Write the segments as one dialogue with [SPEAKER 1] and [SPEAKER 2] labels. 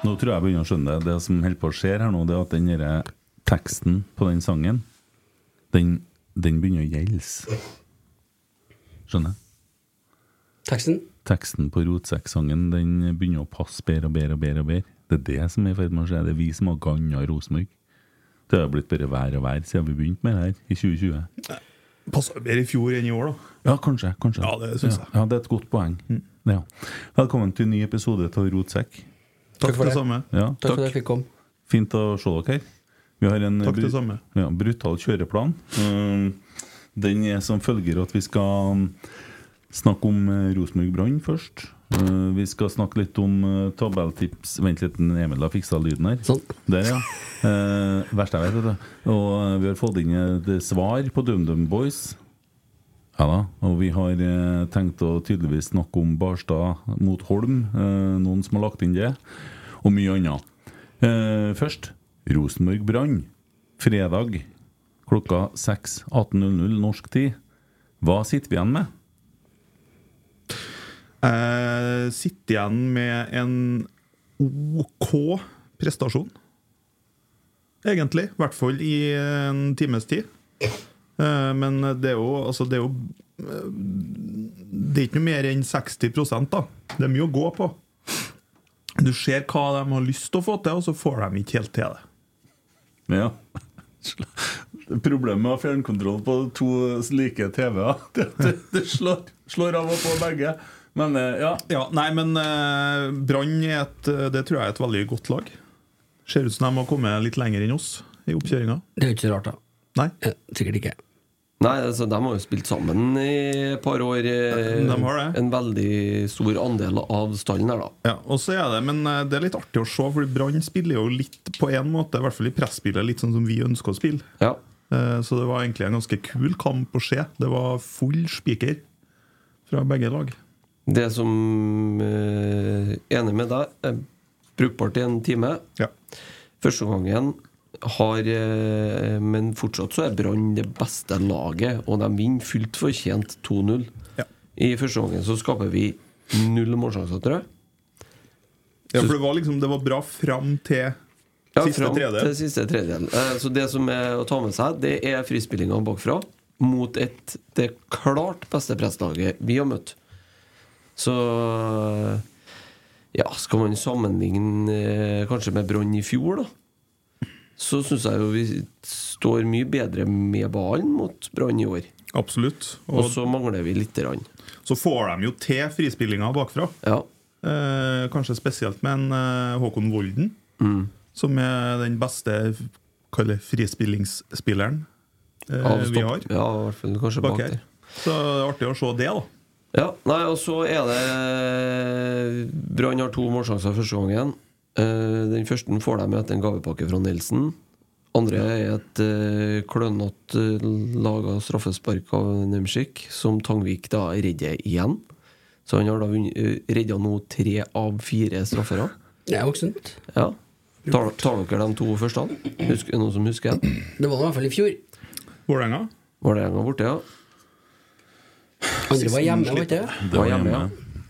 [SPEAKER 1] Nå tror jeg jeg begynner å skjønne det. Det som holder på å skje her nå, det er at den derre teksten på den sangen, den, den begynner å gjelde. Skjønner?
[SPEAKER 2] Teksten?
[SPEAKER 1] Teksten på Rotsekk-sangen den begynner å passe bedre og bedre og bedre. og bedre. Det er det som er i ferd med å skje. Det er vi som har ganna Rosenborg. Det har blitt bare vær og vær siden vi begynte med det her i 2020.
[SPEAKER 3] Passa bedre i fjor enn i år, da.
[SPEAKER 1] Ja, kanskje. kanskje.
[SPEAKER 3] Ja, det synes
[SPEAKER 1] ja,
[SPEAKER 3] jeg.
[SPEAKER 1] ja, det Mm. er et godt poeng. Det, ja. Velkommen til en ny episode av Rotsekk.
[SPEAKER 3] Takk,
[SPEAKER 2] for
[SPEAKER 3] det
[SPEAKER 2] det.
[SPEAKER 3] samme.
[SPEAKER 1] Ja,
[SPEAKER 2] Takk, for at jeg fikk komme.
[SPEAKER 1] Fint å se dere her. Vi har en
[SPEAKER 3] Takk, det
[SPEAKER 1] bru-
[SPEAKER 3] samme.
[SPEAKER 1] Ja, brutal kjøreplan. Um, Den er som følger at vi skal um, snakke om eh, Rosenborg Brann først. Uh, Vi skal snakke litt om eh, tabelltips Vent litt, den Emil har fiksa lyden her.
[SPEAKER 2] Sånn.
[SPEAKER 1] Der, ja. Eh, verst jeg vet, vet du. Og eh, vi har fått inn et svar på DumDum Boys. Ja da. Og vi har eh, tenkt å tydeligvis snakke om Barstad mot Holm. Eh, noen som har lagt inn det. Og mye annet. Eh, først Rosenborg Brann. Fredag klokka 6.18.00 norsk tid. Hva sitter vi igjen med?
[SPEAKER 3] Jeg Eh, sitter igjen med en OK prestasjon. Egentlig. I hvert fall i en times tid. Eh, Men det er jo Altså, det er jo eh, Det er ikke noe mer enn 60 da. Det er mye å gå på. Du ser hva de har lyst til å få til, og så får de ikke helt til det.
[SPEAKER 1] Ja. Problemet med å ha fjernkontroll på to like TV-er. Det, det, det slår, slår av og på begge. Men eh, ja.
[SPEAKER 3] Ja, nei, men eh, Brann er et eh, Det tror jeg er et veldig godt lag. Ser ut som de har kommet litt lenger enn oss i oppkjøringa.
[SPEAKER 2] Det er jo ikke så rart, da.
[SPEAKER 3] Nei,
[SPEAKER 2] Eh, Sikkert ikke.
[SPEAKER 4] Nei, altså, De har jo spilt sammen i et par år. eh,
[SPEAKER 3] De har det.
[SPEAKER 4] En veldig stor andel av stallen her, da.
[SPEAKER 3] ja, og så er det Men eh, det er litt artig å se, for Brann spiller jo litt på en måte, i hvert fall i presspillet, litt sånn som vi ønsker å spille.
[SPEAKER 4] Ja.
[SPEAKER 3] Eh, så det var egentlig en ganske kul kamp å se. Det var full spiker fra begge lag.
[SPEAKER 4] Det som eh, Enig med deg. er Brukbart i en time.
[SPEAKER 3] Ja.
[SPEAKER 4] Første gangen har eh, Men fortsatt så er Brann det beste laget, og de vinner fullt fortjent 2-0.
[SPEAKER 3] Ja.
[SPEAKER 4] I første gangen så skaper vi null målsjanser, tror jeg.
[SPEAKER 3] ja, for det var liksom Det var bra fram til
[SPEAKER 4] Ja,
[SPEAKER 3] Siste
[SPEAKER 4] fram
[SPEAKER 3] tredjedel.
[SPEAKER 4] Til siste tredjedel. Eh, Så det som er å ta med seg, det er frispillinga bakfra mot et, det klart beste presslaget vi har møtt. Så ja, skal man sammenligne eh, kanskje med Brann i fjor, da?
[SPEAKER 5] så syns jeg jo vi står mye bedre med ballen mot Brann i år.
[SPEAKER 3] Absolutt.
[SPEAKER 5] Og
[SPEAKER 3] Og
[SPEAKER 5] så mangler vi lite grann.
[SPEAKER 3] så får de jo til frispillinga bakfra.
[SPEAKER 5] Ja.
[SPEAKER 3] Eh, kanskje spesielt med en eh, Håkon Volden,
[SPEAKER 5] Mm.
[SPEAKER 3] som er den beste kall det frispillingsspilleren eh,
[SPEAKER 5] av
[SPEAKER 3] vi
[SPEAKER 5] stopp-
[SPEAKER 3] har
[SPEAKER 5] Ja, i hvert fall kanskje
[SPEAKER 3] bak
[SPEAKER 5] bak
[SPEAKER 3] her.
[SPEAKER 5] der.
[SPEAKER 3] Så det er artig å se det, da.
[SPEAKER 5] Ja, nei, og så er det Brann har to målsjanser første gangen. Eh, Den første får de etter en gavepakke fra Nelson. Andre er et eh, klønete laga straffespark av Nemchik, som Tangvik da redder igjen. Så han har da vunn- eh, redda nå tre av fire straffere.
[SPEAKER 2] Det er voksent.
[SPEAKER 5] Ja. Tar, tar dere de to første? Husk, er det noen som husker den?
[SPEAKER 2] Det var det i hvert fall i fjor.
[SPEAKER 3] Vålerenga.
[SPEAKER 5] Vålerenga borte, ja.
[SPEAKER 2] Andre var hjemme, var ikke det?
[SPEAKER 1] Det var
[SPEAKER 5] Var hjemme,
[SPEAKER 1] hjemme.
[SPEAKER 5] ja.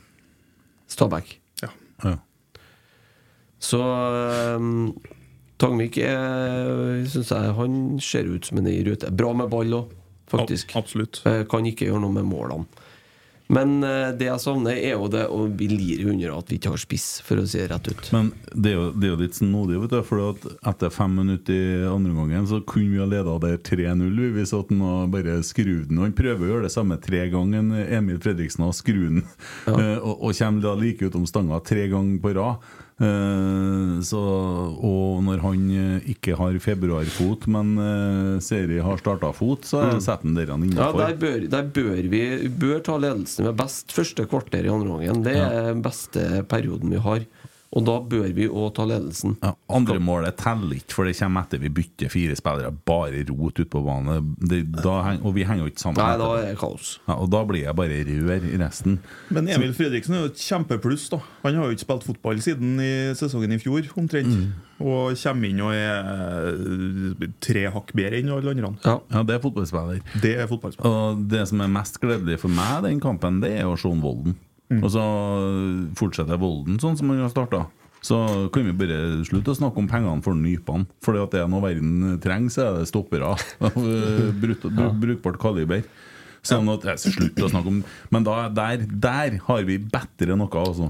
[SPEAKER 5] Stabæk.
[SPEAKER 3] Ja.
[SPEAKER 1] Ja.
[SPEAKER 5] Så um, Tangvik syns jeg han ser ut som han er i rute. Bra med ball òg, faktisk.
[SPEAKER 3] Ab- absolutt.
[SPEAKER 5] Eh, Kan ikke gjøre noe med målene. Men eh, det jeg savner, er jo det Og vi lirer under at vi ikke har spiss, for å si det rett ut.
[SPEAKER 1] Men det er jo, det er jo litt snodig, vet du. For at etter fem minutter i andre gangen så kunne vi ha leda der 3-0 vi, hvis at han har bare skrur den. Og Han prøver å gjøre det samme tre ganger enn Emil Fredriksen har skrur den. Eh, og, og kommer da like utom stanga tre ganger på rad. Eh, så, og når han eh, ikke har februarfot, men uh, Seri har starta fot, så setter han der han
[SPEAKER 5] Mm. Ja,
[SPEAKER 1] innafor.
[SPEAKER 5] der bør, der bør vi bør ta ledelsen med best første kvarter i andre gangen. Det er den beste perioden vi har. Og da bør vi òg ta ledelsen.
[SPEAKER 1] Ja, andre målet teller ikke, for det kommer etter vi bytter fire spillere. Bare rot ute på banen. Det, da, heng- og vi henger jo ikke sammen.
[SPEAKER 5] Nei,
[SPEAKER 1] etter
[SPEAKER 5] da
[SPEAKER 1] det.
[SPEAKER 5] er det kaos.
[SPEAKER 1] Ja, og da blir jeg bare rør i resten.
[SPEAKER 3] Men Emil Fredriksen er jo et kjempepluss. da Han har jo ikke spilt fotball siden i sesongen i fjor, omtrent.
[SPEAKER 5] Mm.
[SPEAKER 3] Og kommer inn og er eh, tre hakk bedre enn alle andre.
[SPEAKER 5] Ja.
[SPEAKER 1] Ja, det er fotballspiller.
[SPEAKER 3] Det er fotballspiller.
[SPEAKER 1] Og det som er mest gledelig for meg i den kampen, det er jo Sean Volden. Og så fortsetter Volden sånn som han har starta. Så kan vi bare slutte å snakke om pengene for nypene. For det er noe verden trenger, så er det stoppere av eh, brut, br brukbart kaliber. Sånn at eh, Slutt å snakke om Men da, der, der har vi bedre noe, altså.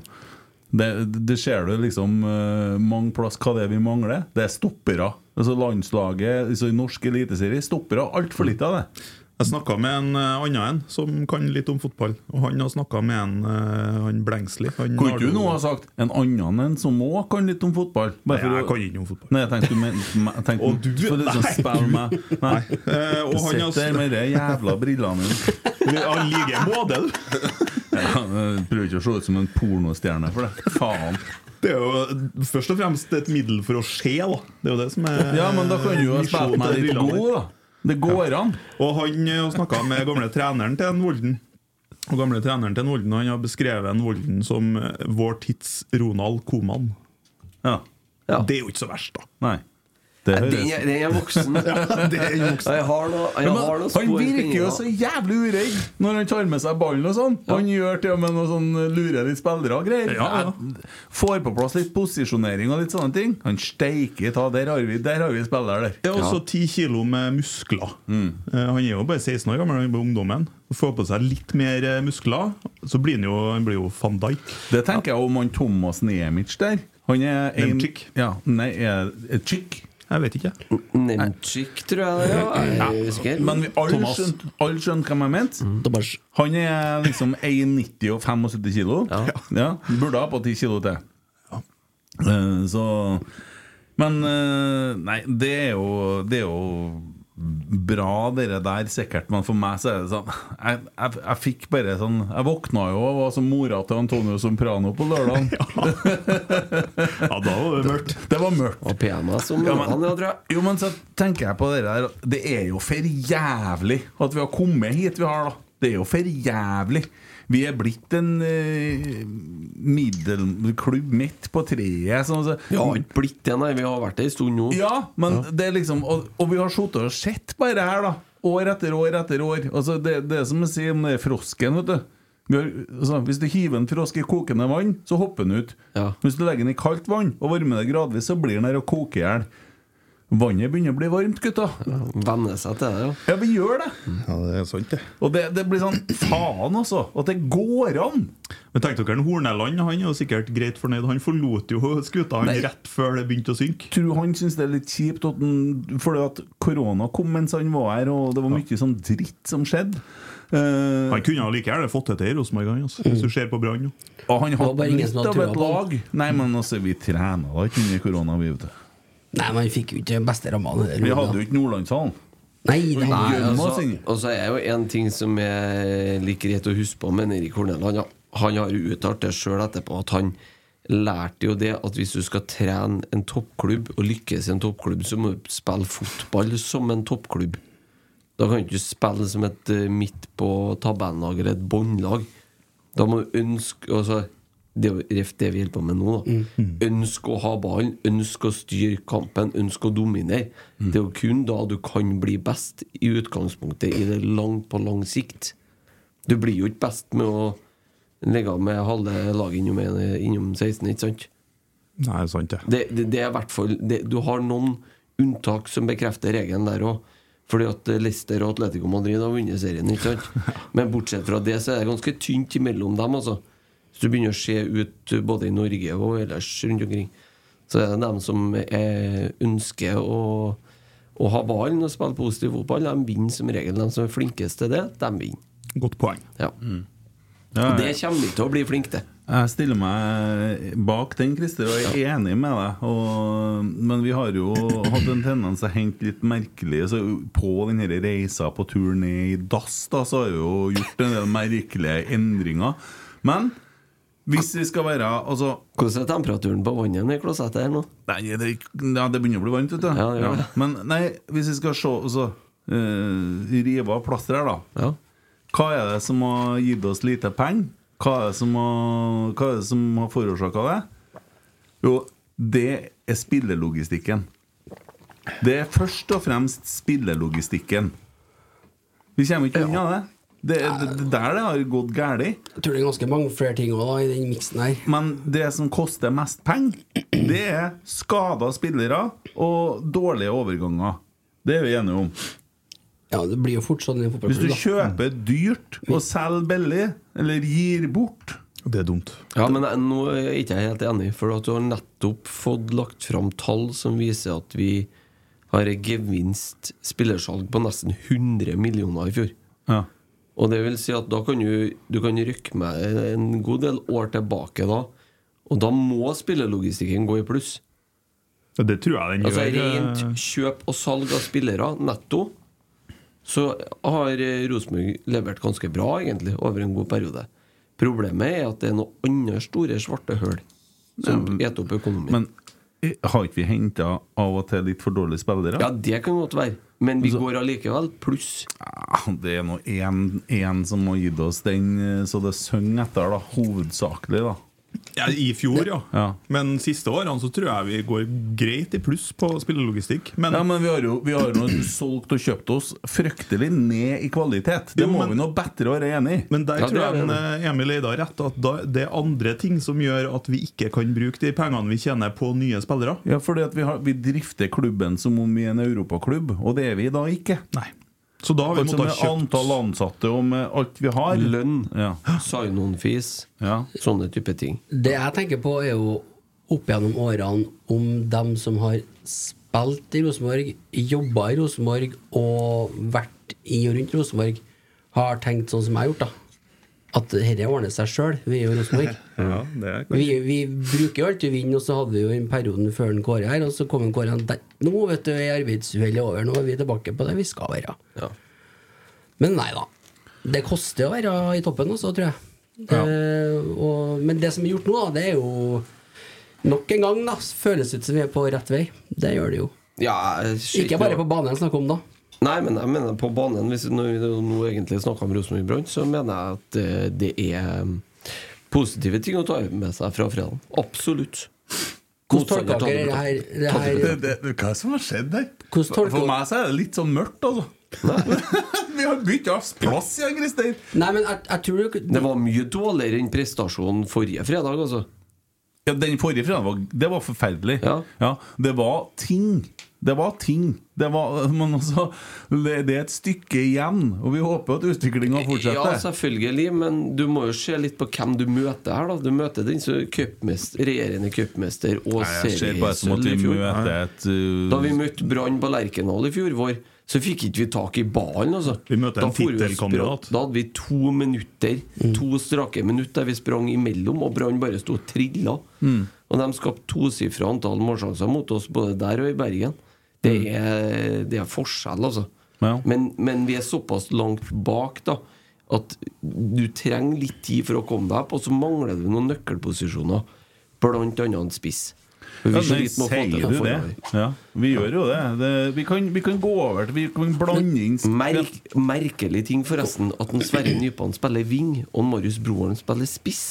[SPEAKER 1] Det, det ser du liksom eh, mange plass hva det er vi mangler. Det er stoppere. Altså landslaget, altså i norsk eliteserie, stoppere. Altfor lite av det.
[SPEAKER 3] Jeg snakka med en eh, annen en som kan litt om fotball. Og han har snakka med en eh, han Blengsli. Han
[SPEAKER 1] Kunne ikke
[SPEAKER 3] har-
[SPEAKER 1] du nå ha sagt en annen enn som òg kan litt om fotball?
[SPEAKER 3] Nei,
[SPEAKER 1] Bare for
[SPEAKER 3] jeg
[SPEAKER 1] å-
[SPEAKER 3] kan ikke om fotball.
[SPEAKER 1] Nei, jeg tenkte du men- jeg tenkte,
[SPEAKER 3] Og du-
[SPEAKER 1] For det som
[SPEAKER 3] nei,
[SPEAKER 1] spiller meg Nei.
[SPEAKER 3] Eh, og han
[SPEAKER 1] Sitt
[SPEAKER 3] har
[SPEAKER 1] der med de jævla brillene dine.
[SPEAKER 3] Han ligger i måte, du!
[SPEAKER 1] Ja, jeg Prøver ikke å se ut som en pornostjerne for det. Faen.
[SPEAKER 3] Det er jo først og fremst et middel for å se, da. Det er jo det som er
[SPEAKER 1] Ja, men da kan du jo ha
[SPEAKER 3] misjonen
[SPEAKER 1] spilt meg
[SPEAKER 3] til
[SPEAKER 1] litt
[SPEAKER 3] brillene.
[SPEAKER 1] god, da. Det går an.
[SPEAKER 3] Og han eh, snakka med gamle treneren til en Volden. Og gamle treneren til en Volden Han har beskrevet en Volden som eh, vår tids Ronald Koman.
[SPEAKER 1] Ja.
[SPEAKER 5] Ja.
[SPEAKER 3] Det er jo ikke så verst, da.
[SPEAKER 1] Nei. Det
[SPEAKER 5] Nei, Den
[SPEAKER 1] høres
[SPEAKER 5] er, den er voksen.
[SPEAKER 3] Det er jo
[SPEAKER 5] Jeg har noe, jeg
[SPEAKER 1] Ja,
[SPEAKER 5] har
[SPEAKER 1] men
[SPEAKER 5] noe
[SPEAKER 1] han
[SPEAKER 5] spor i
[SPEAKER 1] virker jo
[SPEAKER 5] fingrene.
[SPEAKER 1] så jævlig uredd når han tar med seg ballen og sånn. Han gjør til og med noe sånn eh, lurer litt spillere og greier.
[SPEAKER 3] Ja, ja.
[SPEAKER 1] Får på plass litt posisjonering og litt sånne ting. Han steike ta, der har vi Der har vi spiller der.
[SPEAKER 3] Ja, og så ti kilo med muskler. Eh, Han er jo bare 16 år gammel, han er ungdommen. Får på seg litt mer eh, muskler, så blir han jo, han blir jo van Dijk.
[SPEAKER 1] Det tenker jeg om han Thomas Nemic der. Han er en
[SPEAKER 3] Nemchik.
[SPEAKER 1] Ja, nei, er, er chick.
[SPEAKER 3] Jeg vet ikke.
[SPEAKER 5] Nemchik, tror jeg det er. Ja. Eh, Jeg husker.
[SPEAKER 1] Men vi alle
[SPEAKER 3] Thomas.
[SPEAKER 1] skjønte alle skjønte hva jeg mente.
[SPEAKER 2] Dobbers.
[SPEAKER 1] Han er liksom 1,90 og 75 kilo. Ja. Burde ha på 10 kilo til. Eh, Så Men eh, Nei, det er jo, det er jo bra, dere der, sikkert, men for meg så er det sånn Jeg, jeg, jeg fikk bare sånn Jeg våkna jo og var som mora til Antonio Somprano på lørdag.
[SPEAKER 3] Ja, da var det mørkt.
[SPEAKER 1] Det var mørkt.
[SPEAKER 5] Og PMS som
[SPEAKER 1] Ja,
[SPEAKER 5] ja,
[SPEAKER 1] men-
[SPEAKER 5] han, ja, tror jeg.
[SPEAKER 1] Jo, men så tenker jeg på det der Det er jo for jævlig at vi har kommet hit vi har, da. Det er jo for jævlig. Vi er blitt en eh, middelklubb midt på treet. Sånn, så,
[SPEAKER 5] Vi har ikke blitt det, nei. Vi har vært det en stund nå.
[SPEAKER 1] ja, men det er liksom Og, og vi har sittet og sett på dette her, da. År etter år etter år. Altså, det, det er som å si om det er frosken, vet du. Vi har, altså, hvis du hiver en frosk i kokende vann, så hopper den ut.
[SPEAKER 5] Ja.
[SPEAKER 1] Hvis du legger den i kaldt vann og varmer det gradvis, så blir den her og koker i hjel. Vannet begynner å bli varmt, gutta.
[SPEAKER 5] Venne seg til det, ja.
[SPEAKER 1] Ja, vi gjør det.
[SPEAKER 3] Ja, det er sant, det.
[SPEAKER 1] Og det, det blir sånn Faen, altså! At det går an!
[SPEAKER 3] Men tenk dere, Horneland han er jo sikkert greit fornøyd. Han forlot jo skuta han
[SPEAKER 1] Nei.
[SPEAKER 3] rett før det begynte å synke.
[SPEAKER 1] Tror han syns det er litt kjipt at han, fordi at korona kom mens han var her, og det var mye sånn dritt som skjedde. Eh,
[SPEAKER 3] Han kunne jo like gjerne fått det til i Rosenborg, han, altså, hvis du ser på Brann. nå.
[SPEAKER 1] og han
[SPEAKER 2] var bare
[SPEAKER 1] hadde
[SPEAKER 2] ingen
[SPEAKER 1] litt
[SPEAKER 2] som hadde
[SPEAKER 1] av
[SPEAKER 2] trua
[SPEAKER 1] et
[SPEAKER 2] på
[SPEAKER 1] lag. Nei, men altså, vi trena da ikke under korona, vi, vet du.
[SPEAKER 2] Nei, man fikk jo ikke den beste rammene. der.
[SPEAKER 1] Vi hadde jo ikke Nordlandshallen.
[SPEAKER 2] Nei, det
[SPEAKER 1] Nei,
[SPEAKER 2] var-
[SPEAKER 1] altså,
[SPEAKER 5] Så, og så er jo en ting som er like greit å huske på med Erik Hornell. Han, han har jo uttalt det sjøl etterpå, at han lærte jo det at hvis du skal trene en toppklubb og lykkes i en toppklubb, så må du spille fotball som en toppklubb. Da kan du ikke spille som et eh, midt på tabellag eller et båndlag. Da må du ønske altså, Det er jo ref det vi holder på med nå. Da. Ønske å ha ballen, ønske å styre kampen, ønske å dominere. Det er jo kun da du kan bli best i utgangspunktet i det langt på lang sikt. Du blir jo ikke best med å ligge med halve laget innom, en- innom 16, ikke sant?
[SPEAKER 3] Nei, sant det.
[SPEAKER 5] Det, det, det er i hvert fall det, Du har noen unntak som bekrefter regelen der òg. Fordi at eh, Leicester og Atletico Madrid har vunnet serien. ikke sant? Men bortsett fra det, så er det ganske tynt imellom dem. altså. Hvis du begynner å se ut eh, både i Norge og ellers rundt omkring, så er det dem som eh, ønsker å, å ha ballen og spille positiv fotball. De vinner som regel. De som er flinkest til det, de vinner.
[SPEAKER 3] Godt poeng.
[SPEAKER 5] Ja. Og det kommer vi til å bli flinke til.
[SPEAKER 1] Jeg stiller meg bak den, Christer, og jeg er enig med deg. Og, men vi har jo hatt en tendens til å hente litt merkelige så På denne reisa på tur ned i dass da, så har vi jo gjort en del merkelige endringer. Men hvis vi skal være altså,
[SPEAKER 5] Hvordan er temperaturen på vannet i klosettet her nå?
[SPEAKER 1] Nei, det, ja, det begynner å bli varmt, vet du.
[SPEAKER 5] Ja, det gjør det.
[SPEAKER 1] Men nei, hvis vi skal se altså, eh, Rive av plasteret her, da.
[SPEAKER 5] Ja.
[SPEAKER 1] Hva er det som har gitt oss lite penger? Hva er det som har, hva er det som har forårsaka det? Jo, det er spillelogistikken. Det er først og fremst spillelogistikken. Vi kommer ikke unna det. Det er det- det er der det har gått galt.
[SPEAKER 2] Jeg tror det er ganske mange flere ting også, da, i den miksen her.
[SPEAKER 1] Men det som koster mest penger, det er skada spillere og dårlige overganger. Det er vi enige om.
[SPEAKER 2] Ja, det blir jo fort sånn i en
[SPEAKER 1] Hvis du
[SPEAKER 2] fotballklubb. da.
[SPEAKER 1] kjøper dyrt og selger billig, eller gir bort
[SPEAKER 3] Det er dumt.
[SPEAKER 5] Ja, men jeg- nå er ikke jeg helt enig, for at du har nettopp fått lagt fram tall som viser at vi har en gevinst spillersalg på nesten 100 millioner i fjor.
[SPEAKER 1] ja.
[SPEAKER 5] Og det vil si at da kan du, du kan rykke med en god del år tilbake da, og da må spillerlogistikken gå i pluss.
[SPEAKER 3] Ja, Det tror jeg den
[SPEAKER 5] Altså
[SPEAKER 3] gjør. eh,
[SPEAKER 5] rent kjøp og salg av spillere, netto, så har eh, Rosenborg levert ganske bra, egentlig, over en god periode. Problemet er at det er noen andre store svarte høl som eter opp økonomien.
[SPEAKER 1] Men eh, har ikke vi henta av og til litt for dårlige spillere?
[SPEAKER 5] Ja, det kan godt være. Men
[SPEAKER 1] Altså-
[SPEAKER 5] vi går allikevel pluss.
[SPEAKER 1] Ah, Det er nå én én som har gitt oss den, eh, så det synger etter, da. Hovedsakelig, da.
[SPEAKER 3] Ja, I fjor, ja.
[SPEAKER 1] Ja.
[SPEAKER 3] Men siste årene så tror jeg vi går greit i pluss på spillelogistikk. Men,
[SPEAKER 1] Ja, men vi har jo vi har nå solgt og kjøpt oss fryktelig ned i kvalitet.
[SPEAKER 3] Jo,
[SPEAKER 1] Det
[SPEAKER 3] men-
[SPEAKER 1] må vi nå bedre være enig i.
[SPEAKER 3] men der
[SPEAKER 5] Ja, det
[SPEAKER 3] tror
[SPEAKER 5] er
[SPEAKER 3] jeg
[SPEAKER 5] det.
[SPEAKER 3] en, eh, Emil Eide har rett. At da, det er andre ting som gjør at vi ikke kan bruke de pengene vi tjener på nye spillere.
[SPEAKER 1] Ja, fordi at vi, har, vi drifter klubben som om vi er en europaklubb, og det er vi da ikke.
[SPEAKER 3] Nei. Så da har vi
[SPEAKER 1] Altså med
[SPEAKER 3] måttet ha kjøpt
[SPEAKER 1] antall ansatte og med alt vi har.
[SPEAKER 5] Lønn,
[SPEAKER 1] Ja.
[SPEAKER 5] sign-on-fees,
[SPEAKER 1] Ja.
[SPEAKER 5] sånne type ting.
[SPEAKER 2] Det jeg tenker på, er jo opp gjennom årene om dem som har spilt i Rosenborg, jobba i Rosenborg og vært i og rundt Rosenborg, har tenkt sånn som jeg har gjort, da. At dette ordner seg sjøl. Vi er jo Rosenborg.
[SPEAKER 3] Ja, det er
[SPEAKER 2] Vi, vi bruker jo alltid vinne, og så hadde vi jo den perioden før den Kåre her, og så kom en Kåre han der. Nå vet du, er arbeidsuhellet over, nå er vi tilbake på det vi skal være.
[SPEAKER 5] Ja.
[SPEAKER 2] Men nei da. Det koster å være i toppen også, tror jeg. Eh, og, men det som er gjort nå, da, det er jo Nok en gang da, føles ut som vi er på rett vei. Det gjør det jo.
[SPEAKER 5] Ja, jeg ser
[SPEAKER 2] Ikke
[SPEAKER 5] ikke
[SPEAKER 2] bare
[SPEAKER 5] noe-
[SPEAKER 2] på banen jeg snakker om, da.
[SPEAKER 5] Nei, men jeg mener på banen. Hvis vi nå, nå egentlig snakker om Rosenborg Brann, så mener jeg at eh, det er um, positive ting å ta med seg fra fredagen. Absolutt.
[SPEAKER 2] Hvordan tolker dere det her, det her
[SPEAKER 1] hva som har skjedd der?
[SPEAKER 2] Hvordan tolker-
[SPEAKER 1] For meg så er det litt sånn mørkt, altså. vi har bytta plass igjen, Christer.
[SPEAKER 2] Nei, men jeg, jeg tror jo
[SPEAKER 5] Det var mye dårligere enn prestasjonen forrige fredag, altså.
[SPEAKER 1] Ja, den forrige fredagen var, det var forferdelig.
[SPEAKER 5] Ja.
[SPEAKER 1] Det var ting Det var ting. Det var, men altså, det, det er et stykke igjen, og vi håper at utviklinga
[SPEAKER 5] Ja, altså,
[SPEAKER 1] fortsetter.
[SPEAKER 5] selvfølgelig, men du må jo se litt på hvem du møter her. da Du møter den som cupmest- regjerende cupmester og
[SPEAKER 1] Nei, jeg ser bare som at
[SPEAKER 5] seriesølv
[SPEAKER 1] vi
[SPEAKER 5] i fjor.
[SPEAKER 1] møter et
[SPEAKER 5] Da
[SPEAKER 1] uh,
[SPEAKER 5] vi møtte Brann på Lerkendal i fjor vår, så fikk ikke vi tak i ballen. Altså.
[SPEAKER 3] Vi møtte
[SPEAKER 5] Da
[SPEAKER 3] en
[SPEAKER 5] for vi og
[SPEAKER 3] tittelkandidat.
[SPEAKER 5] sprang- Da hadde vi to minutter, to strake minutter vi sprang imellom, og Brann bare sto og trilla. Og de skapte tosifra antall målsjanser mot oss, både der og i Bergen. Det er, det er forskjell, altså.
[SPEAKER 1] Ja.
[SPEAKER 5] Men, men vi er såpass langt bak, da. At du trenger litt tid for å komme deg opp, og så mangler du noen nøkkelposisjoner. Blant annet en spiss. Vi
[SPEAKER 1] ja, nei,
[SPEAKER 5] sliter med å få til
[SPEAKER 1] Sier
[SPEAKER 5] en
[SPEAKER 1] du det?
[SPEAKER 5] forandring.
[SPEAKER 1] Ja, vi gjør jo det. det vi, kan, vi kan gå over til Vi kan blande inn
[SPEAKER 5] Merk, merkelig ting, forresten, at en Sverre Nypan spiller wing, og en Marius Broholm spiller spiss.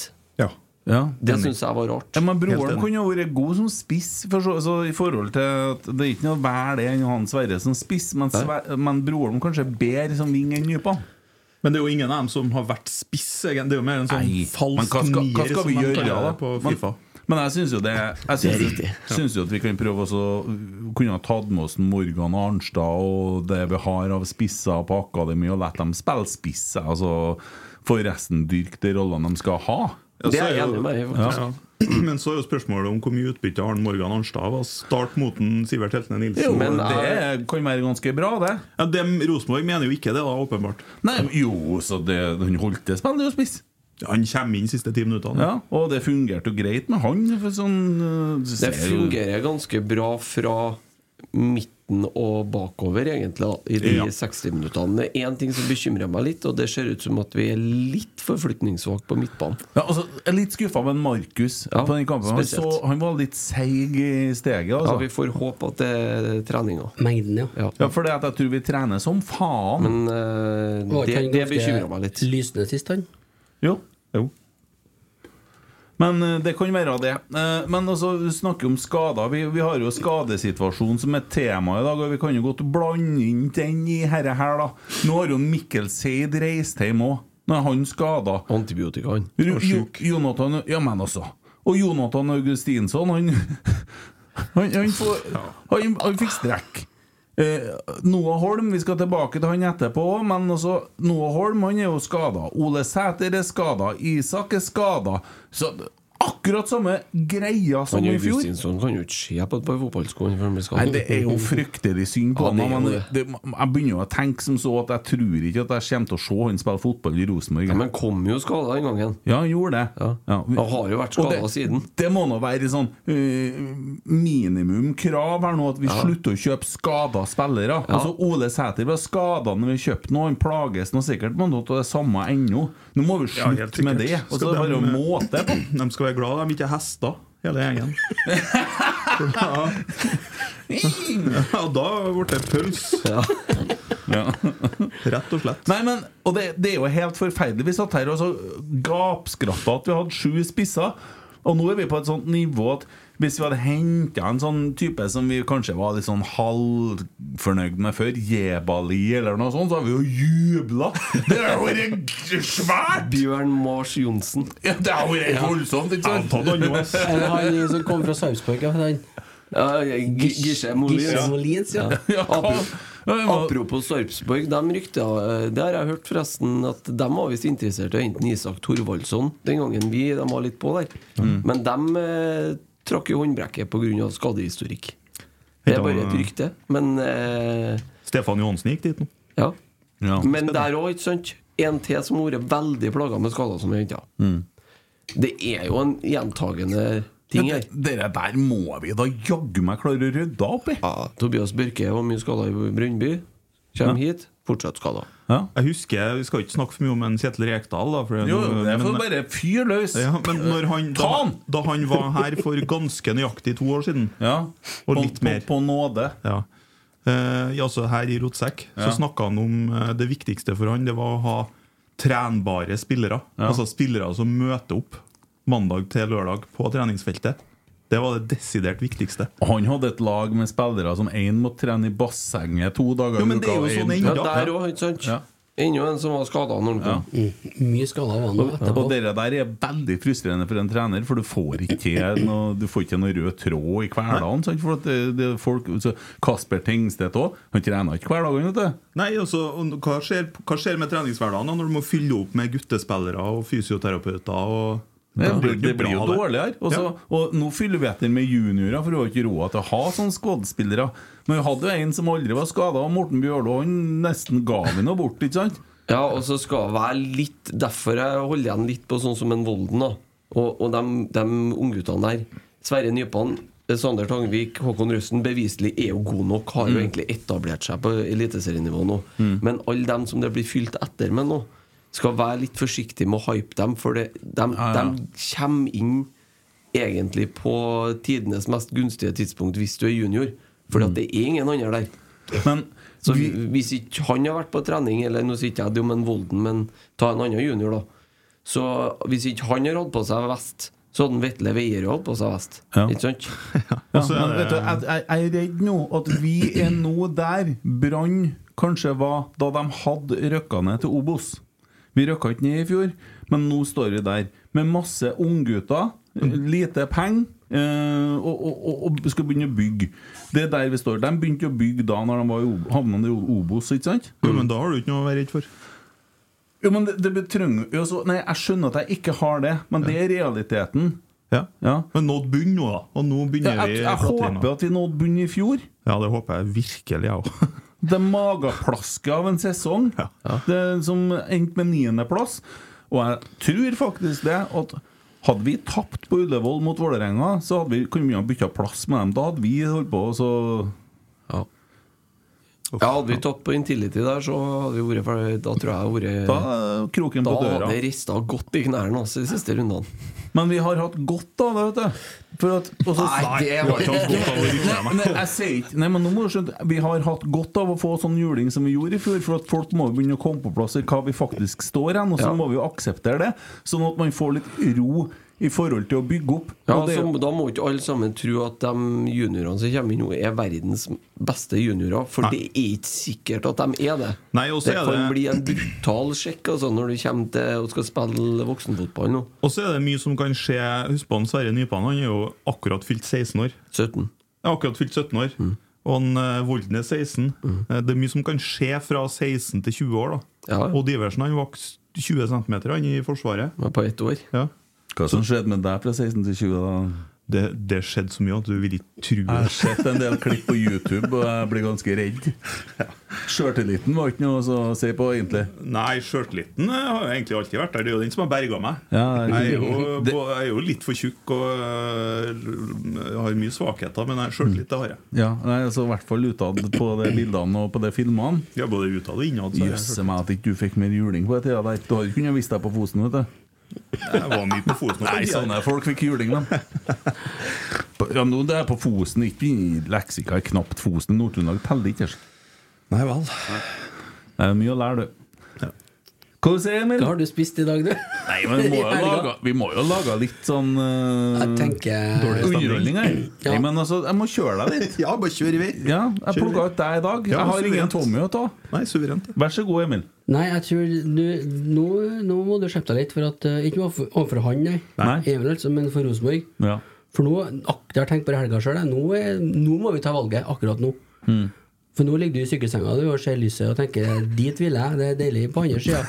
[SPEAKER 3] Ja.
[SPEAKER 1] ja.
[SPEAKER 5] Det syns jeg var rart.
[SPEAKER 1] Ja, men
[SPEAKER 3] Helt
[SPEAKER 1] Broren
[SPEAKER 3] enig.
[SPEAKER 1] kunne jo vært god som spiss, for så, så i forhold til at det er ikke noe vel det enn han Sverre som spiss, men, Sver men Broholm kanskje er bedre som ving enn Nypan.
[SPEAKER 3] Men det er jo ingen av dem som har vært spiss. Egentlig. Det er jo mer en sånn
[SPEAKER 1] Nei, men
[SPEAKER 3] falsk
[SPEAKER 1] hva skal, hva
[SPEAKER 3] nier
[SPEAKER 1] skal
[SPEAKER 3] som
[SPEAKER 1] vi
[SPEAKER 3] de
[SPEAKER 1] gjøre
[SPEAKER 3] kaller
[SPEAKER 1] da?
[SPEAKER 3] det på
[SPEAKER 1] Men,
[SPEAKER 3] FIFA.
[SPEAKER 1] men jeg syns jo det Jeg syns, syns jo at vi kan prøve også å Kunne ha tatt med oss Morgan Arnstad og det vi har av spisser på akademi, og latt dem spille spiss. Altså forresten dyrke de rollene de skal ha.
[SPEAKER 3] Ja, så
[SPEAKER 5] Det er jeg
[SPEAKER 3] jo-
[SPEAKER 5] enig med deg i, faktisk.
[SPEAKER 3] Ja. Men så er jo spørsmålet om hvor mye utbytte har Morgan Arnstad av å starte mot en Sivert Heltene Nilsen.
[SPEAKER 5] Jo, men-
[SPEAKER 1] Men det kan være ganske bra, det.
[SPEAKER 3] ja, dem- Rosenborg mener jo ikke det, da, åpenbart.
[SPEAKER 1] Nei, men jo, så det, han holdt til å spille jo spiss.
[SPEAKER 3] Ja, Han kommer inn siste ti minuttene.
[SPEAKER 1] Ja, og det fungerte jo greit med han. For sånn, øh, du
[SPEAKER 5] Det
[SPEAKER 1] ser jo-
[SPEAKER 5] fungerer ganske bra fra midten og bakover, egentlig, da, i de
[SPEAKER 3] Ja.
[SPEAKER 5] 60 minuttene. Det er én ting som bekymrer meg litt, og det ser ut som at vi er litt forflytningssvake på midtbanen.
[SPEAKER 1] Ja, altså, jeg er litt skuffa med Markus
[SPEAKER 5] Ja,
[SPEAKER 1] på den kampen. Han, så,
[SPEAKER 5] spesielt.
[SPEAKER 1] han var litt seig i steget.
[SPEAKER 5] Ja,
[SPEAKER 1] Altså.
[SPEAKER 5] vi får håpe at det er treninga.
[SPEAKER 2] Mengden, ja.
[SPEAKER 5] Ja.
[SPEAKER 1] Ja, for det at jeg tror vi trener som faen.
[SPEAKER 5] Men eh,
[SPEAKER 2] Var ikke
[SPEAKER 5] det,
[SPEAKER 2] han
[SPEAKER 5] det
[SPEAKER 2] ganske
[SPEAKER 5] bekymrer meg litt.
[SPEAKER 2] Lysende sist, han.
[SPEAKER 1] jo. Men eh, det kan være det. Eh, Men altså, vi snakker om skader. Vi, vi har jo skadesituasjonen som et tema i dag, og vi kan jo godt blande inn den i herre her, da. Nå har jo Mikkel Seid reist hjem òg. Nå er han skada.
[SPEAKER 5] Antibiotikaen.
[SPEAKER 1] Ru- Jo, Jonathan, ja, men også. Og Jonathan Augustinsson, han Han, han, får, han, han fikk strekk. Eh, Noah Holm, vi skal tilbake til han etterpå, men også Noah Holm han er jo skada. Ole Sæter er skada. Isak er skada. Så akkurat samme greia som
[SPEAKER 5] Han
[SPEAKER 1] i fjor.
[SPEAKER 5] Augustinsson kan jo ikke se på et par fotballsko før han blir
[SPEAKER 1] Nei,
[SPEAKER 5] skadet.
[SPEAKER 1] det er jo fryktelig synd på
[SPEAKER 5] Ja, det er
[SPEAKER 1] ham.
[SPEAKER 5] jo
[SPEAKER 1] men det- Jeg begynner jo å tenke som så at jeg tror ikke at jeg kommer til å se han spille fotball i Rosenborg.
[SPEAKER 5] Ja, men kom jo skada den gangen.
[SPEAKER 1] Ja, han gjorde det.
[SPEAKER 5] Ja. Han har jo vært
[SPEAKER 1] Og
[SPEAKER 5] skadet siden.
[SPEAKER 1] Det må nå være sånn eh, minimum krav her nå, at vi slutter å kjøpe skada spillere. Altså Ole Sæter var skada når vi kjøpte noe, han plages nå sikkert med noe av det samme ennå. Nå må vi
[SPEAKER 3] Ja, helt
[SPEAKER 1] slutte med
[SPEAKER 3] sikkert.
[SPEAKER 1] det. Og så
[SPEAKER 3] Skal
[SPEAKER 1] er det
[SPEAKER 3] dem,
[SPEAKER 1] bare
[SPEAKER 3] eh,
[SPEAKER 1] måte på.
[SPEAKER 3] De skal være glad de ikke er hester, hele gjengen. For da- ja, da ble det pøls, rett og slett.
[SPEAKER 1] Nei, men, og det, det er jo helt forferdelig. Vi satt her og så gapskratta at vi hadde sju spisser. Og nå er vi på et sånt nivå at hvis vi hadde henta en sånn type som vi kanskje var litt sånn halvfornøyd med før, Jebali eller noe sånt, så hadde vi jo jubla! Det har vært g- svært!
[SPEAKER 5] Bjørn Mars Johnsen.
[SPEAKER 1] Ja, Det har vært voldsomt, ikke sant?
[SPEAKER 2] Eller han som kom fra Sarpsborg. ja, han-
[SPEAKER 5] Ja, G- Gisje Molin.
[SPEAKER 2] Gisje Molins, ja.
[SPEAKER 1] Ja, hva- Ja, det var-
[SPEAKER 5] Apropos Sarpsborg, de rykta eh, Det har jeg hørt forresten at de var visst interessert i å hente Isak Thorvaldsson den gangen vi de var litt på der.
[SPEAKER 1] Mm.
[SPEAKER 5] Men de eh, trakk jo håndbrekket pga. skadehistorikk. Det er bare et rykte. Men eh,
[SPEAKER 3] Stefan Johansen gikk dit nå.
[SPEAKER 5] ja.
[SPEAKER 1] Ja.
[SPEAKER 5] Men der òg, ikke sant? En til som har vært veldig plaga med skader som er henta.
[SPEAKER 1] Mm.
[SPEAKER 5] Det er jo en gjentagende ting her.
[SPEAKER 1] Det det der må vi da jaggu meg klare å rydde opp i!
[SPEAKER 5] Ja, Tobias Børke var mye skada i Brønnby. Kjem hit, fortsatt skada.
[SPEAKER 1] Ja.
[SPEAKER 3] Jeg husker, Vi skal ikke snakke for mye om en Kjetil Rekdal. Da, for det er
[SPEAKER 1] Jo,
[SPEAKER 3] noe-
[SPEAKER 1] jeg får
[SPEAKER 3] men-
[SPEAKER 1] bare fyr løs!
[SPEAKER 3] ja, men når han,
[SPEAKER 1] Ta
[SPEAKER 3] da,
[SPEAKER 1] han!
[SPEAKER 3] da han var her for ganske nøyaktig to år siden
[SPEAKER 1] Ja.
[SPEAKER 3] Og
[SPEAKER 1] På-
[SPEAKER 3] litt mer.
[SPEAKER 1] På, på nåde.
[SPEAKER 3] Ja. Eh, ja, så her i Rotsekk
[SPEAKER 1] Ja.
[SPEAKER 3] Så snakka han om eh, det viktigste for han Det var å ha trenbare spillere. Altså spillere som møter opp mandag til lørdag på treningsfeltet. Det var det desidert viktigste.
[SPEAKER 1] Han hadde et lag med spillere som én måtte trene i bassenget to dager
[SPEAKER 3] Jo, men det er jo
[SPEAKER 1] og en-
[SPEAKER 3] sånn en-
[SPEAKER 5] Ja,
[SPEAKER 3] Ja.
[SPEAKER 5] der òg, ikke sant?
[SPEAKER 1] Ja.
[SPEAKER 5] Ennå en som var skada når han kom.
[SPEAKER 2] Mye skada var han nå etterpå.
[SPEAKER 1] Og det der er veldig frustrerende for en trener, for du får ikke til noe, du får ikke noe rød tråd i hverdagen. sant? For at det, det er folk, så Kasper Tengstedt òg, han trener ikke hverdagen, vet du.
[SPEAKER 3] Nei, altså, og hva skjer, hva skjer med treningshverdagen da, når du må fylle opp med guttespillere og fysioterapeuter? og...
[SPEAKER 1] Det blir,
[SPEAKER 3] ikke
[SPEAKER 1] det blir jo
[SPEAKER 3] bra, det.
[SPEAKER 1] dårligere. Og så-
[SPEAKER 3] Ja.
[SPEAKER 1] Og nå fyller vi etter med juniorer, for du har ikke råd til å ha sånne skådespillere. Men vi hadde jo en som aldri var skada, og Morten Bjørlo han nesten ga vi noe bort, ikke sant?
[SPEAKER 5] Ja, og så skal det være litt Derfor jeg holder igjen litt på sånn som en Volden da Og, og de, ungguttene der Sverre Nypan, eh, Sander Tangvik, Håkon Røsten Beviselig er jo god nok Har
[SPEAKER 1] Mm.
[SPEAKER 5] jo egentlig etablert seg på eliteserienivå nå Men alle dem som det blir fylt etter med nå Skal være litt forsiktig med å hype dem For det, de,
[SPEAKER 1] Ja, ja.
[SPEAKER 5] de kommer inn Egentlig på tidenes mest gunstige tidspunkt Hvis du er junior Fordi
[SPEAKER 1] Mm.
[SPEAKER 5] at det er ingen andre der
[SPEAKER 1] Men
[SPEAKER 5] så
[SPEAKER 1] vi,
[SPEAKER 5] hvis ikke han har vært på trening, eller nå sier ikke jeg det om en Volden, men ta en annen junior, da. Så hvis ikke han har hatt på seg vest, så hadde en Vetle Veierud hatt på seg vest.
[SPEAKER 1] Ja.
[SPEAKER 5] Ikke sant?
[SPEAKER 1] Ja,
[SPEAKER 3] Og så er
[SPEAKER 1] men
[SPEAKER 3] det-
[SPEAKER 1] vet du, jeg, jeg, jeg er redd nå at vi er nå der Brann kanskje var da de hadde røkka ned til Obos. Vi røkka ikke ned i fjor, men nå står vi der med masse unggutter, lite penger, eh, og, og, og, og skal begynne å bygge. Det er der vi står. De begynte å bygge da når de var i Ob- havna i Obos, ikke sant?
[SPEAKER 3] Jo, men da har du ikke noe å være redd for.
[SPEAKER 1] Jo, men det, det betrenger jo så- Nei, jeg skjønner at jeg ikke har det, men det er realiteten.
[SPEAKER 3] Ja.
[SPEAKER 1] Ja.
[SPEAKER 3] Men nådd bunn nå, da. Og nå
[SPEAKER 1] Jeg,
[SPEAKER 3] begynner
[SPEAKER 1] jeg,
[SPEAKER 3] vi
[SPEAKER 1] jeg
[SPEAKER 3] platina.
[SPEAKER 1] håper at vi nådde bunnen i fjor.
[SPEAKER 3] Ja, det håper jeg virkelig, jeg òg.
[SPEAKER 1] Det er mageplaske av en sesong
[SPEAKER 3] Ja.
[SPEAKER 1] Det er som endte med niendeplass. Og jeg tror faktisk det at hadde vi tapt på Ullevål mot Vålerenga, så hadde vi kunne vi ha bytta plass med dem. Da hadde vi holdt på, så
[SPEAKER 5] Ja. ja, hadde vi tatt på Intility der, så hadde vi vært for, Da tror jeg jeg
[SPEAKER 1] da
[SPEAKER 5] hadde vært
[SPEAKER 1] er kroken
[SPEAKER 5] Da
[SPEAKER 1] på døra.
[SPEAKER 5] hadde det rista godt i knærne også, de siste rundene.
[SPEAKER 1] Men vi har hatt godt av det, vet du. For at, og så-
[SPEAKER 5] Nei, det
[SPEAKER 3] var ikke hatt godt av å rykke
[SPEAKER 1] Nei, nei, jeg sier ikke Nei, men nå må du skjønne Vi har hatt godt av å få sånn juling som vi gjorde i fjor, for at folk må jo begynne å komme på plass i hva vi faktisk står hen, og så
[SPEAKER 5] Ja.
[SPEAKER 1] må vi jo akseptere det, sånn at man får litt ro i forhold til å bygge opp.
[SPEAKER 5] Ja,
[SPEAKER 1] Og det er
[SPEAKER 5] så
[SPEAKER 1] jo-
[SPEAKER 5] Da må ikke alle sammen tro at de juniorene som kommer inn nå, er verdens beste juniorer. For det er ikke sikkert at de er det.
[SPEAKER 3] Nei, og så
[SPEAKER 5] det
[SPEAKER 3] er
[SPEAKER 5] kan
[SPEAKER 3] det-
[SPEAKER 5] bli en brutal sjekk altså, når du kommer til og skal spille voksenfotball nå.
[SPEAKER 3] Og så er det mye som kan skje. Husk på han Sverre Nypan. Han er jo akkurat fylt 16 år.
[SPEAKER 5] 17.
[SPEAKER 3] Jeg har akkurat fylt 17 år.
[SPEAKER 5] Mm.
[SPEAKER 3] Og han eh, Volden er 16. Eh, Det er mye som kan skje fra 16 til 20 år. da
[SPEAKER 5] Ja.
[SPEAKER 3] Og Diversen han vokste 20 cm han, i Forsvaret.
[SPEAKER 5] Men På ett år.
[SPEAKER 3] Ja.
[SPEAKER 1] Hva som skjedde med deg fra 16 til 20? da?
[SPEAKER 3] Det, det skjedde så mye at du vil ikke tro
[SPEAKER 1] Jeg har
[SPEAKER 3] det.
[SPEAKER 1] sett en del klipp på YouTube, og jeg blir ganske redd. Sjøltilliten var ikke noe å se på, egentlig.
[SPEAKER 3] Nei, sjøltilliten eh, har jo egentlig alltid vært der. Det er jo den som har berga meg.
[SPEAKER 1] Ja, det er
[SPEAKER 3] jeg, er
[SPEAKER 1] riktig.
[SPEAKER 3] jo,
[SPEAKER 1] Det-
[SPEAKER 3] på, jeg er jo litt for tjukk og eh, har mye svakheter, men jeg- sjøltillit det har jeg.
[SPEAKER 1] Ja, nei, altså, I hvert fall utad på de bildene og på de filmene.
[SPEAKER 3] Ja, både utad og innad. så er jeg
[SPEAKER 1] Jøsse meg at ikke du fikk mer juling på den tida der. Du hadde kunnet vist deg på Fosen, vet du.
[SPEAKER 3] sjøltillit. Jeg var mye på foten.
[SPEAKER 1] Nei, sånn sånne folk fikk juling, da. På- Ja, nå det er på Fosen, ikke i leksika er knapt Fosen. Nord-Trøndelag teller ikke. altså.
[SPEAKER 3] Nei vel.
[SPEAKER 1] Det er mye å lære, du. Hva du sier du, Emil?
[SPEAKER 2] Hva har du spist i dag, du?
[SPEAKER 1] Nei, men vi må jo
[SPEAKER 2] I helga.
[SPEAKER 1] lage, vi må jo lage litt sånn eh,
[SPEAKER 2] Jeg tenker
[SPEAKER 1] underholdning her.
[SPEAKER 2] Ja.
[SPEAKER 1] Nei, men altså, jeg må kjøre deg litt.
[SPEAKER 3] Ja, bare kjør i vei.
[SPEAKER 1] Ja, jeg
[SPEAKER 3] Kjør.
[SPEAKER 1] plukka ut deg i dag.
[SPEAKER 3] Ja,
[SPEAKER 1] Jeg har ingen
[SPEAKER 3] suverent.
[SPEAKER 1] Tommy å ta.
[SPEAKER 3] Nei, suverent. det.
[SPEAKER 1] Vær så god, Emil.
[SPEAKER 2] Nei, jeg tror du, nå, nå må du skjerpe deg litt, for at eh, Ikke overfor overfor han, nei.
[SPEAKER 1] Nei.
[SPEAKER 2] Even, altså, men for Rosenborg.
[SPEAKER 1] Ja.
[SPEAKER 2] For nå, ak- jeg har tenkt på det i helga sjøl, nå, er- nå må vi ta valget akkurat nå.
[SPEAKER 1] Mm.
[SPEAKER 2] For nå ligger du i sykesenga du, og ser lyset og tenker 'dit vil jeg', det er deilig på andre sida.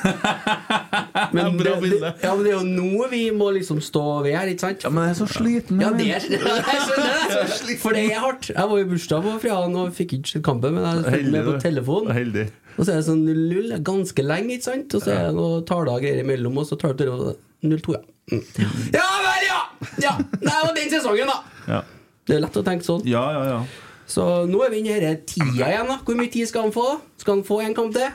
[SPEAKER 2] Men,
[SPEAKER 1] Bra
[SPEAKER 2] det-
[SPEAKER 1] bilde.
[SPEAKER 2] det- ja, men det er jo nå vi må liksom stå ved her, ikke sant?
[SPEAKER 1] Men jeg er så sliten.
[SPEAKER 2] Ja,
[SPEAKER 1] Emil.
[SPEAKER 2] det er, jeg skjønner det! For det er hardt. Jeg var i bursdag på fredagen og fikk ikke sett kampen, men jeg fikk med på
[SPEAKER 1] du.
[SPEAKER 2] telefon.
[SPEAKER 1] Heldig.
[SPEAKER 2] Og så er det sånn lull ganske lenge, ikke sant? Og så er det noen taler og greier imellom, og så tar du til 0-2, ja. Mm. Ja vel, ja! ja! Nei, det var den sesongen, da!
[SPEAKER 1] Ja.
[SPEAKER 2] Det er lett å tenke sånn.
[SPEAKER 1] ja, ja, ja.
[SPEAKER 2] Så nå er vi inne i denne tida igjen, da. Hvor mye tid skal han få? Skal han få en kamp til?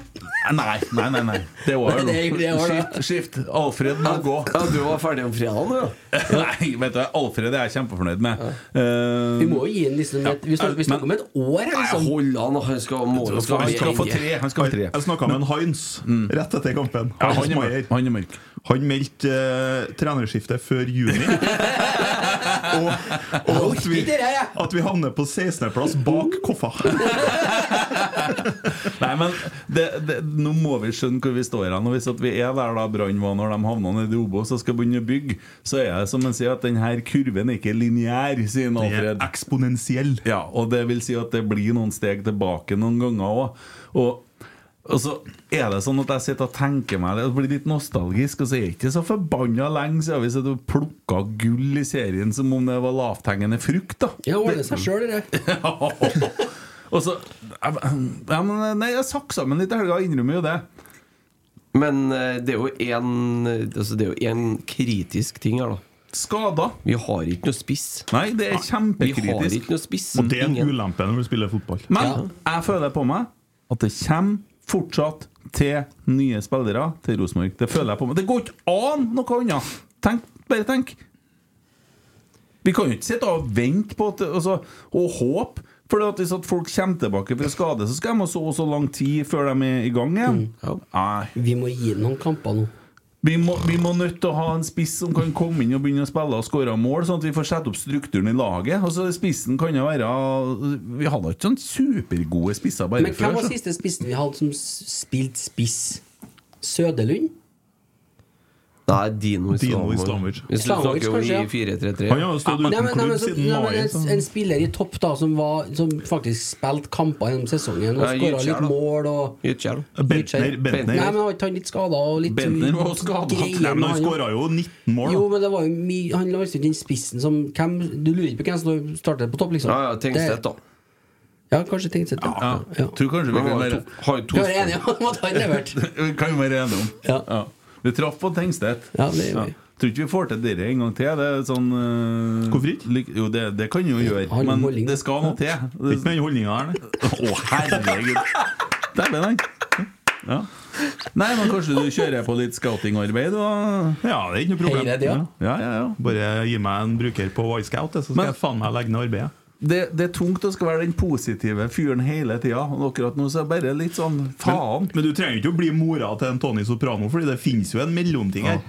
[SPEAKER 1] Nei, nei, nei. nei. Det er over
[SPEAKER 2] Nei,
[SPEAKER 1] nå.
[SPEAKER 2] det er- det er over nå.
[SPEAKER 1] Skift, skift. Alfred må gå.
[SPEAKER 5] Ja, du var ferdig om fredagen, du?
[SPEAKER 1] Nei, vet du, Alfred er jeg kjempefornøyd med. Eh,
[SPEAKER 2] Vi må jo gi ham liksom et Vi snakker, vi snakker om et år, her,
[SPEAKER 5] Nei,
[SPEAKER 2] liksom.
[SPEAKER 5] hold an, han skal må jo
[SPEAKER 1] han skal få
[SPEAKER 5] være
[SPEAKER 1] tre. Han skal få
[SPEAKER 3] Jeg,
[SPEAKER 1] tre. Mm.
[SPEAKER 3] jeg snakka med en Heinz rett etter kampen.
[SPEAKER 1] Ja,
[SPEAKER 3] Heinz
[SPEAKER 1] han, er
[SPEAKER 3] Maier.
[SPEAKER 1] mørk. han er mørk.
[SPEAKER 3] Han meldte eh, trenerskiftet før juni. Og, og at, vi, at vi havner på 16.-plass bak Koffa.
[SPEAKER 1] Nei, men det, det, nå må vi skjønne hvor vi står hen. Og Hvis at vi er der da Brann var når de havna nede i Obos og skal begynne å bygge, så er det som han sier, at denne kurven er ikke lineær, sier han,
[SPEAKER 3] Det er
[SPEAKER 1] Alfred.
[SPEAKER 3] eksponentiell.
[SPEAKER 1] Ja, og det vil si at det blir noen steg tilbake noen ganger òg. Og, og så er det sånn at jeg sitter og tenker meg det, og blir litt nostalgisk, og så er det ikke så forbanna lenge siden vi satt og plukka gull i serien som om det var lavthengende frukt, da.
[SPEAKER 2] Ja, ordner seg sjøl, det.
[SPEAKER 1] og så ja, men, Nei, jeg saksa sammen litt i helga, jeg innrømmer jo det.
[SPEAKER 5] Men eh, det er jo én altså, Det er jo en kritisk ting her, da.
[SPEAKER 1] Skada.
[SPEAKER 5] Vi har ikke noe spiss.
[SPEAKER 1] Nei, det er
[SPEAKER 5] Vi har ikke
[SPEAKER 1] kjempekritisk.
[SPEAKER 5] noe spiss.
[SPEAKER 3] Og det er en
[SPEAKER 5] Ingen.
[SPEAKER 3] ulempe når du spiller fotball.
[SPEAKER 1] Men jeg føler på meg at det kommer fortsatt til nye spillere til Rosenborg. Det føler jeg på meg. Det går ikke an noe annet! Tenk, bare tenk. Vi kan jo ikke sitte og vente på at, altså, og håpe. For at hvis at folk kommer tilbake fra skade, så skal de ha så og så lang tid før de er i gang igjen. Nei.
[SPEAKER 2] Vi må gi den noen kamper nå.
[SPEAKER 1] Vi må, vi må nødt til å ha en spiss som kan komme inn og begynne å spille og skåre mål, sånn at vi får sette opp strukturen i laget. Altså Spissen kan jo være Vi hadde ikke sånn supergode spisser bare
[SPEAKER 2] Men hvem
[SPEAKER 1] før.
[SPEAKER 2] var
[SPEAKER 1] så-
[SPEAKER 2] siste spissen vi hadde som s- spilte spiss? Sødelund?
[SPEAKER 5] Nei, Dino
[SPEAKER 3] Dino
[SPEAKER 5] Islamovic.
[SPEAKER 3] Islamovic.
[SPEAKER 5] Hvis du
[SPEAKER 2] Islamovic,
[SPEAKER 5] snakker om
[SPEAKER 2] kanskje, ja.
[SPEAKER 5] i 4-3-3.
[SPEAKER 3] Han har jo stått
[SPEAKER 2] Nei, men,
[SPEAKER 3] uten
[SPEAKER 2] nei, men,
[SPEAKER 3] klubb
[SPEAKER 2] så,
[SPEAKER 3] siden
[SPEAKER 2] nei, men
[SPEAKER 3] mai.
[SPEAKER 2] en,
[SPEAKER 3] så-
[SPEAKER 2] en spiller i topp da som, var, som faktisk spilte kamper gjennom sesongen og
[SPEAKER 5] Nei,
[SPEAKER 2] skåra
[SPEAKER 5] Gytskjær,
[SPEAKER 2] litt
[SPEAKER 5] da.
[SPEAKER 2] mål og
[SPEAKER 5] Gytkjær, da.
[SPEAKER 3] Bentner.
[SPEAKER 2] Nei,
[SPEAKER 3] Bentner.
[SPEAKER 2] men var ikke han litt skada og litt
[SPEAKER 1] Bentner var også skadet.
[SPEAKER 2] greier
[SPEAKER 3] Nei, men
[SPEAKER 2] med han,
[SPEAKER 3] han
[SPEAKER 2] ja.
[SPEAKER 3] skåra jo 19 mål.
[SPEAKER 2] Jo,
[SPEAKER 3] da.
[SPEAKER 2] men det var jo mye Han la ikke inn spissen som hvem, Du lurer ikke på hvem som startet på topp, liksom?
[SPEAKER 5] Ja, ja, Tengstedt, da.
[SPEAKER 2] Ja, kanskje Tengstedt.
[SPEAKER 1] Ja,
[SPEAKER 2] Ja. Ja.
[SPEAKER 1] jeg tror kanskje vi kan
[SPEAKER 5] Han har jo
[SPEAKER 1] være,
[SPEAKER 5] to, har jo to
[SPEAKER 2] Vi var enige om at han leverte.
[SPEAKER 1] vi kan jo være enige om.
[SPEAKER 2] Ja.
[SPEAKER 1] Vi traff på Tengstedt.
[SPEAKER 2] Ja, det gjør vi.
[SPEAKER 1] Tror ikke vi får til dette en gang til. Det er sånn, eh,
[SPEAKER 3] Hvorfor ikke?
[SPEAKER 1] lik- Jo, det, det kan jo gjøre,
[SPEAKER 2] Har
[SPEAKER 1] men
[SPEAKER 2] holdning.
[SPEAKER 1] det skal noe til.
[SPEAKER 3] Det er
[SPEAKER 1] Det-
[SPEAKER 3] Ikke med den holdninga her, nei.
[SPEAKER 1] Å, herregud! Dæven, han. Ja. Nei, men kanskje du kjører på litt scoutingarbeid? og-
[SPEAKER 3] Ja, det er ikke noe problem.
[SPEAKER 2] Heired, ja.
[SPEAKER 1] Ja, ja, ja.
[SPEAKER 3] Bare gi meg en bruker på Wisecout, så skal
[SPEAKER 1] Men-
[SPEAKER 3] jeg faen meg legge ned arbeidet.
[SPEAKER 1] det, det er tungt å skal være den positive fyren hele tida. Og akkurat nå så er det bare litt sånn faen.
[SPEAKER 3] Men, men du trenger ikke å bli mora til en Tony Soprano, Fordi det finnes jo en mellomting her.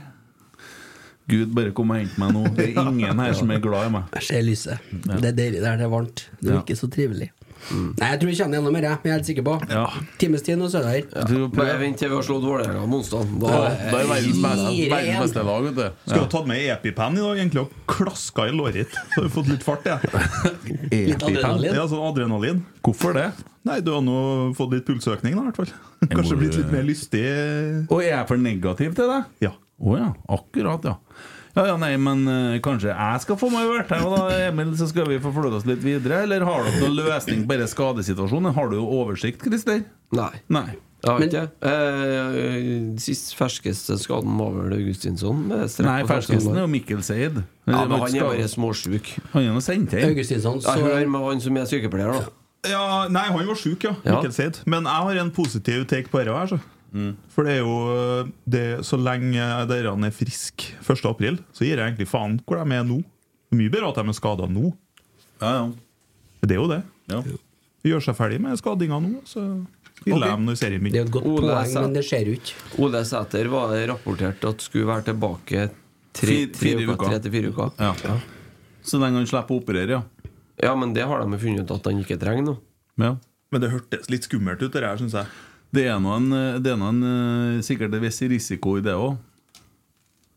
[SPEAKER 1] Gud, bare kom og hent meg nå. Det er ingen her som er glad i meg.
[SPEAKER 2] Jeg ser lyset. Det er deilig der. Det er varmt. Det er
[SPEAKER 1] Ja.
[SPEAKER 2] ikke så trivelig. Mm. Nei, jeg tror vi kommer gjennom dette. Jeg er helt sikker på.
[SPEAKER 1] Ja.
[SPEAKER 2] Times tid, nå så er det her.
[SPEAKER 1] Jeg tror vi
[SPEAKER 5] Nei,
[SPEAKER 1] prøver.
[SPEAKER 5] vent til vi har slått Vålerenga på onsdag. Da
[SPEAKER 1] Ja, Det er verdens beste, verdens beste lag, vet du.
[SPEAKER 3] Skulle ha tatt med EpiPen i dag egentlig og klaska i låret ditt. Så har du fått litt fart, jeg.
[SPEAKER 2] Litt adrenalin.
[SPEAKER 3] Ja, sånn adrenalin.
[SPEAKER 1] Hvorfor det?
[SPEAKER 3] Nei, du har nå fått litt pulsøkning, da, i hvert fall.
[SPEAKER 1] må
[SPEAKER 3] Kanskje blitt
[SPEAKER 1] jo-
[SPEAKER 3] litt mer lystig.
[SPEAKER 1] Og er jeg for negativ til deg?
[SPEAKER 3] Ja.
[SPEAKER 1] Å ja, akkurat, ja. Ja, ja, nei, men eh, kanskje jeg skal få meg vært her, og da, Emil, så skal vi få flytte oss litt videre? Eller har dere noen løsning på denne skadesituasjonen? Har du jo oversikt, Christer?
[SPEAKER 5] Nei.
[SPEAKER 1] Nei.
[SPEAKER 5] Jeg har
[SPEAKER 2] Men-
[SPEAKER 5] ikke det. Eh, sist ferskeste skaden var vel Augustinsson? Med strekk
[SPEAKER 1] Nei,
[SPEAKER 5] på
[SPEAKER 1] ferskesten er
[SPEAKER 5] samtalen.
[SPEAKER 1] jo Mikkel Seid.
[SPEAKER 5] ja, men Han er bare småsjuk.
[SPEAKER 1] Han er noe sendt hjem.
[SPEAKER 2] Augustinsson, så
[SPEAKER 5] Jeg hører med han som er sykepleier, da.
[SPEAKER 3] ja nei, han var sjuk, ja.
[SPEAKER 5] Ja.
[SPEAKER 3] Mikkel Seid. Men jeg har en positiv take på dette her, så.
[SPEAKER 1] Mm.
[SPEAKER 3] For det er jo eh, det, Så lenge dere er friske 1. april, så gir jeg egentlig faen hvor de er nå. Mye bedre at de er skada nå.
[SPEAKER 1] Ja,
[SPEAKER 3] Det er jo det.
[SPEAKER 1] ja. ja.
[SPEAKER 3] Gjør seg ferdig med skadinga nå, så vil
[SPEAKER 1] Ok.
[SPEAKER 3] jeg dem når serien
[SPEAKER 2] det er jo
[SPEAKER 3] begynner.
[SPEAKER 2] et godt
[SPEAKER 5] Ole
[SPEAKER 2] poeng,
[SPEAKER 5] Sæter.
[SPEAKER 2] men det ser jo ikke.
[SPEAKER 5] Ole Sæter var det rapportert at skulle være tilbake tre,
[SPEAKER 1] Fire-
[SPEAKER 5] tre
[SPEAKER 1] fire
[SPEAKER 5] uker,
[SPEAKER 1] uker.
[SPEAKER 5] tre til fire uker.
[SPEAKER 1] Ja. Så lenge han slipper å operere, ja.
[SPEAKER 5] Ja, men det har de jo funnet ut at han ikke trenger nå.
[SPEAKER 1] ja.
[SPEAKER 3] Men det hørtes litt skummelt ut, det her, syns jeg.
[SPEAKER 1] Det er nå en, eh, det er nå en eh, sikkert en viss risiko i det òg.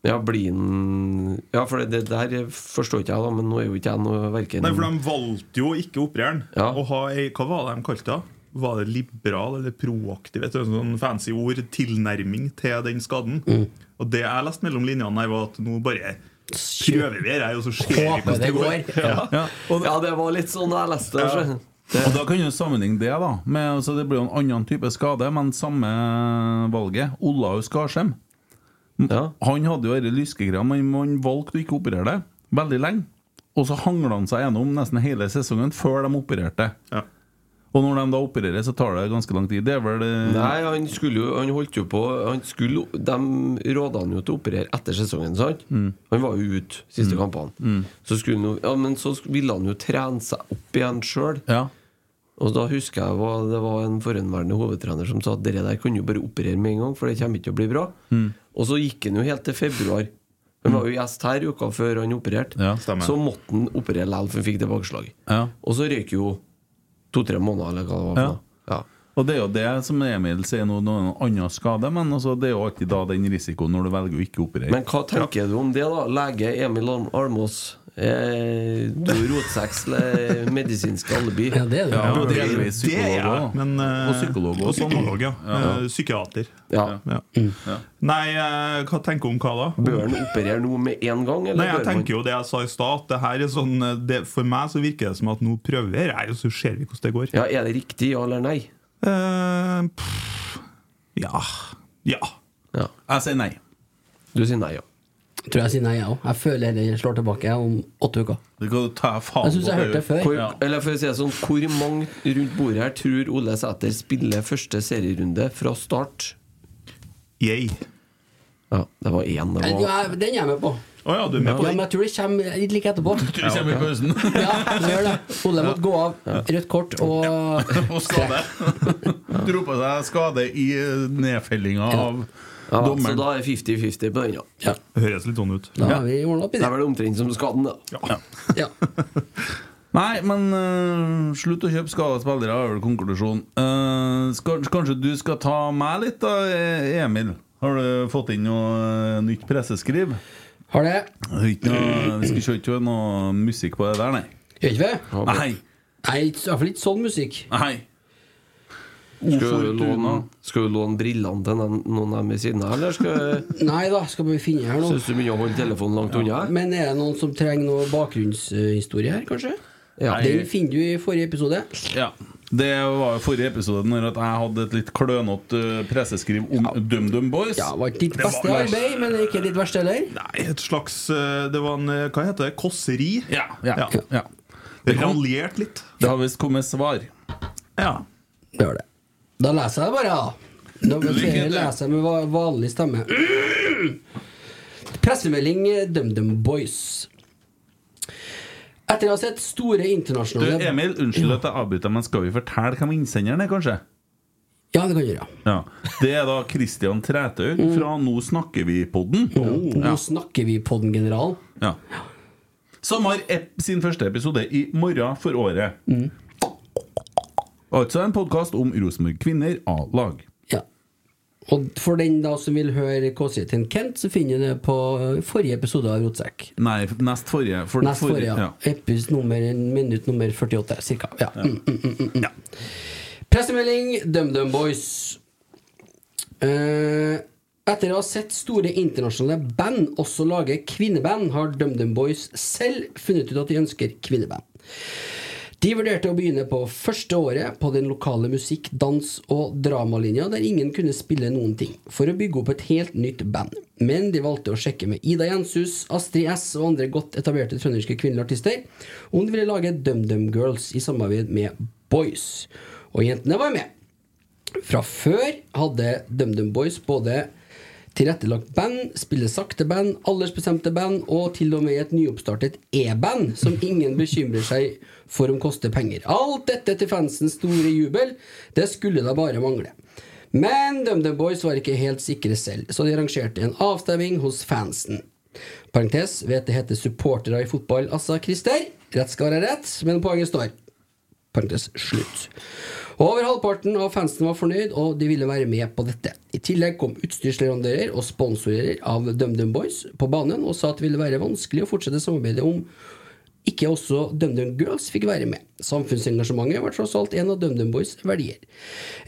[SPEAKER 5] Ja, blir han Ja, for det, det der forstår ikke jeg, da, men nå er jo ikke jeg noe verken
[SPEAKER 3] Nei, for de valgte jo å ikke operere den.
[SPEAKER 5] Ja.
[SPEAKER 3] Og ha ei, hva var det de kalte det? Var det liberal eller proaktiv? Et sånn fancy ord. Tilnærming til den skaden.
[SPEAKER 5] Mm.
[SPEAKER 3] Og det jeg leste mellom linjene her, var at nå bare prøver vi her, og så ser vi
[SPEAKER 2] Håper
[SPEAKER 3] hvordan
[SPEAKER 2] det
[SPEAKER 3] det
[SPEAKER 2] går.
[SPEAKER 3] går. Ja.
[SPEAKER 1] Ja. Og,
[SPEAKER 5] Ja, det var litt sånn jeg leste det. så.
[SPEAKER 1] og da kan du sammenligne det, da. Med, altså, det blir jo en annen type skade, men samme valget. Olaus Skarsheim.
[SPEAKER 5] Ja.
[SPEAKER 1] Han hadde jo disse lyskegreiene, men han valgte å ikke operere det veldig lenge. Og så hangla han seg gjennom nesten hele sesongen før de opererte.
[SPEAKER 3] Ja.
[SPEAKER 1] Og når de da opererer, så tar det ganske lang tid. Det er vel eh,
[SPEAKER 5] Nei, han skulle jo Han holdt jo på han skulle, De råda han jo til å operere etter sesongen, sant?
[SPEAKER 1] Mm.
[SPEAKER 5] Han var jo ute siste kampene. Så skulle han jo Ja, men så sk- ville han jo trene seg opp igjen sjøl.
[SPEAKER 1] Ja.
[SPEAKER 5] Og da husker jeg hva, det var en forhenværende hovedtrener som sa at
[SPEAKER 1] Mm.
[SPEAKER 5] dere der kan jo bare operere med en gang, for det kommer ikke til å bli bra. Og så gikk han jo helt til februar Han var jo gjest her uka før han opererte.
[SPEAKER 1] Ja,
[SPEAKER 3] stemmer.
[SPEAKER 5] så måtte han operere likevel, for han fikk tilbakeslag.
[SPEAKER 1] Ja.
[SPEAKER 5] Og så røyk jo to-tre måneder, eller hva det var.
[SPEAKER 1] Ja.
[SPEAKER 5] for noe.
[SPEAKER 1] Og det er jo det som Emil sier nå, noen annen skade, men altså, det er jo alltid da den risikoen når du velger å ikke operere.
[SPEAKER 5] Men hva tenker du om det, da? Lege Emil Alm- Almås. Eh, du er rotsekk eller medisinsk alibi.
[SPEAKER 2] Ja, det er det.
[SPEAKER 1] ja, og delvis
[SPEAKER 3] Det er
[SPEAKER 1] psykolog
[SPEAKER 3] jeg,
[SPEAKER 1] også.
[SPEAKER 3] men, eh,
[SPEAKER 1] og psykolog
[SPEAKER 3] og
[SPEAKER 1] også.
[SPEAKER 3] psykolog, ja. Eh, Psykiater.
[SPEAKER 5] Ja.
[SPEAKER 3] Ja. Nei, eh, hva tenker du om hva da?
[SPEAKER 5] Bør han operere nå med en gang, eller
[SPEAKER 3] Nei, jeg
[SPEAKER 5] bør man-
[SPEAKER 3] tenker jo det jeg sa i stad. at Det her er sånn, eh, det, for meg så virker det som at nå prøver vi her, og så ser vi hvordan det går.
[SPEAKER 5] ja, Er det riktig, ja eller nei?
[SPEAKER 3] Eh, pff, ja. Ja.
[SPEAKER 5] Ja.
[SPEAKER 1] Jeg sier nei.
[SPEAKER 5] Du sier nei, ja.
[SPEAKER 2] Tror jeg sier nei, jeg òg. Jeg føler det slår tilbake om åtte uker.
[SPEAKER 1] Du kan jo ta faen
[SPEAKER 2] Jeg syns
[SPEAKER 1] på
[SPEAKER 2] jeg hørte det før.
[SPEAKER 5] Hvor,
[SPEAKER 1] Ja.
[SPEAKER 5] Eller for å si det sånn, hvor mange rundt bordet her tror Ole Sæter spiller første serierunde fra start?
[SPEAKER 3] Yay.
[SPEAKER 5] Ja, det var én. Det
[SPEAKER 2] Ja,
[SPEAKER 5] var
[SPEAKER 2] jeg- den er jeg med på.
[SPEAKER 3] Å ja, du er med på
[SPEAKER 2] Ja,
[SPEAKER 3] den?
[SPEAKER 2] men jeg tror det kommer litt like etterpå.
[SPEAKER 1] Du kommer i pausen.
[SPEAKER 2] Ja, det gjør det. Ole måtte gå av. Rødt kort og
[SPEAKER 1] Og skade. Dro på seg skade i eh, nedfellinga av
[SPEAKER 5] ja, Så
[SPEAKER 1] dommeren.
[SPEAKER 5] da er 50-50 på den, ja.
[SPEAKER 2] Ja,
[SPEAKER 3] Høres litt sånn ut.
[SPEAKER 2] da har vi ordna opp i
[SPEAKER 5] Det
[SPEAKER 2] det.
[SPEAKER 5] er vel omtrent som skaden, da.
[SPEAKER 2] Ja.
[SPEAKER 1] Nei, men eh, slutt å kjøpe skada spillere, er vel konklusjonen. Eh, skal, kanskje du skal ta meg litt, da, eh, Emil? Har du fått inn noe eh, nytt presseskriv?
[SPEAKER 2] Har det.
[SPEAKER 1] Det er ikke noe- Vi skal ikke kjøre noe musikk på det der, nei.
[SPEAKER 2] Gjør ikke vi?
[SPEAKER 1] Nei.
[SPEAKER 2] Nei, i hvert fall ikke sånn musikk.
[SPEAKER 1] nei.
[SPEAKER 5] Skal du låne,
[SPEAKER 1] Ofortuna.
[SPEAKER 5] skal du låne brillene til noen- noen her ved siden av, eller skal
[SPEAKER 2] Nei da, skal vi finne her nå.
[SPEAKER 5] Syns du begynner å holde telefonen langt unna?
[SPEAKER 2] Men er det noen som trenger noe bakgrunnshistorie her, kanskje?
[SPEAKER 5] Ja.
[SPEAKER 2] Den finner du i forrige episode.
[SPEAKER 1] Ja. Det var jo forrige episode når at jeg hadde et litt klønete eh, presseskriv om DumDum Boys.
[SPEAKER 2] Ja, var ikke ditt beste
[SPEAKER 1] var-
[SPEAKER 2] arbeid, men ikke ditt verste heller.
[SPEAKER 3] Nei, et slags eh, Det var en eh, Hva heter det? Kåseri?
[SPEAKER 1] Ja, ja,
[SPEAKER 3] Ja.
[SPEAKER 1] ja.
[SPEAKER 3] Det raljert litt.
[SPEAKER 1] Det har visst kommet svar.
[SPEAKER 3] Ja.
[SPEAKER 2] Det var det. Da leser jeg det bare, da. Da må jeg si- leser jeg med va- vanlig stemme. Pressemelding eh, DumDum Boys. Etter å ha sett store
[SPEAKER 1] Du,
[SPEAKER 2] internasjonale
[SPEAKER 1] Emil, unnskyld at jeg avbryter, men skal vi fortelle hvem innsenderen er, kanskje?
[SPEAKER 2] Ja, det kan du gjøre.
[SPEAKER 1] Ja. Det er da Christian Træthaug fra Nå snakker vi-podden.
[SPEAKER 2] Mm. Nå snakker vi på den generalen.
[SPEAKER 1] Ja. Som har ep sin første episode i morgen for året.
[SPEAKER 2] Mm.
[SPEAKER 1] Altså en podkast om Rosenborg kvinner A-lag.
[SPEAKER 2] Ja. Og for den da som vil høre kåseriet til Kent, så finner du det på eh, forrige episode av Rotsekk.
[SPEAKER 1] Nei, nest forrige. For,
[SPEAKER 2] Nest forrige, ja. Epis nummer, minutt nummer 48, cirka. Ja. Mm, mm, mm, mm, mm. Pressemelding DumDum Boys. Eh, etter å ha sett store internasjonale band også lage kvinneband, har DumDum Boys selv funnet ut at de ønsker kvinneband. De vurderte å begynne på første året på den lokale musikk-, dans- og dramalinja, der ingen kunne spille noen ting, for å bygge opp et helt nytt band. Men de valgte å sjekke med Ida Jenshus, Astrid S og andre godt etablerte trønderske kvinnelige artister om de ville lage DumDum Girls i samarbeid med Boys. Og jentene var med. Fra før hadde DumDum Boys både tilrettelagt band, spille sakte band, aldersbestemte band og til og med et nyoppstartet e-band som ingen bekymrer seg for om koster penger. Alt dette til fansens store jubel. Det skulle da bare mangle. Men DumDum Boys var ikke helt sikre selv, så de arrangerte en avstemning hos fansen. Parentes vet det heter supportere i fotball, altså, Christer. Rett skal være rett, men poenget står. Parentes slutt. Over halvparten av fansen var fornøyd, og de ville være med på dette. I tillegg kom utstyrsleverandører og sponsorer av DumDum Boys på banen og sa at det ville være vanskelig å fortsette samarbeidet om ikke også DumDum Girls fikk være med. Samfunnsengasjementet var tross alt en av DumDum Boys' verdier.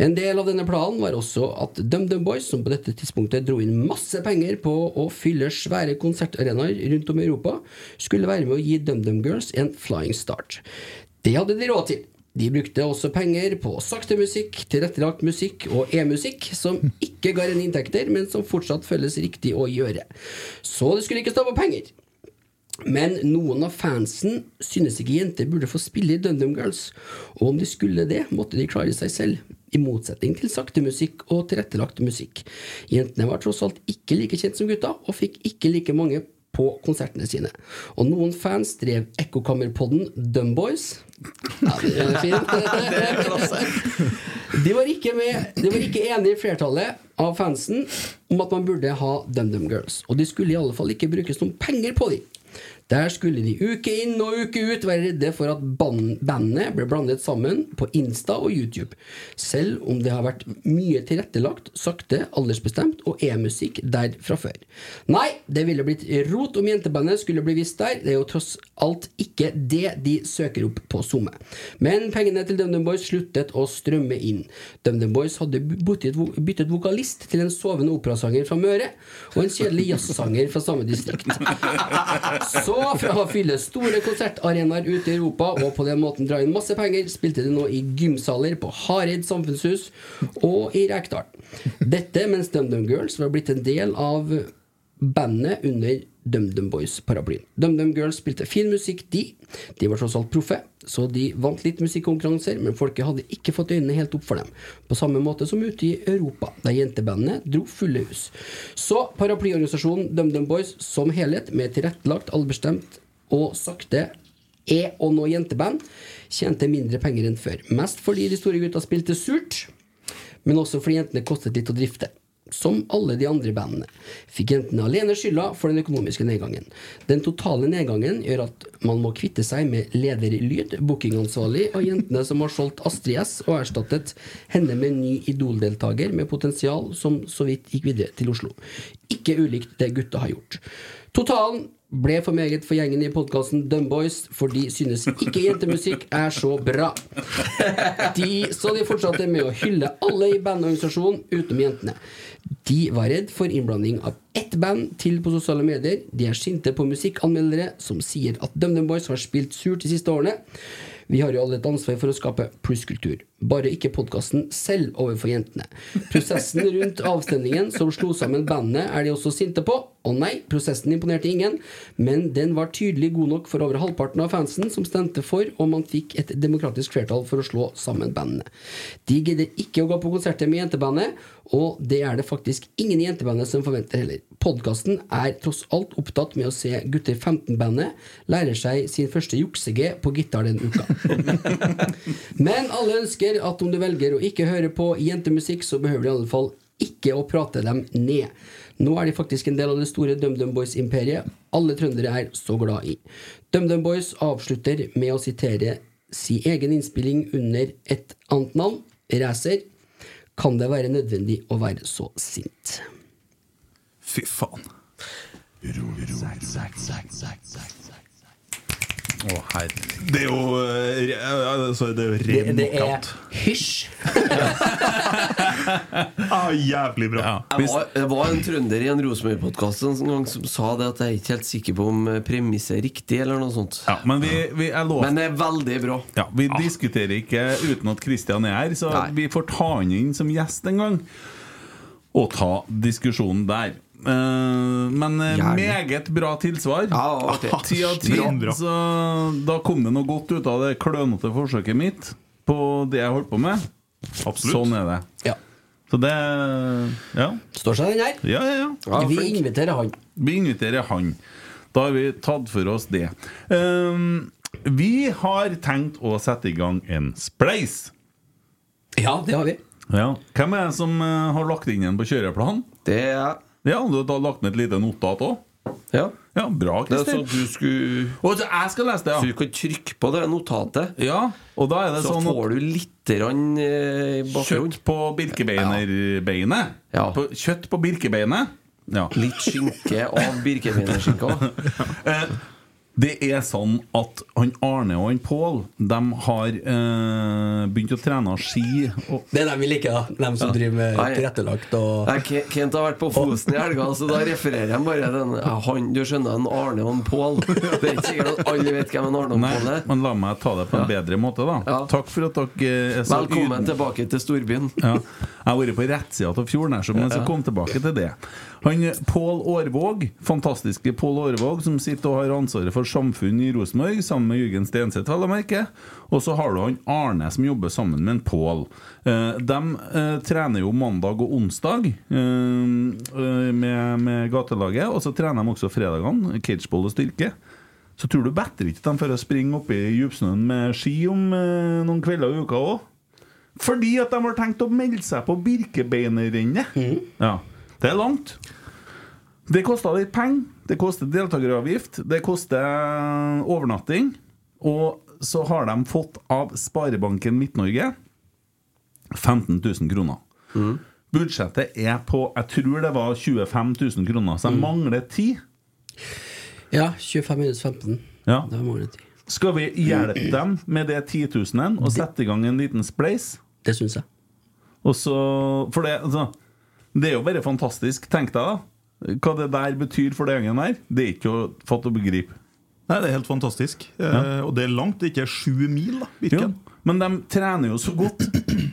[SPEAKER 2] En del av denne planen var også at DumDum Boys, som på dette tidspunktet dro inn masse penger på å fylle svære konsertarenaer rundt om i Europa, skulle være med å gi DumDum Girls en flying start. Det hadde de råd til. De brukte også penger på sakte musikk, tilrettelagt musikk og e-musikk, som ikke ga rene inntekter, men som fortsatt føles riktig å gjøre. Så det skulle ikke stå på penger. Men noen av fansen synes ikke jenter burde få spille i Dundum Girls, og om de skulle det, måtte de klare seg selv, i motsetning til sakte musikk og tilrettelagt musikk. Jentene var tross alt ikke like kjent som gutta, og fikk ikke like mange på konsertene sine. Og noen fans drev ekkokammerpodden Dumboys. Ja, den er fin. De var ikke, med, de var ikke enige i flertallet av fansen om at man burde ha DumDum Girls. Og de skulle i alle fall ikke brukes noen penger på dem. Der skulle de uke inn og uke ut være redde for at ban- bandet ble blandet sammen på Insta og YouTube. Selv om det har vært mye tilrettelagt, sakte, aldersbestemt og e-musikk der fra før. Nei, det ville blitt rot om jentebandet skulle bli vist der. Det er jo tross alt ikke det de søker opp på SoMe. Men pengene til DumDum Boys sluttet å strømme inn. DumDum Boys hadde byttet, vo- byttet vokalist til en sovende operasanger fra Møre og en kjedelig jazzsanger fra samme distrikt. Så fra å fylle store konsertarenaer ute i Europa og på den måten dra inn masse penger, spilte de nå i gymsaler på Hareid samfunnshus og i Rekdal. Dette mens DumDum Girls var blitt en del av bandet under DumDum Boys-paraplyen. DumDum Girls spilte fin musikk, de. De var tross alt proffe, så de vant litt musikkonkurranser, men folket hadde ikke fått øynene helt opp for dem. På samme måte som ute i Europa, der jentebandene dro fulle hus. Så paraplyorganisasjonen DumDum Boys som helhet, med tilrettelagt, allbestemt og sakte E- og nå jenteband, tjente mindre penger enn før. Mest fordi de store gutta spilte surt, men også fordi jentene kostet litt å drifte. Som alle de andre bandene fikk jentene alene skylda for den økonomiske nedgangen. Den totale nedgangen gjør at man må kvitte seg med leder i lyd, bookingansvarlig og jentene som har solgt Astrid S og erstattet henne med en ny Idol-deltaker med potensial som så vidt gikk videre til Oslo. Ikke ulikt det gutta har gjort. Totalen ble for meget for gjengen i podkasten Dumboys, for de synes ikke jentemusikk er så bra. De, så de fortsatte med å hylle alle i bandorganisasjonen utenom jentene. De var redd for innblanding av ett band til på sosiale medier. De er sinte på musikkanmeldere som sier at DumDum Boys har spilt surt de siste årene. Vi har jo alle et ansvar for å skape plusskultur. Bare ikke podkasten selv overfor jentene. Prosessen rundt avstemningen som slo sammen bandene, er de også sinte på. Og nei, prosessen imponerte ingen, men den var tydelig god nok for over halvparten av fansen som stemte for, og man fikk et demokratisk flertall for å slå sammen bandene. De gidder ikke å gå på konserter med jentebandet, og det er det faktisk ingen i jentebandet som forventer heller. Podkasten er tross alt opptatt med å se Gutter 15-bandet lærer seg sin første juksege på gitar den uka. Men alle ønsker at om du velger å ikke høre på jentemusikk, så behøver du i alle fall ikke å prate dem ned. Nå er de faktisk en del av det store DumDum Boys-imperiet alle trøndere er så glad i. DumDum Boys avslutter med å sitere sin egen innspilling under et annet navn, Racer. Kan det være nødvendig å være så sint?
[SPEAKER 3] Fy faen.
[SPEAKER 1] Å, herregud.
[SPEAKER 3] Det er jo eh, re- eh, altså, Det er jo
[SPEAKER 2] Det,
[SPEAKER 3] ren
[SPEAKER 2] det er
[SPEAKER 3] knockout.
[SPEAKER 2] hysj!
[SPEAKER 3] Ah, jævlig bra.
[SPEAKER 1] Ja.
[SPEAKER 5] Jeg
[SPEAKER 1] Hvis,
[SPEAKER 5] var, det var en trønder i en Rosenborg-podkast en gang som sa det at jeg er ikke helt sikker på om eh, premisset er riktig, eller noe sånt.
[SPEAKER 1] ja, men vi, vi er lovt
[SPEAKER 5] Men det er veldig bra.
[SPEAKER 1] Ja, Vi diskuterer ikke uten at Kristian er her, så
[SPEAKER 5] Nei.
[SPEAKER 1] vi får ta han inn som gjest en gang. Og ta diskusjonen der. Eh, men eh,
[SPEAKER 5] Gjerne.
[SPEAKER 1] meget bra tilsvar.
[SPEAKER 5] Ja, det var artig.
[SPEAKER 1] Ti av ti.
[SPEAKER 3] Bra, bra.
[SPEAKER 1] Så da kom det noe godt ut av det klønete forsøket mitt på det jeg holdt på med.
[SPEAKER 3] Absolutt.
[SPEAKER 1] Sånn er det.
[SPEAKER 2] Ja.
[SPEAKER 1] Så det Ja,
[SPEAKER 2] Står seg den her?
[SPEAKER 1] ja, ja. ja.
[SPEAKER 2] Vi inviterer han.
[SPEAKER 1] Vi inviterer han. Da har vi tatt for oss det. Ehm, vi har tenkt å sette i gang en spleis.
[SPEAKER 2] Ja, det har vi.
[SPEAKER 1] Ja. Hvem er det som eh, har lagt inn en på kjøreplanen?
[SPEAKER 5] Det er
[SPEAKER 1] Ja, du har da lagt ned et lite notat òg?
[SPEAKER 5] Ja.
[SPEAKER 1] Ja, bra,
[SPEAKER 5] Det er
[SPEAKER 1] Kristin.
[SPEAKER 5] sånn at du skulle
[SPEAKER 1] Og så jeg skal lese det,
[SPEAKER 5] Så
[SPEAKER 1] ja.
[SPEAKER 5] du kan trykke på det notatet,
[SPEAKER 1] ja. Og da er det
[SPEAKER 5] så
[SPEAKER 1] sånn at
[SPEAKER 5] får du litt rann, eh, i bakgrunnen.
[SPEAKER 1] Kjøtt på birkebeinerbeinet?
[SPEAKER 5] Ja.
[SPEAKER 1] På, kjøtt på birkebeinet? Ja.
[SPEAKER 5] Litt skinke av birkebeinerskinka.
[SPEAKER 1] Eh, Det er sånn at han Arne og han Pål De har eh, begynt å trene ski. Og,
[SPEAKER 2] Det er dem vi liker, da. Dem som driver med
[SPEAKER 5] Nei.
[SPEAKER 2] tilrettelagt og
[SPEAKER 5] Nei, Ke- Kent har vært på Fosen i helga, så da refererer jeg bare den ja, han, Du skjønner, en Arne og en Pål. Det er ikke sikkert at alle vet hvem en Arne og en
[SPEAKER 1] nei,
[SPEAKER 5] Pål er.
[SPEAKER 1] men la meg ta det på en bedre måte, da.
[SPEAKER 5] Ja.
[SPEAKER 1] Takk for at dere er så
[SPEAKER 5] Velkommen tilbake til storbyen.
[SPEAKER 1] Ja. Jeg har vært på rettsida av fjorden, her, så men jeg skal komme eh, tilbake til det. Han Pål Aarvåg, fantastiske Pål Aarvåg, som sitter og har ansvaret for for samfunn i Rosenborg, sammen med Jørgen Stenseth, vel å merke. Og så har du han Arne, som jobber sammen med en Pål. Eh, de eh, trener jo mandag og onsdag eh, eh, med, med gatelaget, og så trener de også fredagene, cageball og styrke. Så tror du bedre ikke de får springe oppe i djupsnøen med ski om eh, noen kvelder og uker òg? Fordi at de har tenkt å melde seg på Birkebeinerrennet. Ja. Det er langt. Det koster litt penger. Det koster deltakeravgift. Det koster overnatting. Og så har de fått av Sparebanken Midt-Norge 15 000 kroner. Budsjettet er på jeg tror det var 25 000 kroner, så de mangler 10
[SPEAKER 2] Ja, 25 minus 15.
[SPEAKER 1] Ja.
[SPEAKER 2] Det var mange tid.
[SPEAKER 1] Skal vi hjelpe dem med det 10 000 og sette i gang en liten spleis?
[SPEAKER 2] Det syns jeg.
[SPEAKER 1] Og så, for det, altså, det er jo bare fantastisk. Tenk deg da hva det der betyr for den gjengen der. Det er ikke å fatte og begripe.
[SPEAKER 3] Nei, det er helt fantastisk. Eh, og det er langt. Det er ikke sju mil, da,
[SPEAKER 1] Jo,
[SPEAKER 3] Birken.
[SPEAKER 1] men de trener jo så godt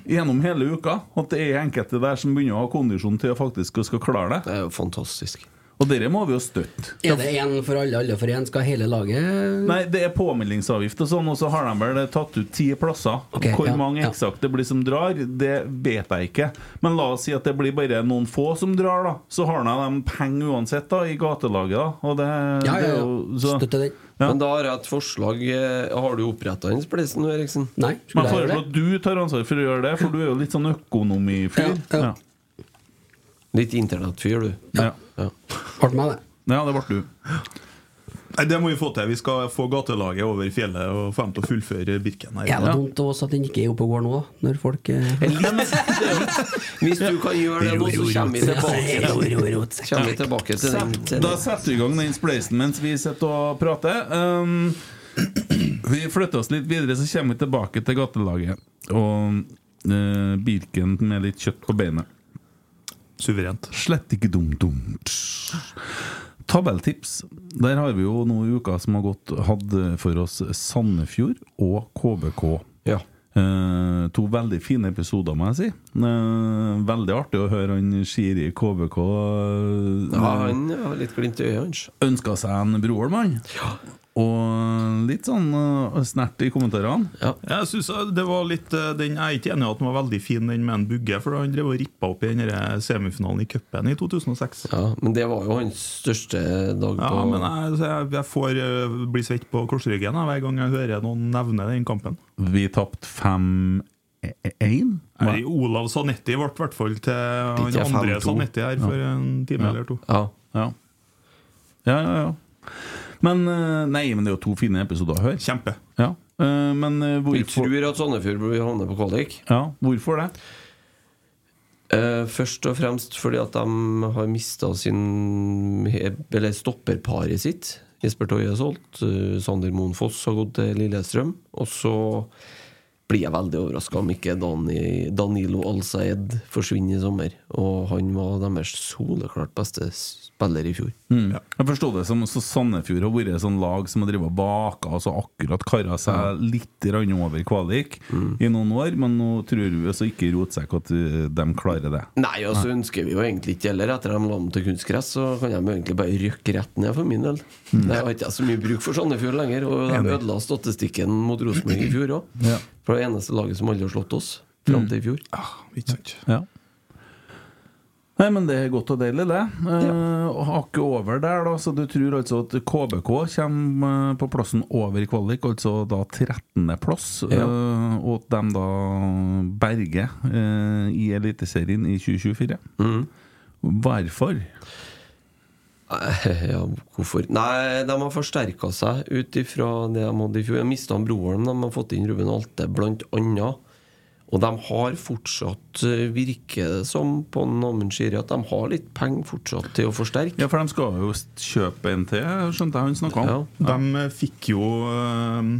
[SPEAKER 1] gjennom hele uka at det er enkelte der som begynner å ha kondisjon til å faktisk å skal klare det.
[SPEAKER 5] Det er jo fantastisk.
[SPEAKER 1] Og dette må vi jo støtte.
[SPEAKER 2] Er det én for alle, alle for én? Skal hele laget
[SPEAKER 1] Nei, det er påmeldingsavgift og sånn, og så har de vel tatt ut ti plasser.
[SPEAKER 2] Ok,
[SPEAKER 1] Hvor
[SPEAKER 2] ja,
[SPEAKER 1] mange
[SPEAKER 2] ja.
[SPEAKER 1] eksakt det blir som drar, det vet jeg ikke. Men la oss si at det blir bare noen få som drar, da. Så har de dem penger uansett, da, i gatelaget, da. Og det,
[SPEAKER 2] Ja,
[SPEAKER 1] det
[SPEAKER 2] ja,
[SPEAKER 1] er
[SPEAKER 2] ja.
[SPEAKER 1] jo- så-
[SPEAKER 2] Støtter den.
[SPEAKER 1] Ja.
[SPEAKER 5] Men da har jeg et forslag. Eh, Har du oppretta den spleisen nå, Eriksen?
[SPEAKER 2] Nei,
[SPEAKER 1] Men
[SPEAKER 2] skulle
[SPEAKER 1] jeg
[SPEAKER 2] jeg
[SPEAKER 1] foreslår
[SPEAKER 2] gjøre det?
[SPEAKER 1] at du tar ansvar for å gjøre det, for du er jo litt sånn økonomifyr.
[SPEAKER 2] Ja, ja.
[SPEAKER 5] Litt internettfyr, du.
[SPEAKER 1] Ja.
[SPEAKER 5] Ja.
[SPEAKER 2] Ble meg det.
[SPEAKER 1] Ja, det ble du.
[SPEAKER 3] Nei, det må vi få til. Vi skal få gatelaget over fjellet og få dem til å fullføre Birken. her
[SPEAKER 2] Er det dumt også at den ikke er oppe og går nå, da? Når folk eh,
[SPEAKER 5] Hvis du kan gjøre det nå, så kommer vi tilbake,
[SPEAKER 2] Ja, ro, ro, ro.
[SPEAKER 5] kommer vi tilbake til den. til
[SPEAKER 1] Da
[SPEAKER 5] den.
[SPEAKER 1] setter vi i gang den spleisen mens vi sitter og prater. Um, vi flytter oss litt videre, så kommer vi tilbake til gatelaget. Og eh, Birken med litt kjøtt på beinet.
[SPEAKER 3] Suverent.
[SPEAKER 1] Slett ikke dumt-dumt. Tabelltips. Der har vi jo nå i uka som har gått, hatt for oss Sandefjord og KBK.
[SPEAKER 5] Ja.
[SPEAKER 1] Eh, to veldig fine episoder, må jeg si. Eh, veldig artig å høre han Shiri i KBK eh,
[SPEAKER 5] Ja, han har litt glimt i øyet hans.
[SPEAKER 1] ønska seg en bror, mann. Og litt sånn eh, snert i kommentarene.
[SPEAKER 3] Jeg synes det var litt eh, den, Jeg er ikke enig i at den var veldig fin, den med en bugge. For han drev og rippa opp i den der eh, semifinalen i cupen i 2006. Ja,
[SPEAKER 5] Ja, men det var jo hans største dag på
[SPEAKER 3] men jeg, så jeg, jeg får eh, bli svett på korsryggen jeg, hver gang jeg hører noen nevne den kampen.
[SPEAKER 1] Vi tapte eh, 5-1.
[SPEAKER 3] Nei, Olav Sanetti ble i hvert fall til han
[SPEAKER 5] Ikke
[SPEAKER 3] andre
[SPEAKER 5] 5-2.
[SPEAKER 3] Sanetti her for en time eller to.
[SPEAKER 5] Ja.
[SPEAKER 1] Ja. ja, ja, ja. Men eh, Nei, men det er jo to fine episoder å høre.
[SPEAKER 3] Kjempe.
[SPEAKER 1] Ja. Eh, Men eh,
[SPEAKER 5] Vi
[SPEAKER 1] hvorfor,
[SPEAKER 5] tror at Sandefjord blir havnet på kvalik.
[SPEAKER 1] ja, hvorfor det?
[SPEAKER 5] Eh, først og fremst fordi at de har mista sin Eller stopperparet sitt. Jesper Toje er solgt, eh, Sander Moen Foss har gått til Lillestrøm. Og så blir jeg veldig overraska om ikke Dani, Danilo Al-Saed forsvinner i sommer. Og han var deres soleklart beste spiller i fjor.
[SPEAKER 1] Jeg forstod det som så Sandefjord har vært et sånn lag som har drevet og baka og så akkurat kara seg litt grann over kvalik i noen år, men nå tror vi altså ikke i Rotsekk at eh, de klarer det.
[SPEAKER 5] Nei, og så ønsker vi jo egentlig ikke heller. Etter at de la om til kunstgress, så kan de jo egentlig bare rykke rett ned, for min del. Det har ikke jeg så mye bruk for Sandefjord lenger. Og de ødela statistikken mot Rosenborg i fjor òg.
[SPEAKER 1] Ja.
[SPEAKER 5] For det eneste laget som aldri har slått oss fram til i fjor.
[SPEAKER 3] Ikke sant.
[SPEAKER 1] Ja. Nei, men det er godt og deilig, det. Eh, og Hakket over der, da. Så du tror altså at KBK kommer eh, på plassen over kvalik, altså da 13.-plass,
[SPEAKER 5] Ja.
[SPEAKER 1] eh, og at de da berger eh, i Eliteserien i 2024?
[SPEAKER 5] Mm.
[SPEAKER 1] Hvorfor?
[SPEAKER 5] Eh, Ja, hvorfor? Nei, de har forsterka seg ut ifra det de hadde i fjor. De mista Broholm, de har fått inn Ruben Alte, blant annet. Og de har fortsatt, eh, virker det som, på Amund Shiri, at de har litt penger fortsatt til å forsterke.
[SPEAKER 1] Ja, for de skal jo st- kjøpe en til, skjønte jeg hun snakka om.
[SPEAKER 5] Ja.
[SPEAKER 3] De fikk jo eh,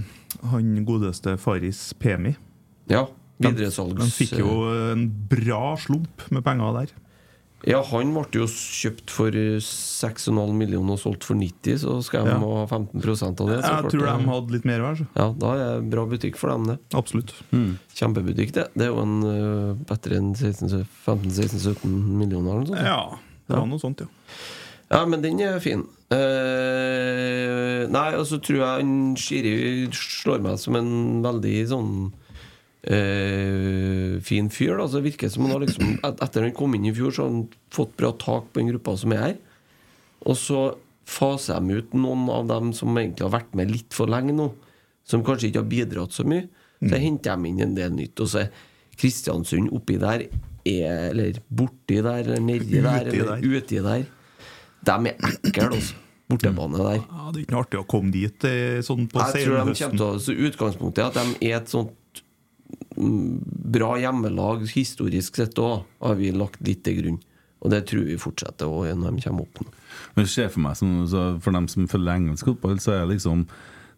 [SPEAKER 3] han godeste Faris Pemi.
[SPEAKER 5] Ja,
[SPEAKER 3] De,
[SPEAKER 5] videresalgs...
[SPEAKER 3] de fikk jo en bra slump med penger der.
[SPEAKER 5] Ja, han ble jo kjøpt for eh, 6,5 millioner og solgt for 90, så skal de
[SPEAKER 3] Ja.
[SPEAKER 5] ha 15 av det. så
[SPEAKER 3] Jeg
[SPEAKER 5] klart
[SPEAKER 3] tror de
[SPEAKER 5] det-
[SPEAKER 3] hadde litt mer vær. så.
[SPEAKER 5] Ja, da er det bra butikk for dem, det.
[SPEAKER 3] Absolutt.
[SPEAKER 5] Kjempebutikk, det. Det er jo en eh, bedre enn 16 15-16-17 millioner eller noe sånt.
[SPEAKER 3] Ja, det var noe sånt, ja.
[SPEAKER 5] Ja, men den er fin. Eh, nei, og så tror jeg han Shiri slår meg som en veldig sånn eh, fin fyr. Da. Så det virker som han har liksom et- Etter han kom inn i fjor, så har han fått bra tak på den gruppa som er her. Og så faser de ut noen av dem som egentlig har vært med litt for lenge nå. Som kanskje ikke har bidratt så mye. Så henter de inn en del nytt. Og så er Kristiansund oppi der, er, eller borti der, eller nedi der,
[SPEAKER 3] Uti der.
[SPEAKER 5] eller uti der. De er ekle, altså. Bortebane der.
[SPEAKER 3] Ja, det er ikke noe artig å komme dit eh, sånn på
[SPEAKER 5] Jeg tror de kommer
[SPEAKER 3] senhøsten.
[SPEAKER 5] til å så Utgangspunktet er at de er et sånt mm, bra hjemmelag historisk sett òg, har vi lagt litt til grunn. Og det tror vi fortsetter også når de kommer opp nå.
[SPEAKER 1] Men det ser for meg som, så For dem som følger engelsk fotball, så er det liksom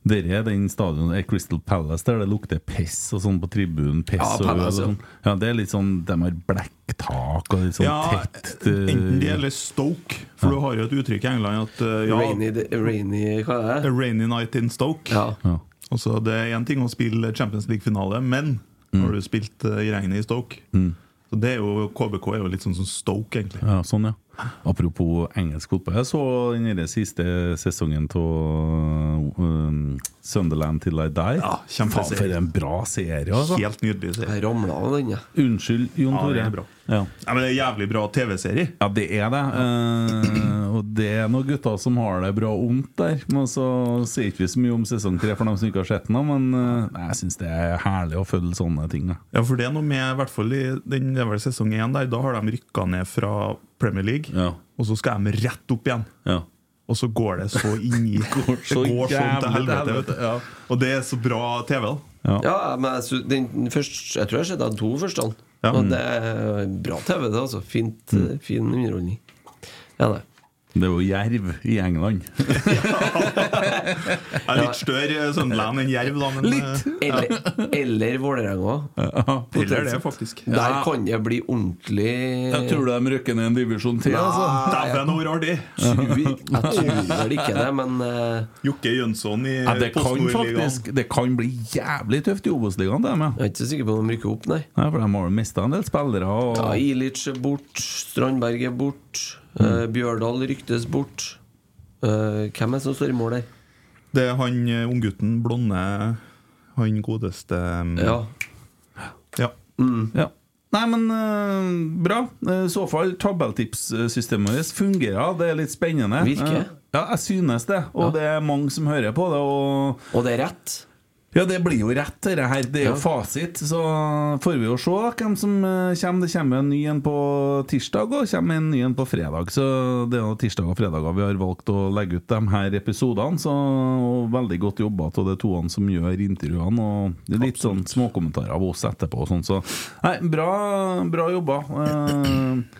[SPEAKER 1] der er den stadion er Crystal Palace der det lukter piss og sånn på tribunen. Piss
[SPEAKER 5] Ja,
[SPEAKER 1] og øl og
[SPEAKER 5] Palace, ja.
[SPEAKER 1] sånn. Ja, det er litt sånn De har blekktak og litt sånn
[SPEAKER 3] Ja,
[SPEAKER 1] tett eh,
[SPEAKER 3] enten det eller Stoke. For du har jo et uttrykk i England at eh, ja,
[SPEAKER 5] Rainy, rainy Hva er
[SPEAKER 3] a
[SPEAKER 5] det?
[SPEAKER 3] rainy night in Stoke.
[SPEAKER 5] Ja.
[SPEAKER 1] Eh. ja.
[SPEAKER 3] Altså, det er én ting å spille Champions League-finale, men
[SPEAKER 1] Mm.
[SPEAKER 3] har du spilt eh, i regnet i Stoke Så det er jo, KBK er jo litt sånn som Stoke, egentlig.
[SPEAKER 1] ja, sånn, ja. Apropos engelsk fotball. Jeg så den der siste sesongen av um, Sunderland Till I Die.
[SPEAKER 3] Ja,
[SPEAKER 1] Faen,
[SPEAKER 3] kjempeserie.
[SPEAKER 1] for en bra serie, altså.
[SPEAKER 3] Helt nydelig serie.
[SPEAKER 5] Jeg ramla av den, jeg.
[SPEAKER 1] Unnskyld, Jon
[SPEAKER 3] Ja,
[SPEAKER 1] Tore.
[SPEAKER 3] det er bra.
[SPEAKER 1] Ja.
[SPEAKER 3] Ja, men det er jævlig bra TV-serie.
[SPEAKER 1] Ja, det er det. Eh, og det er noen gutter som har det bra og vondt der. Men så sier ikke vi så mye om sesong tre for dem som ikke har sett den. da, Men eh, nei, jeg syns det er herlig å følge sånne ting. da.
[SPEAKER 3] Ja, for det er noe med, i hvert fall i den det er vel sesong én der, da har de rykka ned fra Premier League,
[SPEAKER 1] Ja.
[SPEAKER 3] og så skal de rett opp igjen.
[SPEAKER 1] Ja.
[SPEAKER 3] Og så går det så inn i sånn
[SPEAKER 1] går så jævlig til helvete,
[SPEAKER 3] vet du.
[SPEAKER 1] ja.
[SPEAKER 3] Og det er så bra TV, da.
[SPEAKER 5] Ja, men jeg, sy- den første, jeg tror jeg har sett de to første.
[SPEAKER 3] Ja.
[SPEAKER 5] Og det er bra TV, det, altså. Fint, eh, Fin underholdning. Ja, det.
[SPEAKER 1] Det er jo jerv i England.
[SPEAKER 3] Jeg er litt større eh, Sunderland enn Jerv, da, men
[SPEAKER 1] Litt.
[SPEAKER 3] eh,
[SPEAKER 5] Eller, eller Vålerenga.
[SPEAKER 3] heller det, faktisk.
[SPEAKER 5] Der kan det bli ordentlig
[SPEAKER 1] Jeg tror de rykker ned en divisjon til. Altså.
[SPEAKER 3] Dæven, hvor artig!
[SPEAKER 5] tror- Jeg tror vel ikke det, men eh,
[SPEAKER 3] Jokke Jønsson i
[SPEAKER 1] Ja, det kan
[SPEAKER 3] Post-Nord-ligaen.
[SPEAKER 1] faktisk Det kan bli jævlig tøft i Obos-ligaen, det med.
[SPEAKER 5] jeg er ikke så sikker på om de rykker opp, nei.
[SPEAKER 1] Ja, for de har jo mista en del spillere. Og...
[SPEAKER 5] Ja, Ilic er bort, Strandberg er bort, eh, Bjørdal ryktes bort. Eh, hvem er det som står i mål der?
[SPEAKER 3] Det er han eh, unggutten, blonde Han godeste eh,
[SPEAKER 5] Ja,
[SPEAKER 3] ja.
[SPEAKER 1] Ja. Nei, men eh, bra. Eh, I så fall, tabelltipssystemet vårt fungerer. Det er litt spennende.
[SPEAKER 5] Virker.
[SPEAKER 1] Eh, ja, jeg synes det. Og det er mange som hører på det. Og
[SPEAKER 5] Og det er rett.
[SPEAKER 1] ja, det blir jo rett, dette her. Det er jo
[SPEAKER 5] Ja.
[SPEAKER 1] fasit. Så får vi jo se da, hvem som eh, kommer. Det kommer en ny en på tirsdag, og kommer en ny en på fredag. Så det er jo tirsdag og fredager vi har valgt å legge ut de her episodene. Så og veldig godt jobba av de toene som gjør intervjuene. Og det er litt sånn småkommentarer av oss etterpå og sånn. Så nei, bra, bra jobba. Eh,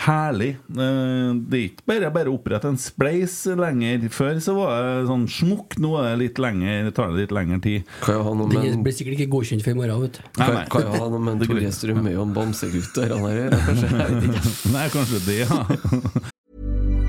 [SPEAKER 1] Herlig. Eh, Det er ikke bare bare å opprette en spleis lenger. Før så var det sånn smukk, nå er det litt lenger, det tar det litt lengre tid.
[SPEAKER 5] Kan jo ha noe med,
[SPEAKER 2] Den blir sikkert ikke godkjent før i morgen, vet du.
[SPEAKER 5] kan, kan jo ha noe med
[SPEAKER 1] Det er
[SPEAKER 5] Tore
[SPEAKER 1] greit.
[SPEAKER 5] Strømøy og en bamsegutt å gjøre, der, kanskje. Jeg vet ikke.
[SPEAKER 1] Nei, kanskje det, ja.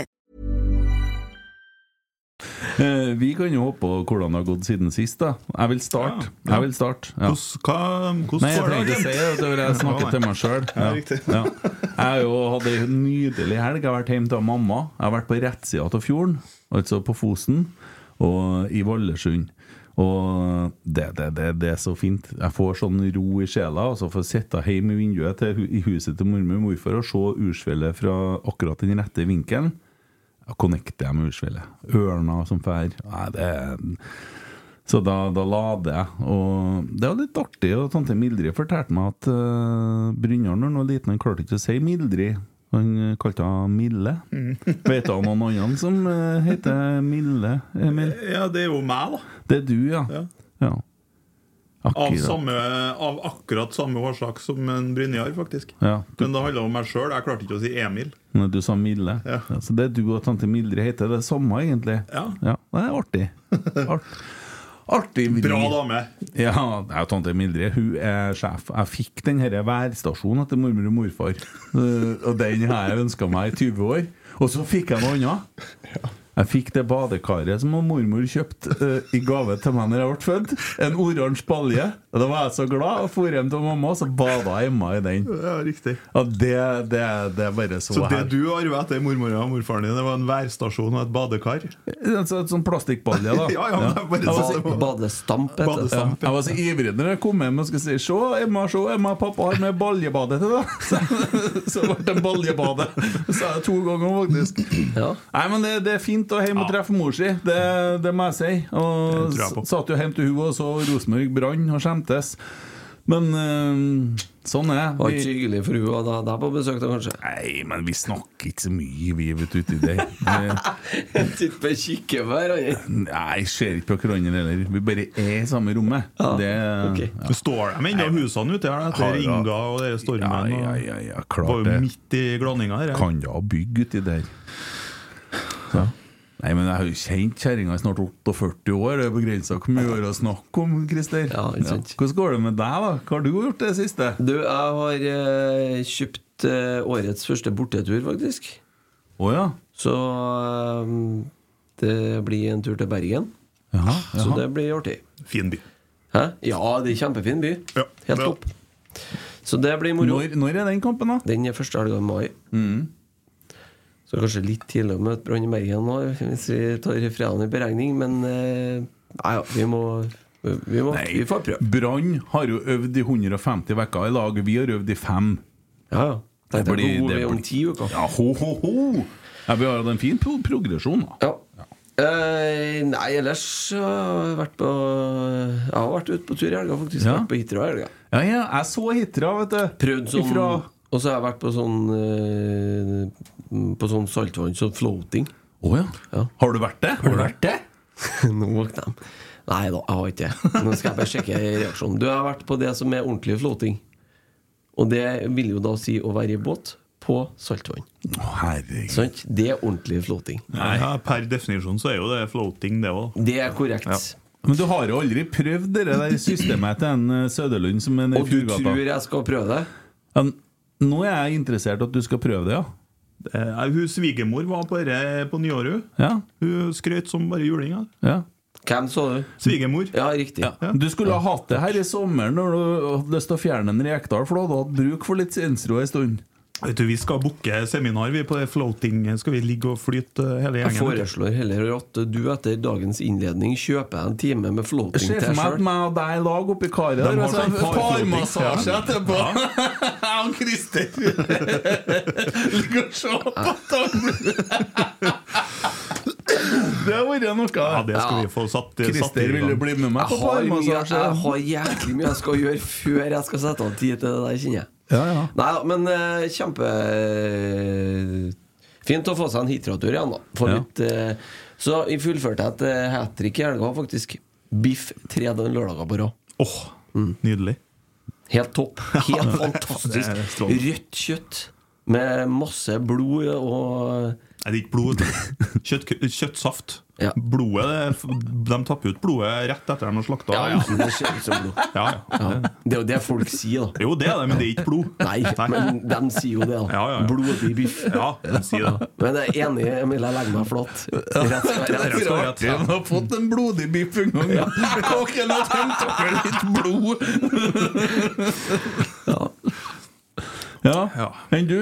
[SPEAKER 1] Eh, vi kan jo håpe på hvordan det har gått siden sist, da. Jeg vil starte.
[SPEAKER 3] Ja, ja.
[SPEAKER 1] Jeg vil starte. Ja.
[SPEAKER 3] Hvordan- hva- mm, Hvordan
[SPEAKER 1] Nei, jeg
[SPEAKER 3] får du
[SPEAKER 1] trenger
[SPEAKER 3] det?
[SPEAKER 1] ikke si det, for jeg snakker til meg sjøl.
[SPEAKER 3] Ja, riktig.
[SPEAKER 1] Jeg har jo hatt ei nydelig helg. Jeg har vært hjemme til mamma. Jeg har vært på rettsida av fjorden, altså på Fosen, og i Vallersund. Og det, det, det, det er så fint. Jeg får sånn ro i sjela. Og så får jeg sitte hjemme i vinduet til, hu- i huset til mormor og morfar og se Ursfjellet fra akkurat den rette vinkelen. Da connecter jeg med Ursfjellet. Ørna som fær. Nei, det er så da, da lader jeg. Og det var litt artig. Og tante Mildrid fortalte meg at uh, Brynjar, når han var liten, han klarte ikke å si Mildrid. Han eh, kalte henne Mille.
[SPEAKER 3] Mm.
[SPEAKER 1] Vet du om noen andre som eh, heter Mille? Emil?
[SPEAKER 3] Ja, det er jo meg, da.
[SPEAKER 1] Det er du, ja.
[SPEAKER 3] Ja.
[SPEAKER 1] ja.
[SPEAKER 3] Av,
[SPEAKER 1] Akkurat.
[SPEAKER 3] samme, av akkurat samme årsak som en Brynjar, faktisk.
[SPEAKER 1] Ja.
[SPEAKER 3] Men det handla om meg sjøl. Jeg klarte ikke å si Emil.
[SPEAKER 1] Når du sa Mille.
[SPEAKER 3] Ja.
[SPEAKER 1] Ja, så det du og tante Mildrid heter, det er samme, egentlig.
[SPEAKER 3] Ja.
[SPEAKER 1] Det er artig. Art. Artig vri.
[SPEAKER 3] Bra dame!
[SPEAKER 1] Ja, det er jo tante Mildrid. Hun er sjef. Jeg fikk den denne værstasjonen etter mormor og morfar. Eh, Og den har jeg ønska meg i 20 år. Og så fikk jeg noe annet. Jeg fikk det badekaret som mormor kjøpte eh, i gave til meg når jeg ble født. En oransje balje. Og Da var jeg så glad og dro hjem til mamma, og så bada jeg hjemme i den.
[SPEAKER 3] Ja, riktig.
[SPEAKER 1] Og det, det, det er bare så,
[SPEAKER 3] Så det
[SPEAKER 1] her.
[SPEAKER 3] du arva etter mormora og morfaren din, Det var en værstasjon og et badekar?
[SPEAKER 1] Altså, et sånn plastikkbalje, da. altså,
[SPEAKER 3] Ja, ja, men det er bare
[SPEAKER 1] Jeg var
[SPEAKER 3] sånn.
[SPEAKER 1] så-
[SPEAKER 3] det var-
[SPEAKER 5] Badestamp, heter det.
[SPEAKER 1] Ja.
[SPEAKER 3] Badestamp.
[SPEAKER 1] Jeg var så ivrig når jeg kom hjem og skulle si Se, Emma, se, Emma, pappa har med baljebadet til deg. Så- Så ble det baljebadet. Så sa jeg to ganger, faktisk.
[SPEAKER 5] Ja.
[SPEAKER 1] Nei, men det, det er fint å hjem og treffe mor si. Det, det må jeg si. Og
[SPEAKER 3] Det tror jeg på.
[SPEAKER 1] s- satt jo hjem til hun og så Rosenborg brann og skjemtes. Men eh, sånn er
[SPEAKER 5] Var
[SPEAKER 1] Vi-
[SPEAKER 5] ikke hyggelig for hun å ha deg på besøk, da, kanskje?
[SPEAKER 1] Nei, men vi snakker ikke så mye, vi, vet du, uti det. Vi-
[SPEAKER 5] Jeg sitter på kikke hver annen.
[SPEAKER 1] Nei, ser ikke på hverandre heller. Vi bare er i samme rommet.
[SPEAKER 5] Ja,
[SPEAKER 1] Det,
[SPEAKER 5] ok.
[SPEAKER 3] Står de ennå husene ute her, da,
[SPEAKER 1] Har
[SPEAKER 3] etter
[SPEAKER 1] det.
[SPEAKER 3] Inga og dere
[SPEAKER 1] Ja,
[SPEAKER 3] stormen?
[SPEAKER 1] ja,
[SPEAKER 3] og-
[SPEAKER 1] ja, ja,
[SPEAKER 3] Var
[SPEAKER 1] klart
[SPEAKER 3] jo
[SPEAKER 1] det.
[SPEAKER 3] midt i glaninga her. jeg.
[SPEAKER 1] Kan da bygge uti der. Ja. Nei, men jeg har jo kjent kjerringa i snart 48 år. Det er begrensa hvor mye vi har å snakke om, Christer.
[SPEAKER 5] Ja, ikke sant.
[SPEAKER 1] Hvordan går det med deg, da? Hva har du gjort det siste?
[SPEAKER 5] Du, jeg har eh, kjøpt eh, årets første bortetur, faktisk.
[SPEAKER 1] Å ja.
[SPEAKER 5] Så eh, det blir en tur til Bergen.
[SPEAKER 1] Jaha,
[SPEAKER 5] Så
[SPEAKER 1] jaha.
[SPEAKER 5] det blir artig.
[SPEAKER 3] Fin by.
[SPEAKER 5] Hæ? Ja, det er kjempefin by.
[SPEAKER 3] Ja,
[SPEAKER 5] Helt
[SPEAKER 3] bra.
[SPEAKER 5] topp. Så det blir moro.
[SPEAKER 1] Når, når er den kampen, da?
[SPEAKER 5] Den er første helga i mai. Mm. Så kanskje litt tidlig å møte Brann i Bergen nå, hvis vi tar fredagen i beregning, men eh, nei, ja, vi må vi, må, vi får prøve.
[SPEAKER 1] Brann har jo øvd i 150 uker i lag. Vi har øvd i fem.
[SPEAKER 5] Ja, ja. Det
[SPEAKER 1] Det
[SPEAKER 5] blir,
[SPEAKER 1] blir-
[SPEAKER 5] det
[SPEAKER 1] det
[SPEAKER 5] om
[SPEAKER 1] blir-
[SPEAKER 5] ti uker.
[SPEAKER 1] Ja, ho, ho, ho! Ja, vi har hatt en fin pro progresjon, da.
[SPEAKER 5] Ja. Eh, nei, ellers så har jeg vært på Jeg har vært ute på tur i helga, faktisk.
[SPEAKER 1] Ja.
[SPEAKER 5] Vært på Hitra i helga.
[SPEAKER 1] Ja, ja, jeg så Hitra, vet du.
[SPEAKER 5] Prøvd sånn
[SPEAKER 1] Ifra-
[SPEAKER 5] Og så har jeg vært på sånn eh, På sånn saltvann, sånn floating.
[SPEAKER 1] Å ja.
[SPEAKER 5] Ja.
[SPEAKER 1] Har du vært det? Har du vært det?
[SPEAKER 5] Nå våkner de. Nei da, jeg har ikke det. Nå skal jeg bare sjekke reaksjonen. Du jeg har vært på det som er ordentlig floating. Og det vil jo da si å være i båt på saltvann.
[SPEAKER 1] Å, herregud.
[SPEAKER 5] Sant? Det er ordentlig floating.
[SPEAKER 3] Ja, per definisjon så er jo det floating, det òg.
[SPEAKER 5] Det er korrekt.
[SPEAKER 1] Men du har jo aldri prøvd det der systemet til en eh, Søderlund som en i
[SPEAKER 5] Og du
[SPEAKER 1] Fjordgata.
[SPEAKER 5] tror jeg skal prøve det?
[SPEAKER 1] Ja, n- nå er jeg interessert at du skal prøve det, ja.
[SPEAKER 3] Hun svigermor var på, dette på nyåret. hun.
[SPEAKER 1] Ja,
[SPEAKER 3] Hun skrøt som bare julinga.
[SPEAKER 1] ja.
[SPEAKER 5] Hvem sa du?
[SPEAKER 3] Svigermor.
[SPEAKER 5] Ja, riktig.
[SPEAKER 1] Du skulle ha hatt det her i sommeren når du hadde lyst til å fjerne en Rekdal, for du hadde hatt bruk for litt sinnsro en stund.
[SPEAKER 3] Vet du, Vi skal booke seminar vi på det floating. Skal vi ligge og flyte eh, hele
[SPEAKER 5] Jeg
[SPEAKER 3] gjengen?
[SPEAKER 5] foreslår heller at du etter dagens innledning kjøper deg en time med
[SPEAKER 1] Jeg
[SPEAKER 5] floating
[SPEAKER 1] ser for
[SPEAKER 5] til deg
[SPEAKER 1] meg at
[SPEAKER 5] sjøl.
[SPEAKER 1] meg og deg i lag oppi karet
[SPEAKER 3] De
[SPEAKER 1] der, altså.
[SPEAKER 3] har
[SPEAKER 1] og
[SPEAKER 3] sånn
[SPEAKER 1] så
[SPEAKER 3] par-
[SPEAKER 1] parmassasje
[SPEAKER 3] floating.
[SPEAKER 1] etterpå. Jeg og Christer ligger og ser på tavlen. Det har vært noe.
[SPEAKER 3] Ja, det skal vi få satt, satt i
[SPEAKER 1] Christer ville
[SPEAKER 3] gang.
[SPEAKER 1] bli med meg
[SPEAKER 5] Jeg
[SPEAKER 1] på altså.
[SPEAKER 5] har, mye,
[SPEAKER 1] parmassasje.
[SPEAKER 5] jeg har jæklig mye jeg skal gjøre før jeg skal sette av tid til det der, kjenner jeg.
[SPEAKER 1] Ja, ja.
[SPEAKER 5] Nei da, men eh, kjempe eh, Fint å få seg en hitratur igjen, da. Få
[SPEAKER 1] Ja.
[SPEAKER 5] litt, eh, så jeg fullførte et hat trick i helga, faktisk. Biff tre den lørdager på rad.
[SPEAKER 3] Åh,
[SPEAKER 5] Mm.
[SPEAKER 3] nydelig.
[SPEAKER 5] Helt topp. Helt
[SPEAKER 3] det
[SPEAKER 5] fantastisk.
[SPEAKER 3] er strålende.
[SPEAKER 5] Rødt kjøtt med masse blod og
[SPEAKER 3] Nei, det er ikke blod. Kjøtt, kjøttsaft.
[SPEAKER 5] Ja.
[SPEAKER 3] Blodet det er f- De tapper ut blodet rett etter at de har slakta.
[SPEAKER 5] Ja, ja, det ser ut som blod.
[SPEAKER 3] Ja, ja.
[SPEAKER 5] Det er jo det folk sier, da.
[SPEAKER 3] Jo, det er det, men det er ikke blod.
[SPEAKER 5] Nei, men de sier jo det. da
[SPEAKER 3] Ja, ja, ja.
[SPEAKER 5] Blodig biff.
[SPEAKER 3] Ja, de sier det.
[SPEAKER 5] Men jeg er enig, Emil. Jeg legger meg flat. Rett skal være
[SPEAKER 3] Rett
[SPEAKER 5] rett.
[SPEAKER 3] skal være rett.
[SPEAKER 1] Han har fått en blodig biff en gang. Kåken har tømt over litt blod. Ja.
[SPEAKER 3] Ja.
[SPEAKER 1] Enn du?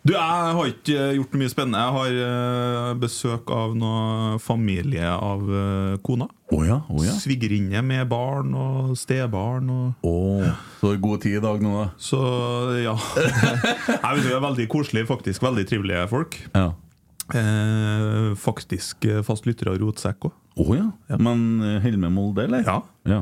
[SPEAKER 3] Du, jeg har ikke eh, gjort noe mye spennende. Jeg har eh, besøk av noe familie av eh, kona.
[SPEAKER 1] Å ja. Å ja.
[SPEAKER 3] Svigerinne med barn og stebarn. Og
[SPEAKER 1] Å, så er det god tid i dag nå, da.
[SPEAKER 3] Så ja. Jeg vet, Vi er veldig koselige, faktisk. Veldig trivelige folk.
[SPEAKER 1] Ja.
[SPEAKER 3] Eh, faktisk eh, fast lytter av Rotsekk òg.
[SPEAKER 1] Å ja. Men eh, holder med Molde, eller?
[SPEAKER 3] Ja.
[SPEAKER 1] Ja.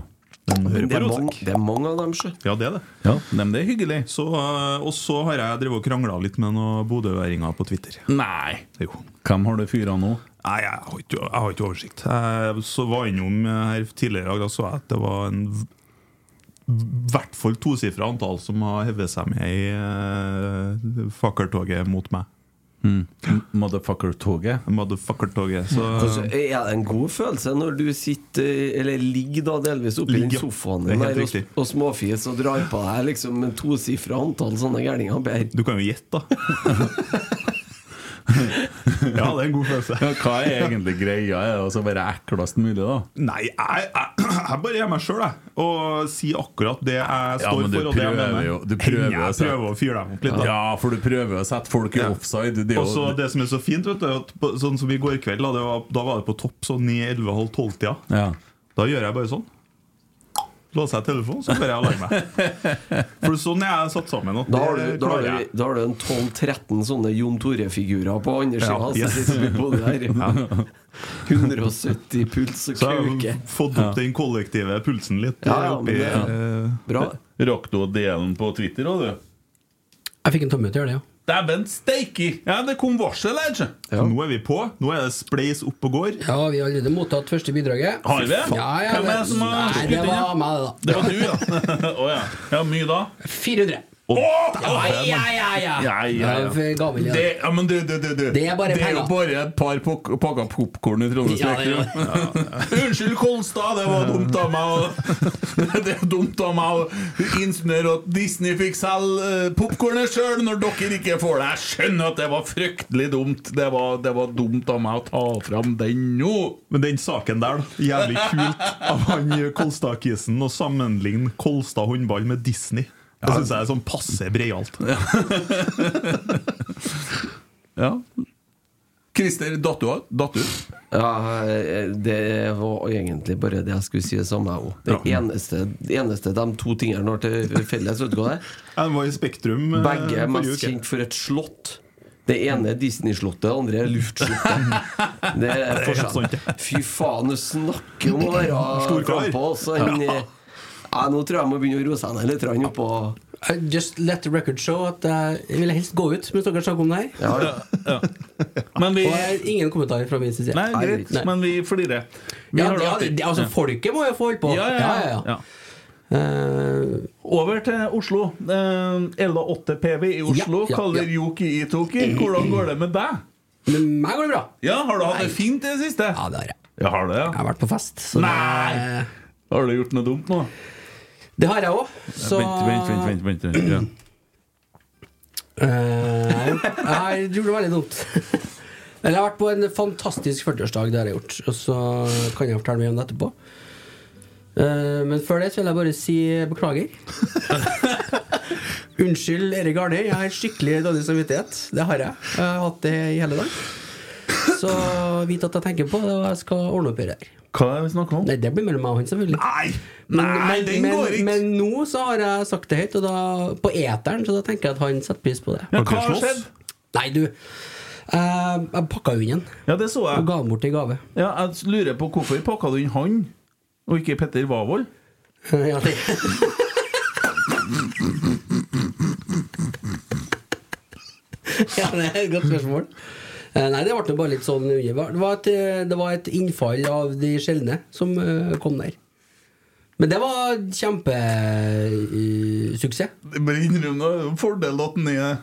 [SPEAKER 3] De hører
[SPEAKER 5] Det
[SPEAKER 3] på
[SPEAKER 5] er mange,
[SPEAKER 3] Rotsekk.
[SPEAKER 5] det er mange av dem, sjø.
[SPEAKER 3] Ja, det er det.
[SPEAKER 1] ja. Nei, men det er hyggelig.
[SPEAKER 3] Så, eh, og så har jeg drevet og krangla litt med noen bodøværinger på Twitter.
[SPEAKER 1] Nei.
[SPEAKER 3] Jo.
[SPEAKER 1] Hvem har du fyra nå?
[SPEAKER 3] Nei, jeg har ikke, jeg har ikke oversikt. Jeg så var innom eh, her tidligere i dag, da så jeg at det var en v- i hvert fall tosifra antall som har hevet seg med i eh, fakkeltoget mot meg.
[SPEAKER 1] Motherfucker-toget?
[SPEAKER 3] Motherfucker-toget. Så
[SPEAKER 5] Altså, er det en god følelse når du sitter, eh, eller ligger da delvis oppi
[SPEAKER 3] Ligger,
[SPEAKER 5] den
[SPEAKER 3] ja.
[SPEAKER 5] sofaen
[SPEAKER 3] Det er
[SPEAKER 5] din
[SPEAKER 3] helt
[SPEAKER 5] der,
[SPEAKER 3] riktig.
[SPEAKER 5] og, og småfis og drar på deg liksom en tosifra antall sånne gærninger? Per.
[SPEAKER 3] Du kan jo gjette, da. ja, det er en god følelse.
[SPEAKER 1] Ja, hva er egentlig greia? Er det altså bare eklest mulig, da?
[SPEAKER 3] Nei, jeg, jeg, jeg bare er meg sjøl, jeg. Og sier akkurat det jeg står
[SPEAKER 1] men du
[SPEAKER 3] for. Og det jeg
[SPEAKER 1] prøver
[SPEAKER 3] mener.
[SPEAKER 1] jo- du prøver
[SPEAKER 3] jeg
[SPEAKER 1] å sette-
[SPEAKER 3] prøver å fyre dem opp litt. da.
[SPEAKER 1] Ja, for du prøver å sette folk i
[SPEAKER 3] Ja.
[SPEAKER 1] offside. Det er
[SPEAKER 3] Og så
[SPEAKER 1] jo
[SPEAKER 3] det som er så fint, vet du, at på, sånn som i går kveld, da, det var, da var det på topp sånn i 11.30-tida.
[SPEAKER 1] ja.
[SPEAKER 3] Da gjør jeg bare sånn. Låser jeg telefonen, så hører jeg alarmen. For sånn er jeg satt sammen. Og
[SPEAKER 5] Da har, du,
[SPEAKER 3] det
[SPEAKER 5] da, har
[SPEAKER 3] klarer jeg.
[SPEAKER 5] du, da har du en 12-13 sånne Jon Tore-figurer på andre sida.
[SPEAKER 3] Ja,
[SPEAKER 5] altså,
[SPEAKER 3] yes.
[SPEAKER 5] som sitter på det der. 170 puls og
[SPEAKER 3] Så jeg
[SPEAKER 5] kuke.
[SPEAKER 3] har fått opp den kollektive pulsen litt.
[SPEAKER 5] Ja, ja,
[SPEAKER 3] oppi,
[SPEAKER 5] men det-
[SPEAKER 3] eh,
[SPEAKER 5] Bra.
[SPEAKER 1] Rakk du å dele den på Twitter òg, du?
[SPEAKER 2] Jeg fikk en tomme til å gjøre det, ja.
[SPEAKER 1] Dæven steike! Ja, det kom varsel her, ikke?
[SPEAKER 5] Ja.
[SPEAKER 3] Nå er vi på. Nå er det spleis opp og går.
[SPEAKER 2] Ja, vi har allerede mottatt første bidraget.
[SPEAKER 1] Har vi?
[SPEAKER 2] Ja, ja,
[SPEAKER 1] Hvem er det som har
[SPEAKER 2] Nei,
[SPEAKER 1] skutt
[SPEAKER 2] det
[SPEAKER 1] inn?
[SPEAKER 2] var meg, det,
[SPEAKER 1] Det var du, ja. Å ja. Ja, mye da?
[SPEAKER 2] da. 400.
[SPEAKER 1] Å,
[SPEAKER 2] Ja, ja, ja, ja.
[SPEAKER 1] Ja, ja,
[SPEAKER 2] Jeg er
[SPEAKER 1] ja.
[SPEAKER 2] for gammel, ja.
[SPEAKER 1] Det, ja, men du, du, du, du.
[SPEAKER 2] Det er bare
[SPEAKER 1] det er jo
[SPEAKER 2] penger.
[SPEAKER 1] bare et par pok- pakker popkorn i Trondheim
[SPEAKER 2] Ja, det er
[SPEAKER 1] Spektrum. Unnskyld, Kolstad, det var dumt av meg å- Det er dumt av meg å insinuere at Disney fikk selge eh, popkornet sjøl når dere ikke får det. Jeg skjønner at det var fryktelig dumt. Det var, det var dumt av meg å ta fram den nå.
[SPEAKER 3] Men den saken der, da. Jævlig kult av han Kolstad-kisen å sammenligne Kolstad håndball med Disney. Det syns jeg er sånn passe breialt.
[SPEAKER 1] Ja. Christer, datt du av? Datt du?
[SPEAKER 5] Ja, eh, det var egentlig bare det jeg skulle si det samme. jeg også. Det eneste, det eneste de to tingene har til felles, vet du hva det er?
[SPEAKER 3] Jeg var i Spektrum eh,
[SPEAKER 5] Begge
[SPEAKER 3] forrige
[SPEAKER 5] er mest
[SPEAKER 3] uke.
[SPEAKER 5] kjent for et slott. Det ene er Disney-slottet, det andre er luftslottet. Det er forskjell. Fy faen, du snakker om å være
[SPEAKER 3] Stor kar.
[SPEAKER 5] frampå, så han eh, ja, Nå tror jeg jeg må begynne å roe seg ned litt grann oppå
[SPEAKER 2] I Just let the record show at eh, jeg ville helst gå ut mens dere snakker om det her.
[SPEAKER 5] ja, ja.
[SPEAKER 1] Men vi
[SPEAKER 2] Og jeg har ingen kommentar fra min side.
[SPEAKER 1] Nei, greit,
[SPEAKER 2] Nei.
[SPEAKER 1] men vi flirer. Vi
[SPEAKER 2] Ja,
[SPEAKER 1] har det
[SPEAKER 2] ja,
[SPEAKER 1] artig.
[SPEAKER 2] det, altså,
[SPEAKER 1] Ja.
[SPEAKER 2] folket må jo få holde på.
[SPEAKER 1] Ja, ja, ja.
[SPEAKER 2] ja.
[SPEAKER 1] Ja.
[SPEAKER 2] Eh,
[SPEAKER 1] Over til Oslo. Eh, Ella 8 PV i Oslo
[SPEAKER 2] Ja, ja,
[SPEAKER 1] kaller
[SPEAKER 2] ja.
[SPEAKER 1] Yoki Itoki. Hvordan går det med deg?
[SPEAKER 2] men meg går det bra.
[SPEAKER 1] Ja, Har du hatt det fint i det siste?
[SPEAKER 2] Ja, det har jeg.
[SPEAKER 1] Ja, har du det?
[SPEAKER 2] Jeg
[SPEAKER 1] ja.
[SPEAKER 2] har vært på fest. Så
[SPEAKER 1] Nei! Har du gjort noe dumt nå?
[SPEAKER 2] Det, det har jeg òg. Så
[SPEAKER 1] vent, vent, vent, vent. Ja.
[SPEAKER 2] Eh, jeg har gjort det veldig dumt. Eller jeg har vært på en fantastisk 40-årsdag, det har jeg gjort. Og så kan jeg fortelle mye om det etterpå. Eh, men før det så vil jeg bare si beklager. Unnskyld, Erik Arne. Jeg har skikkelig dårlig samvittighet. Det har jeg. Jeg har hatt det i hele dag. Så vit at jeg tenker på det, og jeg skal ordne opp i det her.
[SPEAKER 1] Hva er det vi snakker om?
[SPEAKER 2] Nei, det blir mellom meg og han, selvfølgelig.
[SPEAKER 1] Nei!
[SPEAKER 2] Men-
[SPEAKER 1] Ah, Nei,
[SPEAKER 2] men-
[SPEAKER 1] den
[SPEAKER 2] men,
[SPEAKER 1] går ikke!
[SPEAKER 2] Men nå så har jeg sagt det høyt, og da, på eteren, så da tenker jeg at han setter pris på det.
[SPEAKER 1] Ja, hva
[SPEAKER 3] Dere
[SPEAKER 1] har
[SPEAKER 3] slåss?
[SPEAKER 1] skjedd?
[SPEAKER 2] Nei, du. eh, jeg pakka hunden
[SPEAKER 1] Ja, det så
[SPEAKER 2] og
[SPEAKER 1] jeg.
[SPEAKER 2] ga den bort i gave.
[SPEAKER 1] Ja, jeg lurer på hvorfor pakka du inn han, og ikke Petter Wavold?
[SPEAKER 2] ja, det. ja, det er et godt spørsmål. Eh, Nei, det ble nå bare litt sånn under. Det var et, eh, det var et innfall av de sjeldne som eh, kom der. Men det var eh, kjempesuksess.
[SPEAKER 1] Bare innrøm det. er en Fordel at den er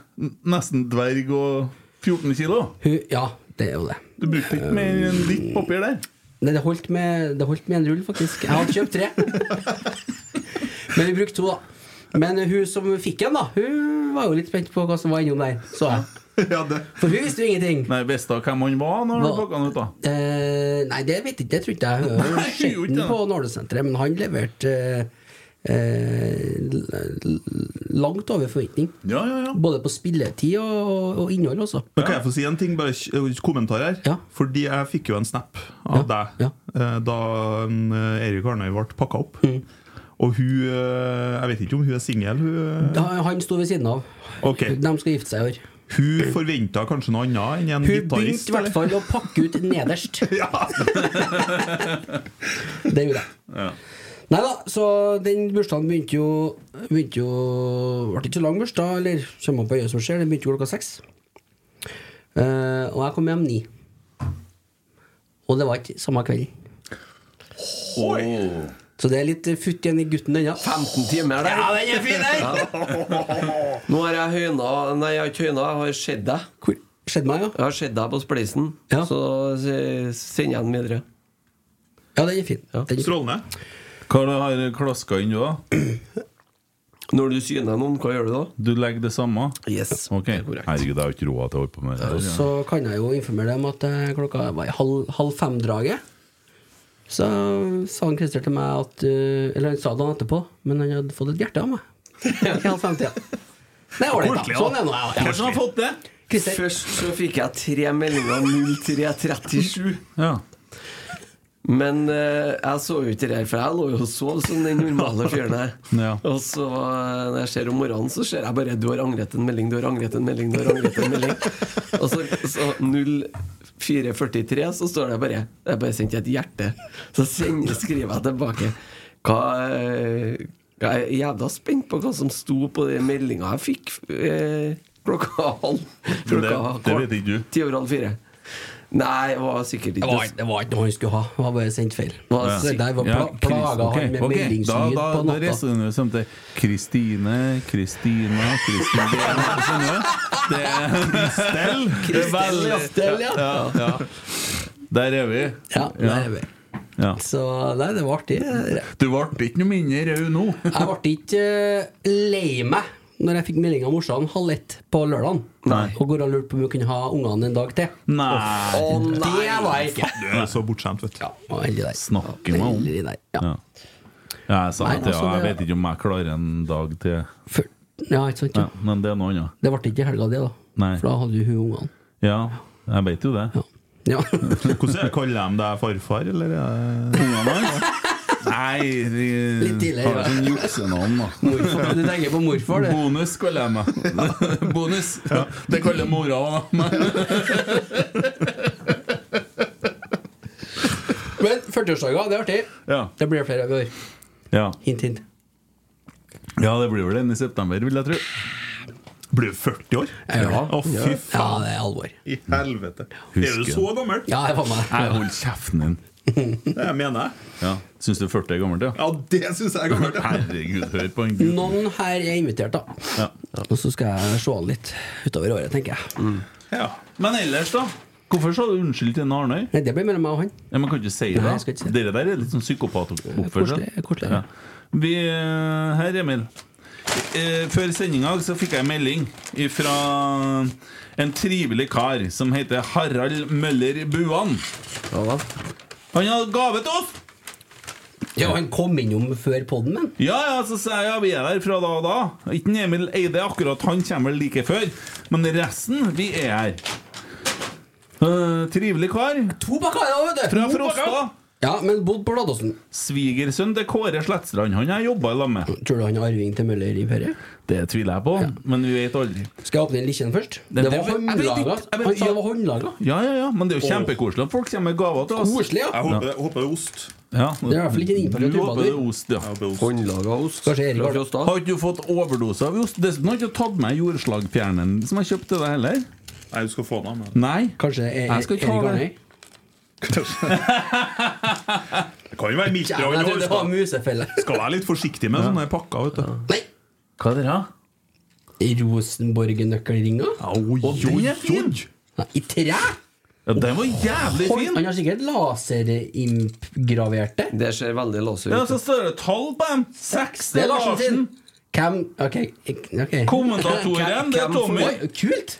[SPEAKER 1] nesten dverg og 14 kilo.
[SPEAKER 2] Hun, ja, det er jo det.
[SPEAKER 1] Du brukte ikke mer enn litt papir der.
[SPEAKER 2] Nei, det holdt med, det holdt med en rull, faktisk. Jeg hadde kjøpt tre. Men vi brukte to, da. Men hun som fikk en, da, hun var jo litt spent på hva som var innom der. Så jeg.
[SPEAKER 3] Ja, det.
[SPEAKER 2] For hun visste jo ingenting.
[SPEAKER 1] Nei, Visste hun hvem han var når du
[SPEAKER 2] Hva?
[SPEAKER 1] pakka han ut? da?
[SPEAKER 2] Eh, nei, det vet jeg ikke. Det tror ikke jeg. Jeg har sett
[SPEAKER 1] gjorde ikke
[SPEAKER 2] den
[SPEAKER 1] det.
[SPEAKER 2] på Nålesenteret, men han leverte eh, eh, l- l- langt over forventning.
[SPEAKER 1] Ja, ja, ja.
[SPEAKER 2] Både på spilletid og, og innhold, også.
[SPEAKER 3] Da kan jeg få si en ting, bare k- eh, kommentar her.
[SPEAKER 2] Ja.
[SPEAKER 3] Fordi jeg fikk jo en snap av deg
[SPEAKER 2] ja.
[SPEAKER 3] eh, da en, eh, Erik Arnøy ble pakka opp.
[SPEAKER 2] Mm.
[SPEAKER 3] Og hun eh, Jeg vet ikke om hun er singel. Hun, eh,
[SPEAKER 2] Da, han sto ved siden av.
[SPEAKER 3] Ok.
[SPEAKER 2] De skal gifte seg i år.
[SPEAKER 3] hun forventa kanskje noe annet enn en
[SPEAKER 2] Hun begynte
[SPEAKER 3] gitarist.
[SPEAKER 2] i hvert fall å pakke ut nederst. det gjorde jeg. Nei da, så den bursdagen begynte jo Begynte jo Ble ikke så lang bursdag, eller kommer man på øyet som skjer. Den begynte jo klokka seks. Eh, og jeg kom hjem ni. Og det var ikke samme kvelden. Så det er litt eh, futt igjen i gutten ennå.
[SPEAKER 5] 15 timer der.
[SPEAKER 2] Ja, den er fin, den!
[SPEAKER 5] Nå har jeg høyna Nei, jeg har ikke høyna, jeg har sett deg.
[SPEAKER 2] Hvor skjedde meg, ja?
[SPEAKER 5] Jeg har sett deg på Spleisen,
[SPEAKER 2] Ja.
[SPEAKER 5] så se- sender jeg den videre.
[SPEAKER 2] Ja, den er fin.
[SPEAKER 5] Ja.
[SPEAKER 2] Den er fin.
[SPEAKER 3] Strålende.
[SPEAKER 1] Hva du har du klaska inn, du, da?
[SPEAKER 5] Når du syner noen, hva gjør du da?
[SPEAKER 1] Du legger det samme?
[SPEAKER 5] Yes.
[SPEAKER 1] Ok. Herregud, jeg har ikke råd til å holde på med det.
[SPEAKER 2] Og
[SPEAKER 1] der,
[SPEAKER 2] så kan jeg jo informere dem at eh, klokka var i halv, halv fem-draget. Så sa han Christer til meg at eh, Eller han sa det dagen etterpå, men han hadde fått et hjerte av meg. I halv fem-tida. Det er ålreit, da. Sånn er nå jeg.
[SPEAKER 1] Hvordan har han fått det?
[SPEAKER 2] Christer,
[SPEAKER 5] Først så fikk jeg tre meldinger 0337.
[SPEAKER 1] Ja.
[SPEAKER 5] Men eh, jeg så jo ikke det her, for jeg lå jo og sov som den normale fyren her.
[SPEAKER 1] Ja.
[SPEAKER 5] Og så eh, når jeg ser om morgenen, så ser jeg bare 'du har angret en melding', 'du har angret en melding', du har angret en melding. Og så, så 0443, så står det bare 'jeg har bare sendt et hjerte'. Så sender, skriver jeg tilbake. Hva eh, Jeg er jævla spent på hva som sto på den meldinga jeg fikk eh, klokka halv
[SPEAKER 1] det-
[SPEAKER 5] klokka
[SPEAKER 1] det
[SPEAKER 5] kvart-
[SPEAKER 1] vet ikke du.
[SPEAKER 5] Ti over halv fire. Nei, det var sikkert
[SPEAKER 2] det
[SPEAKER 5] ikke
[SPEAKER 2] var, det var ikke noe han skulle ha. Det var bare sendt feil.
[SPEAKER 5] Hva
[SPEAKER 2] Så
[SPEAKER 5] sier-
[SPEAKER 2] det der var pla
[SPEAKER 1] Chris-
[SPEAKER 2] plaga
[SPEAKER 1] ok,
[SPEAKER 2] han med
[SPEAKER 1] ok.
[SPEAKER 2] meldingslyd
[SPEAKER 1] Da,
[SPEAKER 2] på
[SPEAKER 1] da, da
[SPEAKER 2] natta.
[SPEAKER 1] resonnerer vi sånn til Kristine, Kristina, Kristin Bene, skjønner du? Det Kristel. Det er veldig
[SPEAKER 2] Kristel, ja.
[SPEAKER 1] ja, ja. Der er vi.
[SPEAKER 2] Ja, der er vi.
[SPEAKER 1] Ja.
[SPEAKER 2] Så nei, det var artig. det der.
[SPEAKER 1] Du ble ikke noe mindre rød nå.
[SPEAKER 2] Jeg ble ikke eh, lei meg når jeg fikk melding av morsan halv ett på lørdagen.
[SPEAKER 1] Nei.
[SPEAKER 2] Og går og lurte på om hun kunne ha ungene en dag til.
[SPEAKER 1] Nei.
[SPEAKER 5] Å
[SPEAKER 2] Det var jeg ikke.
[SPEAKER 3] Du er så bortskjemt, vet du.
[SPEAKER 2] Og Heldig der.
[SPEAKER 1] Snakker meg om.
[SPEAKER 2] Veldig der. Ja.
[SPEAKER 1] Ja. Ja, jeg sa
[SPEAKER 2] Nei,
[SPEAKER 1] at ja,
[SPEAKER 2] altså,
[SPEAKER 1] jeg
[SPEAKER 2] det-
[SPEAKER 1] vet ikke om jeg klarer en dag til
[SPEAKER 2] For, ja, ikke sant?
[SPEAKER 1] ja,
[SPEAKER 2] Ja.
[SPEAKER 1] Men det er noe annet.
[SPEAKER 2] Det ble ikke i helga, det, da.
[SPEAKER 1] Nei.
[SPEAKER 2] For da hadde jo hun ungene.
[SPEAKER 1] Ja, jeg vet jo det.
[SPEAKER 2] Ja. Ja.
[SPEAKER 3] Hvordan er det, Kaller de deg farfar, eller? er det-
[SPEAKER 1] Nei, de
[SPEAKER 2] Litt tidligere,
[SPEAKER 1] har
[SPEAKER 2] ja.
[SPEAKER 1] sånn juksenavn, da.
[SPEAKER 2] Morfar. Du tenker på morfar, du.
[SPEAKER 1] Bonus kaller jeg meg. Bonus. Det kaller mora òg meg.
[SPEAKER 2] Men 40-årsdager, det er artig.
[SPEAKER 1] Ja.
[SPEAKER 2] Det blir flere av i år.
[SPEAKER 1] Ja.
[SPEAKER 2] Hint, hint.
[SPEAKER 1] ja, det blir vel den i september, vil jeg tro.
[SPEAKER 3] Blir du 40 år?
[SPEAKER 2] Ja.
[SPEAKER 3] Å, fy faen.
[SPEAKER 2] Ja, det er alvor.
[SPEAKER 3] I helvete. Er du
[SPEAKER 1] Husker.
[SPEAKER 3] så gammel?
[SPEAKER 2] Ja, det var meg.
[SPEAKER 1] Jeg holder kjeften din.
[SPEAKER 3] Det mener jeg.
[SPEAKER 1] Ja. Syns du 40 er gammelt, ja?
[SPEAKER 3] Ja, det syns jeg er gammelt. ja.
[SPEAKER 1] Herregud, hør på en gutt.
[SPEAKER 2] Noen her er invitert, da.
[SPEAKER 1] Ja.
[SPEAKER 2] Og så skal jeg se han litt utover året, tenker jeg.
[SPEAKER 1] Ja. Men ellers, da? Hvorfor sa du unnskyld til en Arnøy?
[SPEAKER 2] Nei, det blir mellom meg og han.
[SPEAKER 1] Ja, men kan du ikke si
[SPEAKER 2] Nei,
[SPEAKER 1] det?
[SPEAKER 2] jeg skal ikke si det.
[SPEAKER 1] Dere der er litt sånn psykopatoppførsel.
[SPEAKER 2] Koselig, eh, koselig.
[SPEAKER 1] Vi, eh, her, Emil. Eh, Før sendinga så fikk jeg en melding fra en trivelig kar som heter Harald Møller Buan. Han hadde gave til oss!
[SPEAKER 2] Ja, han kom innom før podden, men.
[SPEAKER 1] Ja, ja, så sa jeg ja, vi er der fra da og da. Ikke en Emil Eide, akkurat han kommer vel like før. Men resten, vi er her. Eh, trivelig kar
[SPEAKER 2] To bakarer, vet du!
[SPEAKER 1] fra Frosta.
[SPEAKER 2] Ja, men bodd på Ladåsen.
[SPEAKER 1] Svigersønn til Kåre Sletstrand. Han har jeg jobba i lag med.
[SPEAKER 2] Tror du han er arving til Møller-imperiet?
[SPEAKER 1] Det tviler jeg på, men vi vet aldri.
[SPEAKER 2] Skal jeg åpne den likkjen først? Det
[SPEAKER 1] Det- det-
[SPEAKER 2] var
[SPEAKER 1] jeg vet
[SPEAKER 2] håndlaga.
[SPEAKER 1] ikke, jeg vet
[SPEAKER 2] Han-
[SPEAKER 1] ikke.
[SPEAKER 2] Ja, det var håndlaga.
[SPEAKER 1] Ja, ja, ja, men det er jo kjempekoselig at folk kommer med gaver til oss.
[SPEAKER 2] Koselig, ja.
[SPEAKER 3] Jeg håper, jeg håper det er ost.
[SPEAKER 1] Ja.
[SPEAKER 2] Det er i hvert fall ikke en innpakket
[SPEAKER 1] Du håper det er
[SPEAKER 2] trubadur.
[SPEAKER 1] ost, ja.
[SPEAKER 3] Jeg håper det er ost.
[SPEAKER 5] Håndlaga ost
[SPEAKER 2] Kanskje Erik
[SPEAKER 5] fra
[SPEAKER 2] har det.
[SPEAKER 5] Fjostad.
[SPEAKER 1] Har ikke du fått overdose av ost? Dessuten har jeg ikke tatt med jordslagfjerneren som jeg kjøpte deg heller.
[SPEAKER 3] Nei, du skal få den av meg.
[SPEAKER 1] Nei.
[SPEAKER 2] Kanskje er,
[SPEAKER 1] Jeg skal ikke ha
[SPEAKER 2] Erik
[SPEAKER 1] det.
[SPEAKER 2] Arnøy?
[SPEAKER 3] Det kan jo være
[SPEAKER 2] Ja, men jeg
[SPEAKER 3] mildere enn
[SPEAKER 2] trodde det var
[SPEAKER 3] ost.
[SPEAKER 2] musefelle.
[SPEAKER 3] Skal være litt forsiktig med sånne pakker, vet du.
[SPEAKER 2] Nei!
[SPEAKER 1] Hva er det her?
[SPEAKER 2] Rosenborg-nøkkelringer?
[SPEAKER 1] Og den er fin!
[SPEAKER 2] Nei, I tre?
[SPEAKER 1] Ja, den var jævlig
[SPEAKER 2] Hold-
[SPEAKER 1] fin!
[SPEAKER 2] Han har sikkert laserimpgraverte.
[SPEAKER 5] Det ser veldig laser
[SPEAKER 1] Ja,
[SPEAKER 5] ut.
[SPEAKER 1] så står det tall på dem! Seks til Larsen!
[SPEAKER 2] Hvem Ok. ok
[SPEAKER 1] Kommentatoren, det er Tommy.
[SPEAKER 2] Oi, Kult!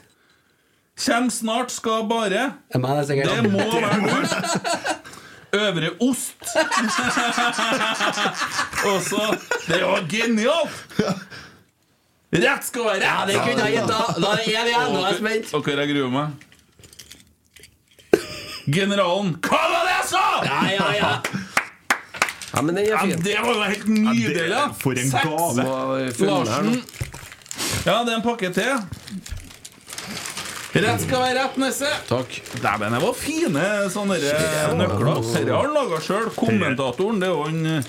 [SPEAKER 1] Kjem snart, skal bare.
[SPEAKER 2] Jeg mener, det er sikkert-
[SPEAKER 1] Det må være ost. Øvre ost. Og så Det var genialt! Rett skal være
[SPEAKER 2] Ja, det
[SPEAKER 1] rett!
[SPEAKER 2] kunne jeg gjetta! Da er det én igjen, nå er jeg spent.
[SPEAKER 1] Og hva jeg gruer meg? Generalen Hva var det jeg sa?!
[SPEAKER 2] Ja, ja, ja.
[SPEAKER 5] Ja, men den
[SPEAKER 1] Ja,
[SPEAKER 5] er fin.
[SPEAKER 1] det var jo helt
[SPEAKER 3] det-
[SPEAKER 1] nydelig!
[SPEAKER 3] for en
[SPEAKER 1] Seks.
[SPEAKER 3] gave.
[SPEAKER 5] Må ha funnet her nå.
[SPEAKER 1] Larsen. Ja, det er en pakke til. Rett skal være rett, Nesse.
[SPEAKER 5] Takk.
[SPEAKER 1] Dæven, det var fine sånne der eh, nøkler. Dette har han laga sjøl. Kommentatoren, det er jo han eh,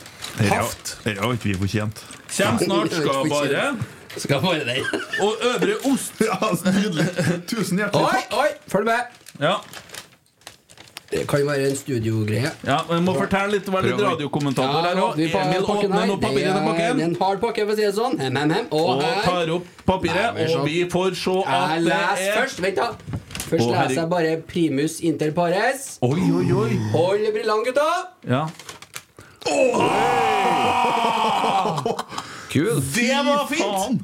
[SPEAKER 1] Haft.
[SPEAKER 3] Dette har ikke vi fortjent.
[SPEAKER 1] Kjem snart, skal bare.
[SPEAKER 2] Skal bare den.
[SPEAKER 1] Og Øvre Ost.
[SPEAKER 3] Ja, så Nydelig. Tusen hjertelig
[SPEAKER 2] Oi,
[SPEAKER 3] takk.
[SPEAKER 2] oi, følg med.
[SPEAKER 1] Ja,
[SPEAKER 2] Det kan være en studiogreie.
[SPEAKER 1] ja men må fortelle litt. Vær litt
[SPEAKER 5] Prøv.
[SPEAKER 1] radiokommentator her òg.
[SPEAKER 2] vi får
[SPEAKER 1] Emil
[SPEAKER 2] pakken
[SPEAKER 1] åpner
[SPEAKER 2] her.
[SPEAKER 1] nå papiret til
[SPEAKER 2] Det er
[SPEAKER 1] pakken.
[SPEAKER 2] en hard pakke, for å si det sånn. Hem, hem, hem. Og
[SPEAKER 1] Og
[SPEAKER 2] her
[SPEAKER 1] tar opp papiret,
[SPEAKER 2] Nei, men så-
[SPEAKER 1] og vi får se
[SPEAKER 2] Jeg
[SPEAKER 1] at det
[SPEAKER 2] leser
[SPEAKER 1] er
[SPEAKER 2] først. Vent, da. Først
[SPEAKER 1] Å, herregud.
[SPEAKER 2] leser jeg bare primus inter pares.
[SPEAKER 1] Oi, oi, oi.
[SPEAKER 2] Hold brillene, gutta!
[SPEAKER 1] Ja.
[SPEAKER 5] Kul.
[SPEAKER 1] Det var fint!
[SPEAKER 3] Faen.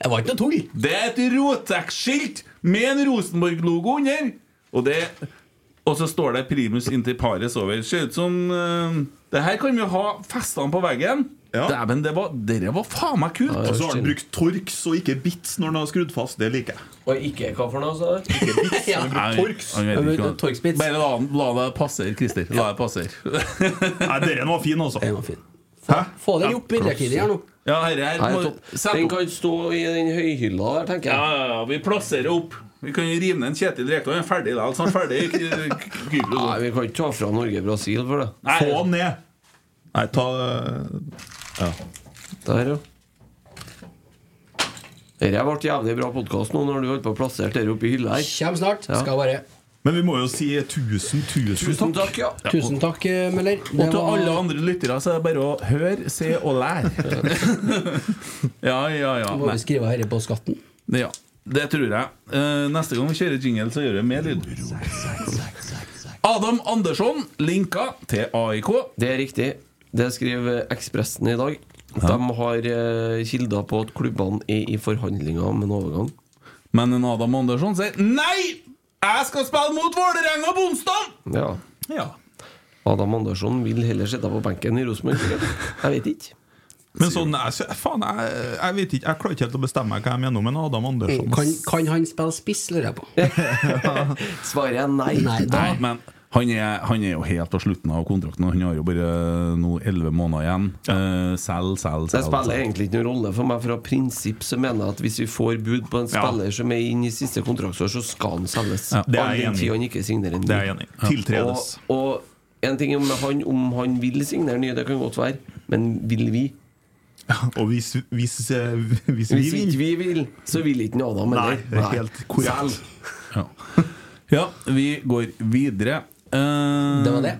[SPEAKER 2] Det var ikke noe tull.
[SPEAKER 1] Det er et Rotex-skilt med en Rosenborg-logo under. Og det Og så står det Primus inntil pares over. Ser ut som eh, Det her kan vi ha festene på veggen.
[SPEAKER 3] Ja.
[SPEAKER 1] Dæven, det var, dere var faen meg kult!
[SPEAKER 3] Og så har han brukt torks og ikke bits når han har skrudd fast. Det liker jeg.
[SPEAKER 5] Og ikke hva for noe, sa du?
[SPEAKER 2] Ja.
[SPEAKER 1] Nei,
[SPEAKER 3] Torx.
[SPEAKER 1] han vet ikke hva-
[SPEAKER 2] Torx-bits.
[SPEAKER 1] Bare la, den- la det passere, Christer. La det passere.
[SPEAKER 3] Nei, Denne var fin, altså.
[SPEAKER 2] Den var fin.
[SPEAKER 3] Hæ?
[SPEAKER 2] Få den opp midlertidig her nå.
[SPEAKER 1] Ja, herre her
[SPEAKER 5] Nei,
[SPEAKER 1] må-
[SPEAKER 5] topp.
[SPEAKER 1] Sett
[SPEAKER 5] Den
[SPEAKER 1] opp.
[SPEAKER 5] kan stå i den høyhylla der, tenker
[SPEAKER 1] Ja,
[SPEAKER 5] jeg.
[SPEAKER 1] ja, ja, vi plasserer opp. Vi kan jo rive ned en Kjetil Rekdal. Han er ferdig da. Snart ferdig. K- k- Kypros.
[SPEAKER 5] Nei, vi kan ikke ta fra Norge-Brasil for det.
[SPEAKER 1] Nei,
[SPEAKER 3] Få den ned. Nei, ta
[SPEAKER 1] eh,
[SPEAKER 5] Der, ja. Dette ble jævlig bra podkast nå når du holdt på å plassere dette oppi hylla her.
[SPEAKER 2] Kjem snart. Skal bare
[SPEAKER 3] Men vi må jo si tusen, tusen,
[SPEAKER 5] Tusen takk, ja.
[SPEAKER 2] Tusen takk, eh, Møller. Det
[SPEAKER 1] Og til
[SPEAKER 2] var-
[SPEAKER 1] alle andre lyttere så er det bare å høre, se og lære. ja, ja, ja.
[SPEAKER 2] Må vi skrive herre på skatten?
[SPEAKER 1] Nei, ja. Det tror jeg. Eh, neste gang vi kjører jingle, så gjør vi mer lyd. Adam Andersson linka til AIK.
[SPEAKER 5] Det er riktig. Det skriver Ekspressen i dag. De har eh, kilder på at klubbene er i forhandlinger om en overgang.
[SPEAKER 1] Men en Adam Andersson sier nei! Jeg skal spille mot Vålerenga på onsdag!
[SPEAKER 5] Ja.
[SPEAKER 1] Ja.
[SPEAKER 5] Adam Andersson vil heller sitte på benken i Rosenborg. Jeg vet ikke.
[SPEAKER 3] Men sånn, jeg, sy- faen, jeg, jeg vet ikke, jeg klarer ikke helt å bestemme meg hva jeg mener om en Adam Andersson.
[SPEAKER 2] Kan,
[SPEAKER 3] ass.
[SPEAKER 2] kan han spille spiss, lurer jeg på?
[SPEAKER 5] Svaret er nei.
[SPEAKER 2] Nei, da
[SPEAKER 1] Nei, men han er, han er jo helt på slutten av kontrakten. og Han har jo bare eh, nå elleve måneder igjen. Eh, Selg, selg,
[SPEAKER 5] Det
[SPEAKER 1] selg.
[SPEAKER 5] spiller
[SPEAKER 1] selg.
[SPEAKER 5] egentlig ikke noen rolle for meg. Fra prinsipp så mener jeg at hvis vi får bud på en
[SPEAKER 3] Ja.
[SPEAKER 5] spiller som er inn i siste kontraktsår, så skal han selges.
[SPEAKER 3] det er
[SPEAKER 5] All
[SPEAKER 3] jeg
[SPEAKER 5] den
[SPEAKER 3] enig i.
[SPEAKER 5] tid han ikke signerer en
[SPEAKER 3] Det
[SPEAKER 5] ny.
[SPEAKER 3] er jeg enig i. Tiltredes.
[SPEAKER 5] Og, og en ting med han, om han vil signere ny, det kan godt være, men vil vi?
[SPEAKER 3] Og hvis, hvis, eh, hvis vi
[SPEAKER 5] Hvis ikke
[SPEAKER 3] vinner
[SPEAKER 5] vi vil, så vil ikke noe Adam
[SPEAKER 3] Nei,
[SPEAKER 5] heller.
[SPEAKER 3] det er helt korrekt.
[SPEAKER 5] Selv.
[SPEAKER 1] Ja. ja, vi går videre. Eh,
[SPEAKER 2] Det var det.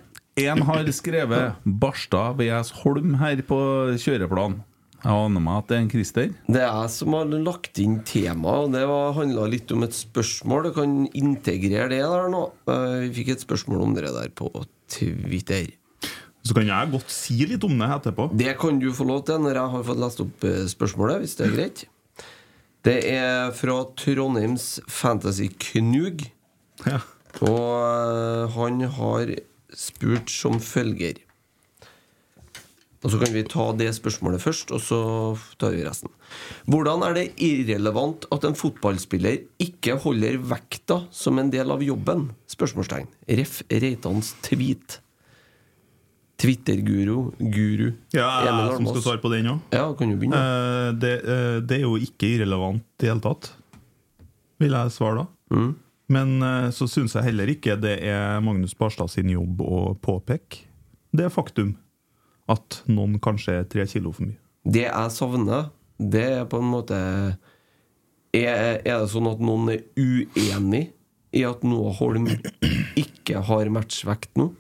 [SPEAKER 1] En har skrevet 'Barstad VS Holm' her på kjøreplan. Jeg aner meg at det er en Christer.
[SPEAKER 5] Det er jeg som har lagt inn temaet, og det var- handla litt om et spørsmål. Du kan integrere det der nå. Eh, Vi fikk et spørsmål om det der på Twitter.
[SPEAKER 3] Så kan jeg godt si litt om det etterpå.
[SPEAKER 5] Det kan du få lov til når jeg har fått lest opp eh, spørsmålet, hvis det er greit. Det er fra Trondheims Fantasy-Knug.
[SPEAKER 3] Ja.
[SPEAKER 5] Og eh, han har spurt som følger Og så kan vi ta det spørsmålet først, og så tar vi resten. Hvordan er det irrelevant at en fotballspiller ikke holder vekta som en del av jobben? Spørsmålstegn. Ref. Reitans tweet. Twitter-guru. Guru.
[SPEAKER 3] Ja, jeg
[SPEAKER 5] Emil
[SPEAKER 3] som skal
[SPEAKER 5] Almås.
[SPEAKER 3] svare på den òg.
[SPEAKER 5] Ja, kan jo begynne.
[SPEAKER 3] det, eh, det er jo ikke irrelevant i det hele tatt, vil jeg svare da.
[SPEAKER 5] Mm.
[SPEAKER 3] Men eh, så syns jeg heller ikke det er Magnus Barstad sin jobb å påpeke det faktum at noen kanskje er tre kilo for mye.
[SPEAKER 5] Det jeg savner, det er på en måte Er, er det sånn at noen er uenig i at Noah Holm ikke har matchvekt nå?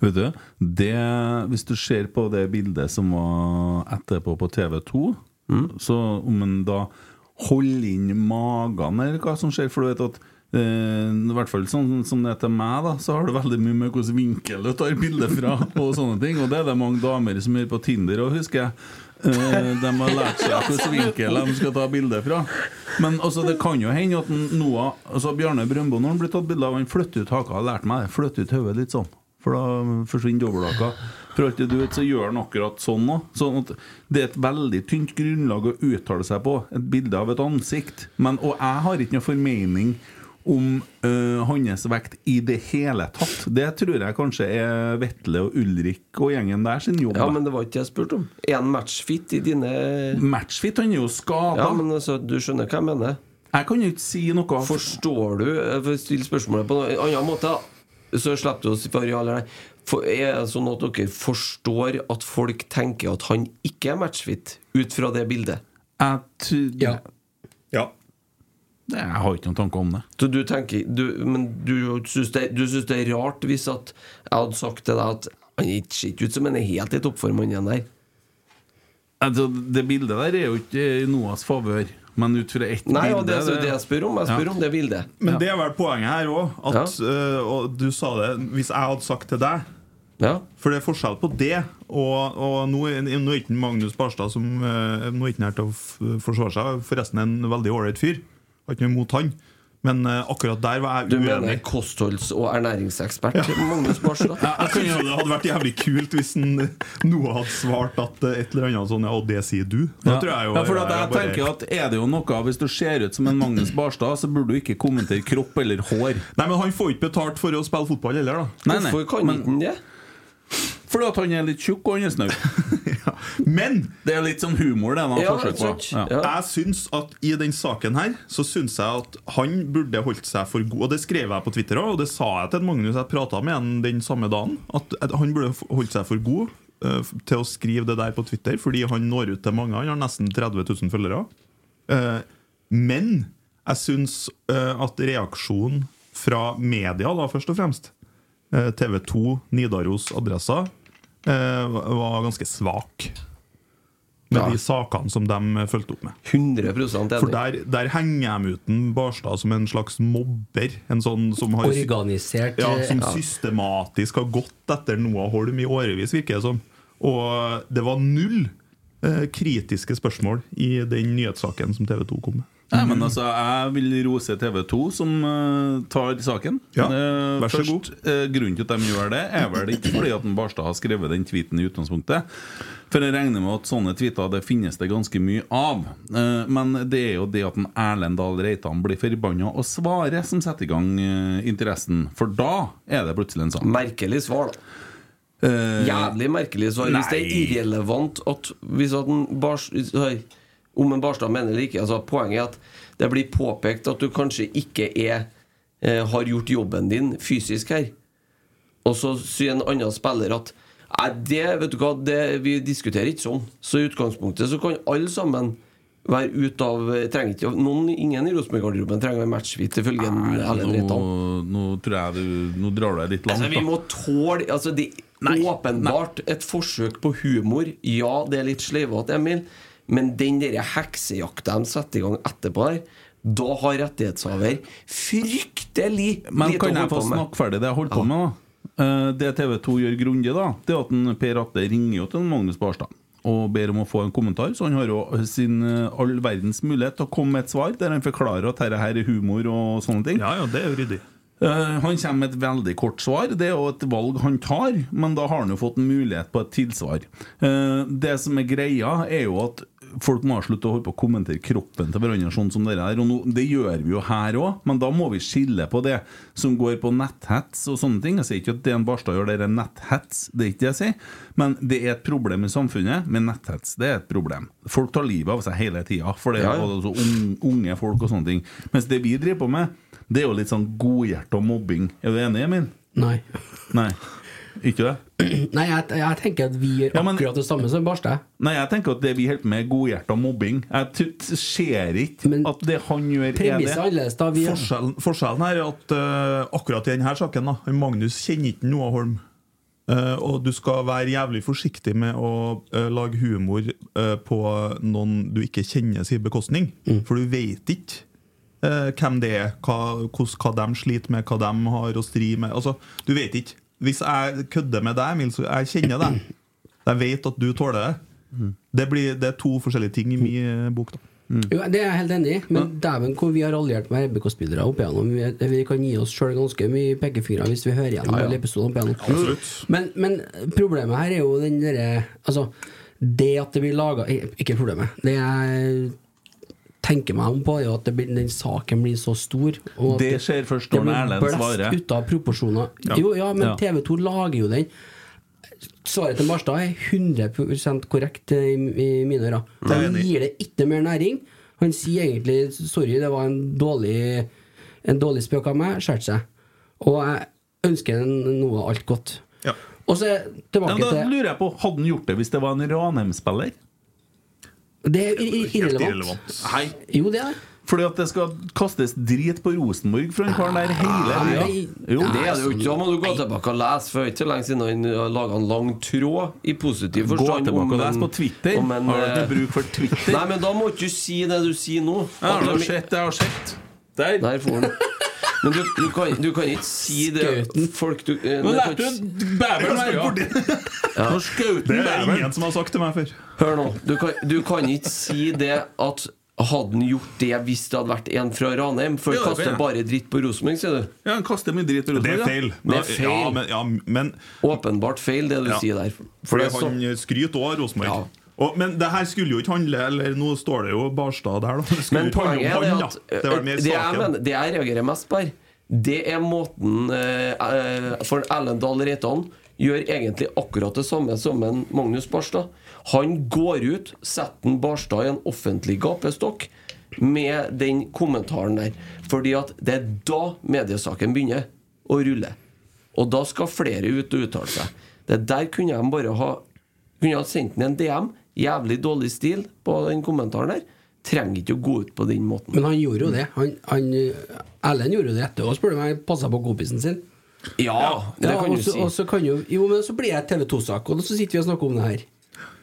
[SPEAKER 1] Vet du, det, hvis du ser på det bildet som var etterpå på TV 2, så om en da holder inn magen, eller hva som skjer For du vet at eh, i hvert fall sånn som det er til meg, da, så har det veldig mye med hvilken vinkel du tar bildet fra. Og sånne ting Og det er det mange damer som gjør på Tinder òg, husker jeg. Eh, de har lært seg hvilken vinkel de skal ta bilde fra. Men altså, det kan jo hende at en Noah Altså Bjarne Brøndbo, når han blir tatt bilde av, han flytter ut haka. Har lært meg det. Flytter ut hodet litt sånn. For da forsvinner dobbelthaka. For alt det du vet, så gjør han akkurat sånn òg. Sånn at det er et veldig tynt grunnlag å uttale seg på. Et bilde av et ansikt. Men, og jeg har ikke noe formening om øh, hans vekt i det hele tatt. Det tror jeg kanskje er Vetle og Ulrik og gjengen der sin jobb.
[SPEAKER 5] Ja, men det var ikke det jeg spurte om. Er han matchfit i dine
[SPEAKER 1] Matchfit, han er jo skada.
[SPEAKER 5] Ja, men altså, du skjønner hva jeg mener?
[SPEAKER 1] Jeg kan jo ikke si noe.
[SPEAKER 5] Forstår du eh, for Still spørsmålet på en annen måte, da. så slipper du å svare ja eller nei. For, er det sånn at dere forstår at folk tenker at han ikke er matchfit, ut fra det bildet?
[SPEAKER 1] Jeg, t-
[SPEAKER 2] Ja.
[SPEAKER 3] Ja.
[SPEAKER 1] jeg har ikke noen tanker om det.
[SPEAKER 5] Så du tenker du, Men du syns det, du syns det er rart hvis at jeg hadde sagt til deg at han ikke ser ikke ut som han er helt i toppform, han igjen der.
[SPEAKER 1] Altså, det bildet der er jo ikke i Noas favør. Men ut fra ett
[SPEAKER 5] Nei,
[SPEAKER 1] bilde
[SPEAKER 5] og det er jo det jeg spør om. Jeg spør
[SPEAKER 1] Ja.
[SPEAKER 5] om det bildet.
[SPEAKER 3] Men det er vel poenget her òg. og du sa det Hvis jeg hadde sagt til deg
[SPEAKER 5] Ja.
[SPEAKER 3] For det er forskjell på det og, og nå, er- nå er ikke Magnus Barstad som eh, Nå er ikke han her til å f- forsvare seg. Forresten en veldig ålreit fyr. Har ikke noe imot han. Men eh, akkurat der var
[SPEAKER 5] Du
[SPEAKER 3] jeg uenig.
[SPEAKER 5] mener kostholds- og ernæringsekspert Magnus Barstad?
[SPEAKER 3] Jeg synes jo det hadde vært jævlig kult hvis en, eh, noe hadde svart at eh, et eller annet sånn Ja, og det sier du? Da
[SPEAKER 1] Ja.
[SPEAKER 3] tror jeg jo
[SPEAKER 1] ja, for at jeg
[SPEAKER 3] bare-
[SPEAKER 1] tenker at Er det jo noe Hvis du ser ut som en Magnus Barstad, så burde du ikke kommentere kropp eller hår.
[SPEAKER 3] Nei, men han får ikke betalt for å spille fotball heller, da.
[SPEAKER 1] Nei, nei.
[SPEAKER 5] Hvorfor kan
[SPEAKER 1] Men-
[SPEAKER 5] ikke han det?
[SPEAKER 1] Fordi at han er litt tjukk og han er snau.
[SPEAKER 3] Men
[SPEAKER 1] Det er litt sånn humor, det han har
[SPEAKER 5] Ja,
[SPEAKER 1] forsøk
[SPEAKER 5] sant.
[SPEAKER 1] på. Ja.
[SPEAKER 5] Ja.
[SPEAKER 3] Jeg syns at i den saken her Så syns jeg at han burde holdt seg for god. Og det skrev jeg på Twitter òg, og det sa jeg til Magnus. Jeg prata med han den samme dagen. At, at han burde holdt seg for god eh, til å skrive det der på Twitter, fordi han når ut til mange. Han har nesten 30 000 følgere. Eh, men jeg syns eh, at reaksjonen fra media, da først og fremst, eh, TV 2, Nidaros, Adressa, eh, var ganske svak. Med
[SPEAKER 5] Ja.
[SPEAKER 3] de sakene som de fulgte opp med.
[SPEAKER 5] 100
[SPEAKER 3] For
[SPEAKER 5] enig.
[SPEAKER 3] der, der henger de ut en Barstad som en slags mobber. En sånn som har
[SPEAKER 2] Organisert
[SPEAKER 3] ja,
[SPEAKER 2] eh,
[SPEAKER 3] som systematisk har gått etter Noah Holm i årevis, virker det som. Og det var null eh, kritiske spørsmål i den nyhetssaken som TV 2 kom med.
[SPEAKER 1] Nei, men altså, jeg vil rose TV 2, som eh, tar saken.
[SPEAKER 3] Ja,
[SPEAKER 1] Eh,
[SPEAKER 3] vær så
[SPEAKER 1] først, eh, grunnen til at de gjør det, er vel ikke fordi at en Barstad har skrevet den tweeten i utgangspunktet. For jeg regner med at sånne tweeter det finnes det ganske mye av. Eh, men det er jo det at en Erlend Dahl Reitan blir forbanna og svarer, som setter i gang eh, interessen. For da er det plutselig en sak.
[SPEAKER 5] Merkelig svar, da.
[SPEAKER 1] Eh,
[SPEAKER 5] Jævlig merkelig svar. Hvis det er
[SPEAKER 1] Nei.
[SPEAKER 5] irrelevant at hvis at en bars, sorry, Om en Barstad mener eller ikke altså Poenget er at det blir påpekt at du kanskje ikke er eh, har gjort jobben din fysisk her. Og så sier en annen spiller at Nei, det, vet du hva, det, vi diskuterer ikke sånn. Så i utgangspunktet så kan alle sammen være ute av eh, trenger ikke, noen, Ingen i Rosenborg-garderoben trenger å være matchfit, ifølge
[SPEAKER 1] Nei,
[SPEAKER 5] Erlend
[SPEAKER 1] nå,
[SPEAKER 5] Reitan.
[SPEAKER 1] nå tror jeg du Nå drar du deg litt langt.
[SPEAKER 5] Altså, vi
[SPEAKER 1] da.
[SPEAKER 5] må tåle altså, Det er
[SPEAKER 1] Nei,
[SPEAKER 5] åpenbart et forsøk på humor. Ja, det er litt sleivete, Emil, men den der heksejakta de setter i gang etterpå her, da har rettighetshaver fryktelig
[SPEAKER 1] Men
[SPEAKER 5] lite å
[SPEAKER 1] kan jeg
[SPEAKER 5] holde
[SPEAKER 1] få
[SPEAKER 5] på med.
[SPEAKER 1] snakke ferdig det jeg holder på med, da? Eh, Det TV 2 gjør grundig, da, det er at en Per Atte ringer jo til en Magnus Barstad og ber om å få en kommentar. Så han har jo sin eh, all verdens mulighet til å komme med et svar der han forklarer at dette her er humor og sånne ting.
[SPEAKER 3] Ja, ja, det er jo ryddig.
[SPEAKER 1] Eh, Han kommer med et veldig kort svar. Det er jo et valg han tar, men da har han jo fått en mulighet på et tilsvar. Eh, Det som er greia, er jo at folk må slutte å holde på å kommentere kroppen til hverandre sånn som dere her. Og nå, det gjør vi jo her òg, men da må vi skille på det som går på netthets og sånne ting. Jeg sier ikke at DN Barstad gjør det der netthets, det er ikke det jeg sier. Men det er et problem i samfunnet med netthets. Det er et problem. Folk tar livet av seg hele tida, for det er
[SPEAKER 5] Ja, ja.
[SPEAKER 1] altså un- unge folk og sånne ting. Mens det vi driver på med, det er jo litt sånn godhjerta mobbing. Er du enig, Emil?
[SPEAKER 2] Nei.
[SPEAKER 1] Nei. Ikke det?
[SPEAKER 2] Nei, jeg, jeg tenker at vi gjør
[SPEAKER 1] Ja, men-
[SPEAKER 2] akkurat det samme som Barstad.
[SPEAKER 1] Nei, jeg tenker at det vi holder på med, er godhjerta mobbing. Jeg t- t- ser ikke
[SPEAKER 2] Men
[SPEAKER 1] at det han gjør, er
[SPEAKER 2] Premisset er
[SPEAKER 1] det.
[SPEAKER 2] annerledes, da. Vi er,
[SPEAKER 3] Forskjellen, forskjellen her er at eh, akkurat i denne saken da, han Magnus kjenner ikke noe av Holm. Eh, og du skal være jævlig forsiktig med å eh, lage humor eh, på noen du ikke kjenner sin bekostning. For du vet ikke eh, hvem det er, hva, hos, hva de sliter med, hva de har å stri med. Altså, du vet ikke. Hvis jeg kødder med deg, Emil, så jeg kjenner deg. Jeg vet at du tåler det. Det, blir, det er to forskjellige ting i min eh, bok. da
[SPEAKER 2] jo, det er jeg helt enig i, men dæven hvor vi har alliert med RBK-spillere opp igjennom. Vi, vi kan gi oss sjøl ganske mye pekefingre hvis vi hører gjennom alle episodene opp igjennom.
[SPEAKER 3] Absolutt.
[SPEAKER 2] Men, men problemet her er jo den derre Altså, det at det blir laga Ikke problemet. Det jeg tenker meg om på, er jo at det blir, den saken blir så stor. Og at
[SPEAKER 1] Det skjer først når Erlend svarer.
[SPEAKER 2] ut av proporsjoner. Jo, ja, men
[SPEAKER 1] Ja.
[SPEAKER 2] TV 2 lager jo den. Svaret til Barstad er 100 korrekt eh, i, i mine ører. Han gir det ikke mer næring. Han sier egentlig 'sorry, det var en dårlig, en dårlig spøk av meg', skjærte seg. Og jeg ønsker en- noe alt godt.
[SPEAKER 3] Ja.
[SPEAKER 2] Og så er- tilbake
[SPEAKER 1] Men da
[SPEAKER 2] til
[SPEAKER 1] lurer jeg på, Hadde han gjort det hvis det var en Ranheim-spiller?
[SPEAKER 2] Det er i- i-
[SPEAKER 3] Helt
[SPEAKER 2] irrelevant.
[SPEAKER 3] irrelevant.
[SPEAKER 1] Nei.
[SPEAKER 2] Jo, det er det.
[SPEAKER 1] Fordi at det skal kastes drit på Rosenborg fra den karen der hele
[SPEAKER 2] Nei.
[SPEAKER 1] tida? Jo,
[SPEAKER 5] Ah, Det er det jo ikke. Da må du gå tilbake og lese. For det er ikke så lenge siden han har laga en lang tråd i positiv
[SPEAKER 1] Gå
[SPEAKER 5] forstand.
[SPEAKER 1] tilbake og
[SPEAKER 5] om
[SPEAKER 1] les
[SPEAKER 5] en-
[SPEAKER 1] på Twitter.
[SPEAKER 5] om en,
[SPEAKER 1] Har du ikke
[SPEAKER 5] eh,
[SPEAKER 1] bruk for Twitter?
[SPEAKER 5] Nei, men da må ikke du si det du sier nå.
[SPEAKER 1] Jeg har
[SPEAKER 5] At
[SPEAKER 1] nå
[SPEAKER 5] de-
[SPEAKER 1] sett, jeg har sett. Der.
[SPEAKER 5] Der får han. Men du, du, kan, du kan ikke si det folk du,
[SPEAKER 1] Nå
[SPEAKER 5] eh, du
[SPEAKER 1] lærte
[SPEAKER 5] kan ikke
[SPEAKER 1] du bæveren der, ja. Nå skjøt
[SPEAKER 3] Det
[SPEAKER 1] han
[SPEAKER 3] er
[SPEAKER 1] bæveren.
[SPEAKER 3] ingen som har sagt til meg før.
[SPEAKER 5] Hør nå, du kan, du kan ikke si det at hadde han gjort det hvis det hadde vært en fra Ranheim? For
[SPEAKER 1] Ja,
[SPEAKER 5] han
[SPEAKER 1] det kan
[SPEAKER 5] kaster
[SPEAKER 1] jeg.
[SPEAKER 5] bare dritt på Rosenborg, sier du.
[SPEAKER 1] Ja, han kaster mye drit på
[SPEAKER 3] Det er
[SPEAKER 1] Rosenborg.
[SPEAKER 3] feil.
[SPEAKER 5] Det er feil.
[SPEAKER 3] Ja, men, ja, men
[SPEAKER 5] Åpenbart feil, det du
[SPEAKER 3] Ja.
[SPEAKER 5] sier der.
[SPEAKER 3] for
[SPEAKER 5] det er så-
[SPEAKER 3] han eh, skryter òg av Rosenborg.
[SPEAKER 5] Ja.
[SPEAKER 3] Og- Men det her skulle jo ikke handle Eller nå står det jo Barstad der, da. Det skulle
[SPEAKER 5] Men
[SPEAKER 3] ikke handle
[SPEAKER 5] poenget er
[SPEAKER 3] om
[SPEAKER 5] det
[SPEAKER 3] han,
[SPEAKER 5] at
[SPEAKER 3] da.
[SPEAKER 5] eh,
[SPEAKER 3] Det er vel mer
[SPEAKER 5] det jeg,
[SPEAKER 3] saken.
[SPEAKER 5] mener, det jeg reagerer mest på her, det er måten eh, eh, For Erlend Dahl Reitan gjør egentlig akkurat det samme som en Magnus Barstad. Han går ut, setter en Barstad i en offentlig gapestokk med den kommentaren der. Fordi at det er da mediesaken begynner å rulle. Og da skal flere ut og uttale seg. Det der kunne de bare ha Kunne ha sendt den en DM. Jævlig dårlig stil på den kommentaren der. Trenger ikke å gå ut på den måten.
[SPEAKER 2] Men han gjorde jo det. Han, han, Erlend gjorde jo det rette og spør du meg, passa på kompisen sin.
[SPEAKER 5] Ja, det
[SPEAKER 2] Ja,
[SPEAKER 5] kan
[SPEAKER 2] og
[SPEAKER 5] du
[SPEAKER 2] så-
[SPEAKER 5] si.
[SPEAKER 2] Og så kan jo, jo, men så blir det TV 2-sak, og så sitter vi og snakker om det her.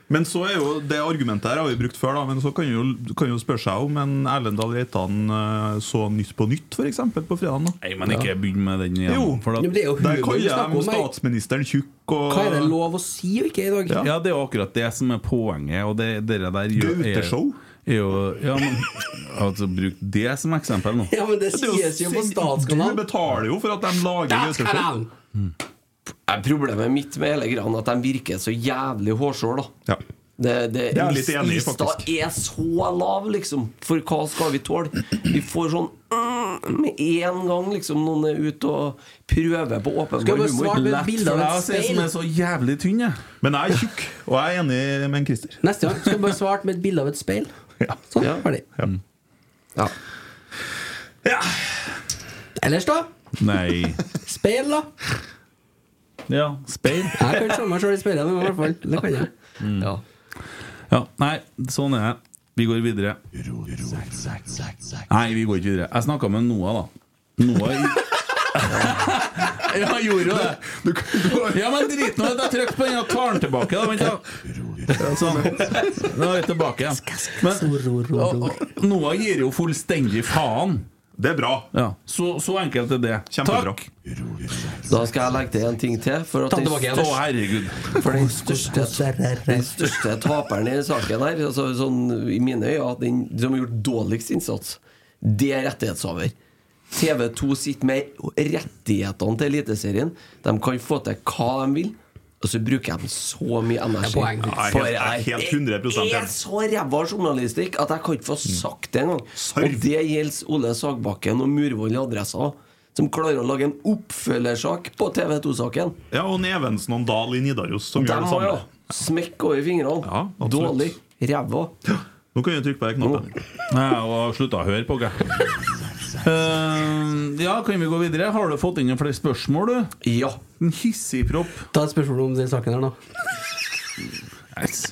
[SPEAKER 3] Men så er jo det argumentet her har vi brukt før, da. Men så kan jo, kan jo spørre seg om en Erlend Dahl Reitan eh, så Nytt på Nytt, f.eks. på fredagen. da.
[SPEAKER 1] Nei, men ikke begynn med den igjen.
[SPEAKER 3] Jo.
[SPEAKER 1] for da-
[SPEAKER 2] Jo, men det er jo
[SPEAKER 3] Der
[SPEAKER 2] humor vi snakker
[SPEAKER 3] kaller de
[SPEAKER 2] om her.
[SPEAKER 3] statsministeren tjukk og
[SPEAKER 2] Hva er det lov å si og ikke i dag?
[SPEAKER 3] Ja.
[SPEAKER 1] Ja, det er jo akkurat det som er poenget. Og det, dere der gjør, er-
[SPEAKER 3] Gauteshow?
[SPEAKER 1] Er jo, ja, men altså, Bruk det som eksempel nå.
[SPEAKER 2] Ja, men det
[SPEAKER 3] Det er
[SPEAKER 2] sies jo på
[SPEAKER 3] sin-
[SPEAKER 2] statskanalen.
[SPEAKER 3] Du betaler jo for at de lager Gauteshow.
[SPEAKER 2] Statskanalen!
[SPEAKER 5] Er Problemet mitt med hele greia er at de virker så jævlig hårsåre, da.
[SPEAKER 3] Ja.
[SPEAKER 5] Det, det,
[SPEAKER 3] Det er jeg litt enig i,
[SPEAKER 5] lista
[SPEAKER 3] faktisk.
[SPEAKER 5] er så lav, liksom. For hva skal vi tåle? Vi får sånn mm, med en gang, liksom. Noen er ute og prøver på
[SPEAKER 2] Skal
[SPEAKER 5] åpenbar
[SPEAKER 2] vi svare
[SPEAKER 5] humor.
[SPEAKER 2] med et
[SPEAKER 1] Lett
[SPEAKER 2] bilde
[SPEAKER 1] for
[SPEAKER 2] av
[SPEAKER 1] deg å
[SPEAKER 2] et
[SPEAKER 1] si som er
[SPEAKER 2] speil?
[SPEAKER 1] så jævlig tynn, jeg.
[SPEAKER 3] Men jeg er tjukk, og jeg er enig med en Christer.
[SPEAKER 2] Neste gang skal vi bare svare med et bilde av et speil.
[SPEAKER 3] Ja.
[SPEAKER 2] Sånn,
[SPEAKER 5] Ja.
[SPEAKER 2] ferdig.
[SPEAKER 1] Mm.
[SPEAKER 5] Ja.
[SPEAKER 2] Ellers, da?
[SPEAKER 1] Nei.
[SPEAKER 2] Speil, da?
[SPEAKER 1] Ja, speil.
[SPEAKER 2] Jeg kan se meg sjøl i speilet, men i hvert fall. Det kan jeg.
[SPEAKER 5] Ja.
[SPEAKER 1] Ja, nei, sånn er det. Vi går videre. Nei, vi går ikke videre. Jeg snakka med Noah, da. Noah Ja, jeg gjorde jo det. Ja, men drit nå i at jeg trykker på den og tar den tilbake. Da, vent, da. Sånn. Nå er vi tilbake igjen. Men og- og Noah gir jo fullstendig faen.
[SPEAKER 3] Det er bra.
[SPEAKER 1] Ja, så, så enkelt er det.
[SPEAKER 3] Kjempebra.
[SPEAKER 1] Takk.
[SPEAKER 5] Da skal jeg legge til en ting til. For at
[SPEAKER 2] Ta
[SPEAKER 5] den
[SPEAKER 2] tilbake igjen.
[SPEAKER 1] Å, herregud.
[SPEAKER 5] For den største, den største taperen i saken her, altså sånn, i mine øyne, at den som har gjort dårligst innsats, det er rettighetshaver. TV 2 sitter med rettighetene til Eliteserien. De kan få til hva de vil. Og så bruker de så mye energi.
[SPEAKER 2] Det er poeng.
[SPEAKER 5] For
[SPEAKER 3] Jeg er helt- jeg er helt 100%
[SPEAKER 5] Det
[SPEAKER 3] enig. Mm.
[SPEAKER 5] er så ræva journalistikk at jeg kan ikke få sagt det engang. Og det gjelder Ole Sagbakken og Murvoll i Adressa, som klarer å lage en oppfølgersak på TV2-saken.
[SPEAKER 3] Ja, og Nevensen og Dahl i Nidaros som
[SPEAKER 5] De
[SPEAKER 3] gjør det
[SPEAKER 5] må jo
[SPEAKER 3] samme.
[SPEAKER 5] smekke over fingrene.
[SPEAKER 3] Ja, absolutt.
[SPEAKER 5] Dårlig. Ræva.
[SPEAKER 3] Nå kan du trykke på den knappen.
[SPEAKER 1] Nei, Jeg har slutta å høre på dere. Eh, ja, kan vi gå videre? Har du fått inn noen flere spørsmål, du?
[SPEAKER 5] Ja.
[SPEAKER 1] En hissigpropp.
[SPEAKER 2] Ta et spørsmål om den saken her, da.
[SPEAKER 1] Nice.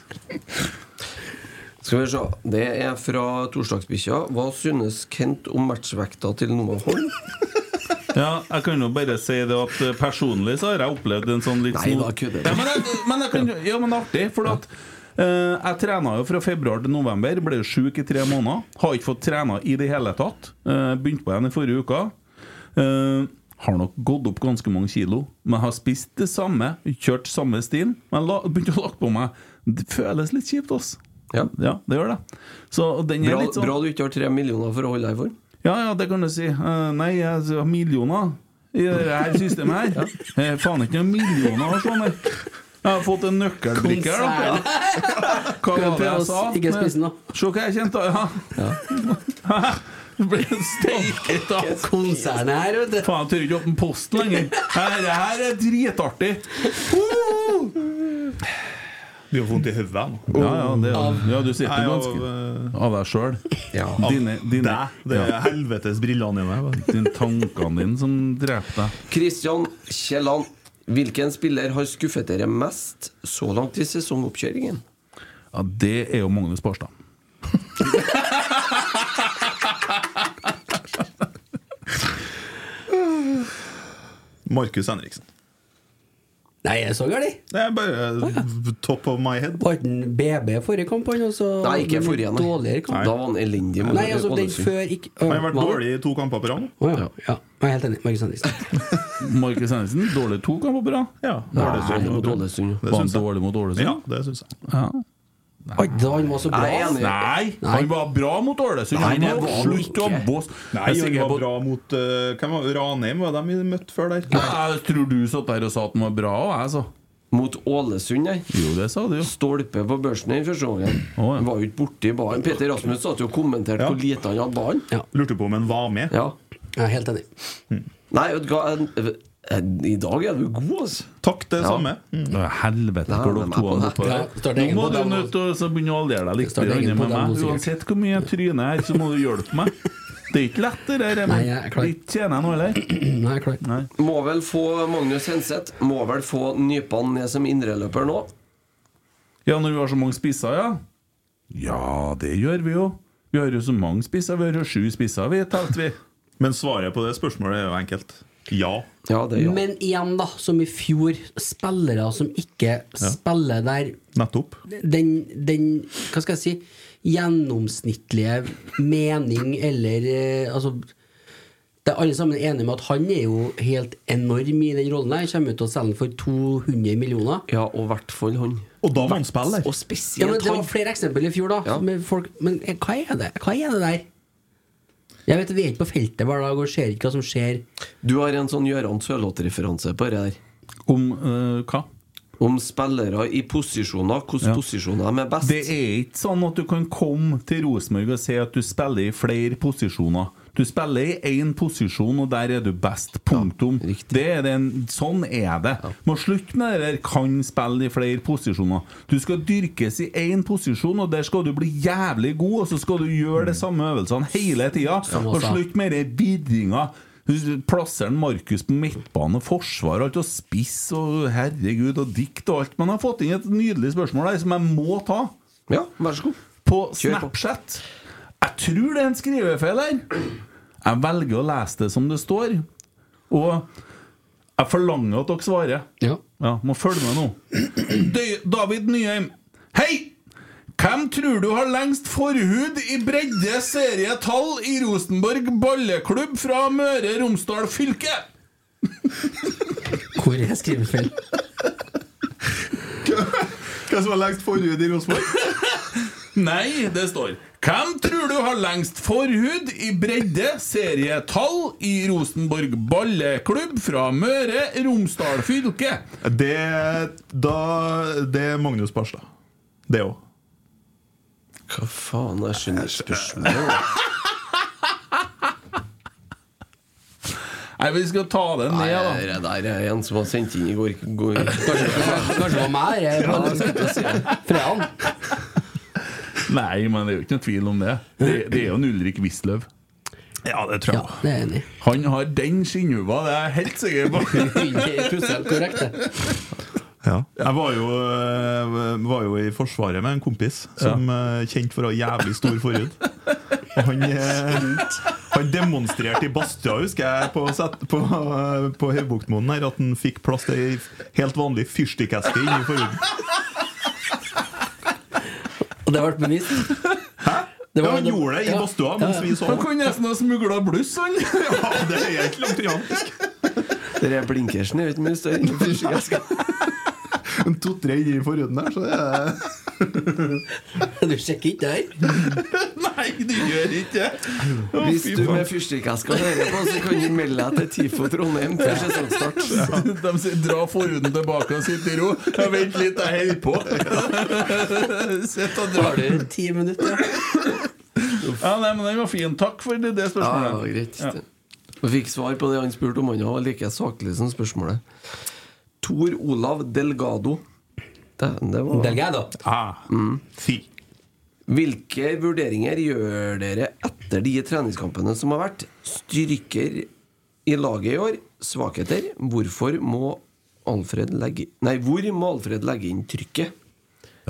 [SPEAKER 5] Skal vi se. Det er fra Torsdagsbikkja. Hva synes Kent om matchvekta til Noah Holm?
[SPEAKER 1] Ja, jeg kan jo bare si det at eh, personlig så har jeg opplevd en sånn litt
[SPEAKER 5] Nei,
[SPEAKER 1] sånn-
[SPEAKER 5] da kødder du.
[SPEAKER 1] ja, men, jeg, men jeg kan, ja, men artig, for at eh, jeg trena jo fra februar til november, ble sjuk i tre måneder. Har ikke fått trena i det hele tatt. Eh, Begynte på igjen i forrige uke. Eh, har nok gått opp ganske mange kilo, men har spist det samme, kjørt samme stil. Men la, begynte å lagt på meg Det føles litt kjipt, ass.
[SPEAKER 5] Ja.
[SPEAKER 1] Ja, det gjør det. Så den er
[SPEAKER 5] Bra,
[SPEAKER 1] litt sånn
[SPEAKER 5] bra du ikke har tre millioner for å holde deg i form.
[SPEAKER 1] ja, ja, det kan du si. Eh, nei, jeg har millioner i det her systemet her. Eh, faen ikke noen millioner og sånn her. Jeg har fått en nøkkelbrikke her, da. Hva var det jeg sa?
[SPEAKER 2] Ikke spis den, da.
[SPEAKER 1] Se hva jeg kjente, da. Ja. Det ble en steiket av
[SPEAKER 2] Konsernet her, vet du.
[SPEAKER 1] Faen, jeg tør ikke åpne posten lenger. Her- Det her er dritartig.
[SPEAKER 3] Du har vondt i hodet nå.
[SPEAKER 1] Ja, ja, det, ja du sitter
[SPEAKER 3] Nei, av,
[SPEAKER 1] ganske
[SPEAKER 3] eh,
[SPEAKER 1] Av deg sjøl.
[SPEAKER 5] Ja.
[SPEAKER 1] Dine, dine,
[SPEAKER 3] deg. Det er
[SPEAKER 1] ja,
[SPEAKER 3] helvetes brillene dine.
[SPEAKER 1] dine tankene dine som dreper deg.
[SPEAKER 5] Kristian Kielland, hvilken spiller har skuffet dere mest så langt i sesongoppkjøringen?
[SPEAKER 1] Ja, det er jo Magnus Barstad.
[SPEAKER 3] Markus Henriksen.
[SPEAKER 2] Nei, jeg så gærent.
[SPEAKER 3] Det er bare eh, top of my head.
[SPEAKER 2] Var ikke den BB forrige kamp, han? og så-
[SPEAKER 5] Nei, ikke forrige.
[SPEAKER 2] Litt
[SPEAKER 5] nei.
[SPEAKER 2] Dårligere kamp.
[SPEAKER 5] Da var han elendig mot
[SPEAKER 2] Nei, altså, den
[SPEAKER 5] Ålesund.
[SPEAKER 2] før ikke
[SPEAKER 3] Han har vært
[SPEAKER 2] Var det-
[SPEAKER 3] dårlig i to kamper på rad.
[SPEAKER 2] Å ja. ja. Jeg er helt enig. Markus Henriksen.
[SPEAKER 1] Markus Henriksen, dårlig to kamper på rad.
[SPEAKER 3] Ja,
[SPEAKER 5] Nei,
[SPEAKER 3] Ålesund.
[SPEAKER 5] mot Ålesund. jo.
[SPEAKER 3] Det
[SPEAKER 1] Var han
[SPEAKER 3] syns jeg.
[SPEAKER 1] dårlig mot Ålesund?
[SPEAKER 3] Ja, det syns jeg.
[SPEAKER 2] Oi, da han var så bra.
[SPEAKER 5] Jeg er enig.
[SPEAKER 1] Nei, han var bra mot Ålesund.
[SPEAKER 5] Nei, det
[SPEAKER 1] Han
[SPEAKER 5] var
[SPEAKER 1] var
[SPEAKER 5] han
[SPEAKER 1] slutt å
[SPEAKER 5] ikke.
[SPEAKER 1] boss.
[SPEAKER 3] Nei,
[SPEAKER 1] Jeg er
[SPEAKER 3] han
[SPEAKER 1] sikker
[SPEAKER 3] var
[SPEAKER 1] på-
[SPEAKER 3] bra mot eh, Hvem var Ranheim var de møtte før der?
[SPEAKER 1] Jeg tror du satt der og sa at han var bra, og jeg altså. sa
[SPEAKER 5] Mot Ålesund, nei.
[SPEAKER 1] Jo, det sa du jo.
[SPEAKER 5] Stolpe på børsen i første gangen.
[SPEAKER 1] Å, ja.
[SPEAKER 5] Var jo ikke borti ballen. Peter Rasmus satt jo og kommenterte
[SPEAKER 3] Ja.
[SPEAKER 5] hvor lite han hadde ballen.
[SPEAKER 3] Lurte på om han var med.
[SPEAKER 5] Ja.
[SPEAKER 2] Jeg er helt enig.
[SPEAKER 5] Nei, vet du hva en- en- I dag er du god, altså.
[SPEAKER 3] Takk, det samme. Mm.
[SPEAKER 1] Å, Helvete,
[SPEAKER 5] Nei,
[SPEAKER 1] hvor dere to har
[SPEAKER 5] men jeg-
[SPEAKER 1] gått på
[SPEAKER 2] Ja, start
[SPEAKER 1] Nå
[SPEAKER 2] egen
[SPEAKER 1] må du
[SPEAKER 2] modell nå.
[SPEAKER 1] nødt til å så begynne å alliere deg litt
[SPEAKER 2] Start egen
[SPEAKER 1] grann med
[SPEAKER 2] modell nå,
[SPEAKER 1] meg.
[SPEAKER 2] sikkert.
[SPEAKER 1] Uansett hvor mye jeg tryner her, så må du hjelpe meg. Det er ikke lett, det der.
[SPEAKER 2] Nei, jeg er
[SPEAKER 1] Emil.
[SPEAKER 2] klar.
[SPEAKER 1] Litt tjener jeg nå, eller?
[SPEAKER 2] Nei, jeg er klar.
[SPEAKER 1] Nei.
[SPEAKER 5] Må vel få Magnus Henseth. Må vel få Nypan ned som indreløper nå.
[SPEAKER 1] Ja, når vi har så mange spisser, ja? Ja, det gjør vi jo. Vi har jo så mange spisser. Vi har jo sju spisser, vi, telte vi.
[SPEAKER 3] Men svaret på det spørsmålet er jo enkelt. Ja.
[SPEAKER 5] Ja, det er ja.
[SPEAKER 2] Men igjen, da, som i fjor, spillere som ikke spiller der
[SPEAKER 3] Nettopp.
[SPEAKER 2] den, den, hva skal jeg si, gjennomsnittlige mening eller eh, Altså, det er alle sammen enige med at han er jo helt enorm i den rollen der. Kommer ut og selger den for 200 millioner.
[SPEAKER 5] ja, og i hvert fall han.
[SPEAKER 3] Og da var han spiller.
[SPEAKER 5] Og
[SPEAKER 2] Ja, men
[SPEAKER 5] spesielt
[SPEAKER 2] Det var
[SPEAKER 5] han.
[SPEAKER 2] flere eksempler i fjor, da.
[SPEAKER 5] Ja.
[SPEAKER 2] Med folk, men eh, hva er det Hva er det der? Jeg vet, Vi er ikke på feltet hver dag og ser ikke hva som skjer.
[SPEAKER 5] Du har en sånn Gøran Sørloth-referanse på det der.
[SPEAKER 1] Om eh, hva?
[SPEAKER 5] Om spillere i posisjoner, hvordan
[SPEAKER 1] Ja.
[SPEAKER 5] posisjoner de er best.
[SPEAKER 1] Det er ikke sånn at du kan komme til Rosenborg og si at du spiller i flere posisjoner. Du spiller i én posisjon, og der er du best. Punktum. det er den, sånn er det. Må slutte med det der 'kan spille i flere posisjoner'. Du skal dyrkes i én posisjon, og der skal du bli jævlig god, og så skal du gjøre de samme øvelsene hele tida. Og
[SPEAKER 2] også.
[SPEAKER 1] slutt med den bidringa. Plasser den Markus på midtbane, forsvar, alt og spiss og herregud og dikt og alt. Men jeg har fått inn et nydelig spørsmål der som jeg må ta.
[SPEAKER 5] Ja, vær så god.
[SPEAKER 1] På
[SPEAKER 5] Kjør på.
[SPEAKER 1] Snapchat. Jeg tror det er en skrivefeil her. Jeg velger å lese det som det står. Og jeg forlanger at dere svarer.
[SPEAKER 2] Ja.
[SPEAKER 1] Ja, må følge med nå. Døy- David Nyheim. Hei! Hvem tror du har lengst forhud i bredde serietall i Rosenborg balleklubb fra Møre Romsdal fylke?
[SPEAKER 2] Hvor er skrivefeil?
[SPEAKER 3] Hvem som var lengst forhud i Rosenborg?
[SPEAKER 1] Nei, det står Hvem tror du har lengst forhud i bredde, serietall, i Rosenborg balleklubb fra Møre, Romsdal fylke?
[SPEAKER 3] Det, da, det er Magnus Barstad. Det òg.
[SPEAKER 5] Hva faen er skjønner spørsmålet?
[SPEAKER 1] Nei, vi skal ta den
[SPEAKER 5] Nei,
[SPEAKER 1] ned, da.
[SPEAKER 5] det der er en som har sendt inn i går, går kanskje,
[SPEAKER 2] Kanskje det var meg? Jeg var Fredagen.
[SPEAKER 1] Nei, men det er jo ikke noe tvil om det. Det, det er jo en Ulrik Wisløw.
[SPEAKER 3] Ja, det tror
[SPEAKER 2] Ja, det er jeg enig i.
[SPEAKER 1] Han har den skinnhuva, det er jeg helt sikker på.
[SPEAKER 2] 100 korrekt, det.
[SPEAKER 3] Ja. Jeg var jo, eh, var jo i Forsvaret med en kompis som eh, kjent for å ha jævlig stor forhud. Og han, eh, han demonstrerte i Bastia, husker jeg, på, set- på, eh, på Høybuktmoen her, at han fikk plass til ei helt vanlig fyrstikkeske inni forhuden.
[SPEAKER 2] Og det ble bevist. Det
[SPEAKER 3] Ja,
[SPEAKER 2] var-
[SPEAKER 3] han gjorde det i
[SPEAKER 2] ja.
[SPEAKER 3] Badstua mens vi så
[SPEAKER 1] Han
[SPEAKER 3] på.
[SPEAKER 1] kunne nesten ha smugla bluss, han.
[SPEAKER 3] Ja, det er helt langt unna.
[SPEAKER 5] Det er blinkersen, er jo ikke mye større enn fyrstikkeska.
[SPEAKER 3] To-tre inni forhuden der, så det er
[SPEAKER 2] Du sjekker ikke der?
[SPEAKER 1] Nei, du gjør ikke det. Å,
[SPEAKER 5] Hvis
[SPEAKER 1] fy
[SPEAKER 5] du
[SPEAKER 1] faen.
[SPEAKER 5] med fyrstikkeska hører på, så kan du melde deg til TIFO Trondheim før sesongstart.
[SPEAKER 1] De sier 'dra forhuden tilbake og sitt i ro'. Ja, vent litt, jeg holder på. Sitt og dra.
[SPEAKER 2] Har du ti minutter?
[SPEAKER 1] Ja, nei, men den var fin. Takk for det, det
[SPEAKER 5] Ja, ja,
[SPEAKER 1] spørsmålet.
[SPEAKER 5] greit. Og fikk svar på det han spurte om. Han var like saklig som spørsmålet. Tor Olav Delgado. Det, det var
[SPEAKER 2] Delgado.
[SPEAKER 3] ah, si.
[SPEAKER 5] Hvilke vurderinger gjør dere etter de treningskampene som har vært? Styrker i laget i år? Svakheter? Hvorfor må Alfred legge Nei, hvor må Alfred legge inn trykket?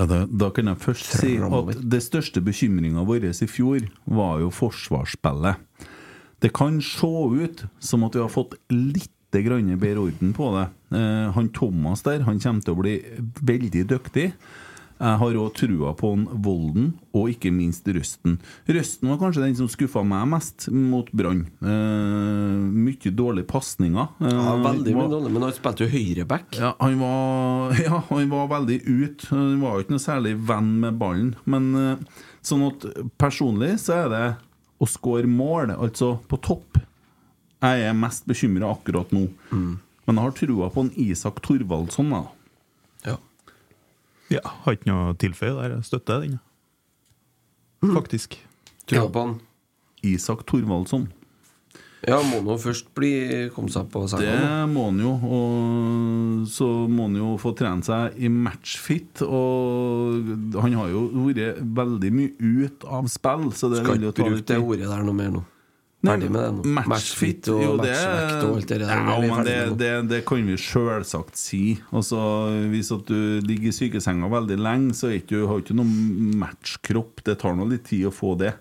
[SPEAKER 1] Ja, da, da kan jeg først si at det største bekymringa vår i fjor var jo forsvarsspillet. Det kan se ut som at vi har fått litt grann bedre orden på det. Eh, han Thomas der han kommer til å bli veldig dyktig. Jeg har òg trua på han Volden, og ikke minst Røsten. Røsten var kanskje den som skuffa meg mest mot Brann. Eh, mye dårlige pasninger. Eh,
[SPEAKER 5] Ja, veldig
[SPEAKER 1] var-
[SPEAKER 5] mye dårlig, men han spilte jo høyreback.
[SPEAKER 1] ja, han var, ja, han var veldig ut. Han var jo ikke noe særlig venn med ballen. Men eh, sånn at personlig så er det å score mål, altså på topp Jeg er mest bekymra akkurat nå.
[SPEAKER 5] Mm.
[SPEAKER 1] Men jeg har trua på en Isak Thorvaldsson, da.
[SPEAKER 3] Ja, har ikke noe å tilføye der. Jeg støtter den,
[SPEAKER 5] Mm.
[SPEAKER 3] jeg. faktisk.
[SPEAKER 5] Tror jeg på han.
[SPEAKER 1] Isak Thorvaldsson.
[SPEAKER 5] Ja, må nå først bli, komme seg på
[SPEAKER 1] Det
[SPEAKER 5] senga.
[SPEAKER 1] må han jo. Og så må han jo få trene seg i matchfit. Og han har jo vært veldig mye ut av spill, så det
[SPEAKER 5] Skal
[SPEAKER 1] vil jo
[SPEAKER 5] ikke
[SPEAKER 1] ta
[SPEAKER 5] bruke
[SPEAKER 1] litt
[SPEAKER 5] det
[SPEAKER 1] tid.
[SPEAKER 5] ordet der noe mer nå.
[SPEAKER 1] Nei,
[SPEAKER 5] Ferdig med det nå.
[SPEAKER 1] Matchfit,
[SPEAKER 5] Matchfit og
[SPEAKER 1] jo, det-
[SPEAKER 5] matchvekt og alt det der.
[SPEAKER 1] Ja,
[SPEAKER 5] Vi er
[SPEAKER 1] men
[SPEAKER 5] ferdig
[SPEAKER 1] det,
[SPEAKER 5] med det.
[SPEAKER 1] det, det kan vi sjølsagt si. Altså, Hvis at du ligger i sykesenga veldig lenge, så er ikke, du- har du ikke noen matchkropp. Det tar nå litt tid å få det.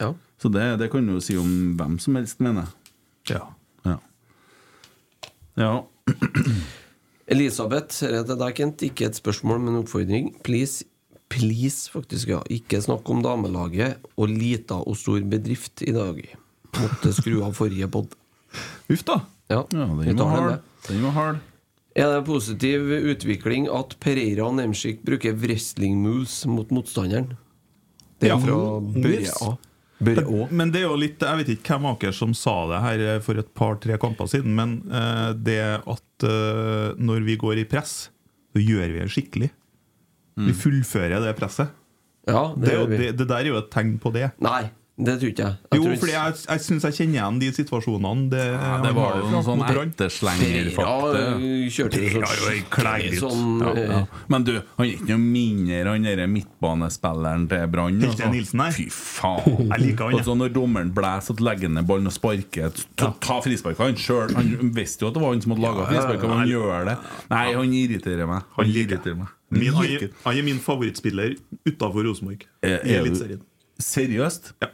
[SPEAKER 5] Ja.
[SPEAKER 1] Så det, det kan du jo si om hvem som helst, mener jeg. Ja. ja.
[SPEAKER 5] Elisabeth, dette er Kent, ikke et spørsmål, men en oppfordring. Please, please faktisk, ja. Ikke snakk om damelaget og lita og stor bedrift i dag. Måtte skru av forrige pod.
[SPEAKER 3] Uff, da.
[SPEAKER 5] Ja,
[SPEAKER 1] ja
[SPEAKER 5] vi
[SPEAKER 1] den var
[SPEAKER 5] tar den
[SPEAKER 1] hard.
[SPEAKER 5] det.
[SPEAKER 1] Den var hard.
[SPEAKER 5] Er det positiv utvikling at Pereira og Nemsik bruker wrestling moves mot motstanderen? Det
[SPEAKER 3] Ja,
[SPEAKER 5] er fra
[SPEAKER 3] moves.
[SPEAKER 5] Børre A. Børre Å.
[SPEAKER 3] Men det er jo litt Jeg vet ikke hvem av dere som sa det her eh, for et par-tre kamper siden, men eh, det at eh, når vi går i press, så gjør vi det skikkelig. Vi fullfører det presset.
[SPEAKER 5] Ja,
[SPEAKER 3] Det,
[SPEAKER 5] Mm. det
[SPEAKER 3] er jo-
[SPEAKER 5] gjør vi.
[SPEAKER 3] det, det der er jo et tegn på det.
[SPEAKER 5] Nei, det tror ikke jeg. jeg
[SPEAKER 3] Jo,
[SPEAKER 5] tror ikke-
[SPEAKER 3] fordi jeg, jeg syns jeg kjenner igjen de situasjonene. Det,
[SPEAKER 1] Ja, det var jo
[SPEAKER 3] han
[SPEAKER 1] noen
[SPEAKER 3] har
[SPEAKER 1] sånn
[SPEAKER 3] mot Brann.
[SPEAKER 5] Pereira
[SPEAKER 1] erteslengerfakte.
[SPEAKER 5] øh, kjørte jo
[SPEAKER 3] Pereira er jo en klegg
[SPEAKER 5] skikkelig
[SPEAKER 3] gutt.
[SPEAKER 5] sånn
[SPEAKER 1] Ja,
[SPEAKER 5] øh,
[SPEAKER 1] ja. Men du, han er ikke noe mindre han derre midtbanespilleren til Brann. altså.
[SPEAKER 3] Hilde Nilsen, nei.
[SPEAKER 1] Fy faen.
[SPEAKER 3] Jeg liker han, jeg.
[SPEAKER 1] Altså, når dommeren blåser at legger ned ballen og sparker Ta, ta frisparket han sjøl. Han visste jo at det var han som hadde laga frisparket, men han gjør det. Nei, han irriterer meg. Han irriterer meg.
[SPEAKER 3] Min, han er- han er min favorittspiller utafor Rosenborg.
[SPEAKER 1] Er-
[SPEAKER 3] I
[SPEAKER 1] er du-
[SPEAKER 3] Eliteserien.
[SPEAKER 1] Seriøst?
[SPEAKER 3] Ja.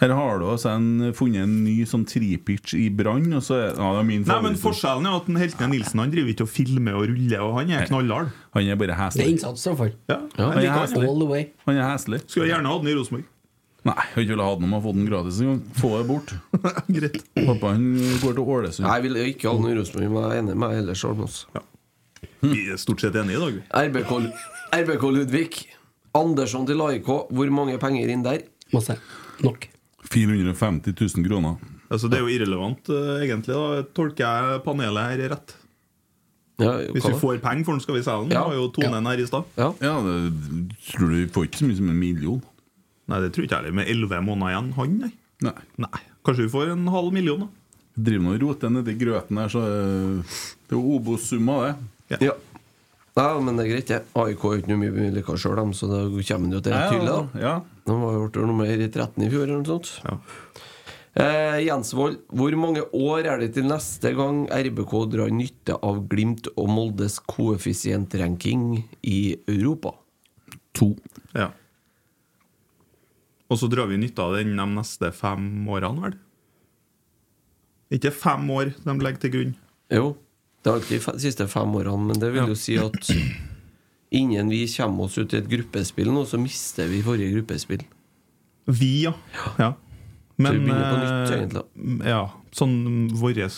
[SPEAKER 1] Her har du altså en, funnet en ny sånn tripitch i Brann, og så er ja, det er min
[SPEAKER 3] Nei, men
[SPEAKER 1] favoritt.
[SPEAKER 3] Forskjellen er jo at den Heltene Nilsen Han driver ikke og filmer og ruller, og han er knallhard.
[SPEAKER 1] Han er bare
[SPEAKER 2] Det er
[SPEAKER 1] heslig.
[SPEAKER 2] innsats, i hvert fall.
[SPEAKER 3] Ja,
[SPEAKER 1] jeg
[SPEAKER 3] jeg liker
[SPEAKER 1] har-
[SPEAKER 3] han.
[SPEAKER 2] All the way.
[SPEAKER 1] Han er heslig.
[SPEAKER 3] Skulle gjerne hatt den i Rosenborg.
[SPEAKER 1] Nei, jeg har ikke villet ha den om jeg har fått den gratis engang. Få det bort.
[SPEAKER 3] Greit.
[SPEAKER 1] Pappa han går til Ålesund.
[SPEAKER 5] Nei, jeg vil ikke ha noe Rosenborg, men jeg er enig med altså. deg ellers. Almås.
[SPEAKER 3] Vi er stort sett enige i dag. vi.
[SPEAKER 5] RBK, RBK Ludvig. Andersson til AIK, hvor mange penger inn der?
[SPEAKER 2] Masse. Nok.
[SPEAKER 1] 450 000 kroner.
[SPEAKER 3] Altså, det er jo irrelevant, eh, egentlig. da Tolker jeg panelet her rett?
[SPEAKER 5] Ja,
[SPEAKER 3] Hvis
[SPEAKER 5] hva
[SPEAKER 3] vi
[SPEAKER 5] da?
[SPEAKER 3] får penger for den, skal vi selge den.
[SPEAKER 5] Ja.
[SPEAKER 3] Det var jo Tonen her i stad.
[SPEAKER 5] ja.
[SPEAKER 1] Ja, det, tror du vi får ikke så mye som en million?
[SPEAKER 3] Nei, det tror ikke jeg heller. Med elleve måneder igjen, han, nei.
[SPEAKER 1] Nei.
[SPEAKER 3] nei. Kanskje vi får en halv million, da.
[SPEAKER 1] Driver nå og roter nedi grøten her, så eh, det er jo Obos-summa, det.
[SPEAKER 5] Ja. Nei, men det er greit, det. AIK er jo ikke noe mye vedlikehold sjøl, så da kommer det jo til
[SPEAKER 1] Ja,
[SPEAKER 5] tydelig, da.
[SPEAKER 1] Ja.
[SPEAKER 5] De var jo blitt nummer 13 i fjor, eller noe sånt. Eh, Jensvold, hvor mange år er det til neste gang RBK drar nytte av Glimt og Moldes koeffisientranking i Europa?
[SPEAKER 1] To.
[SPEAKER 3] Ja. Og så drar vi nytte av den de neste fem årene, vel? Ikke fem år de legger til grunn.
[SPEAKER 5] Jo, det er alltid de siste fem årene, men det vil jo si at innen vi kommer oss ut i et gruppespill nå, så mister vi forrige gruppespill.
[SPEAKER 3] Vi, ja. ja.
[SPEAKER 5] Så vi begynner på nytt,
[SPEAKER 3] eh,
[SPEAKER 5] egentlig.
[SPEAKER 3] ja, sånn vår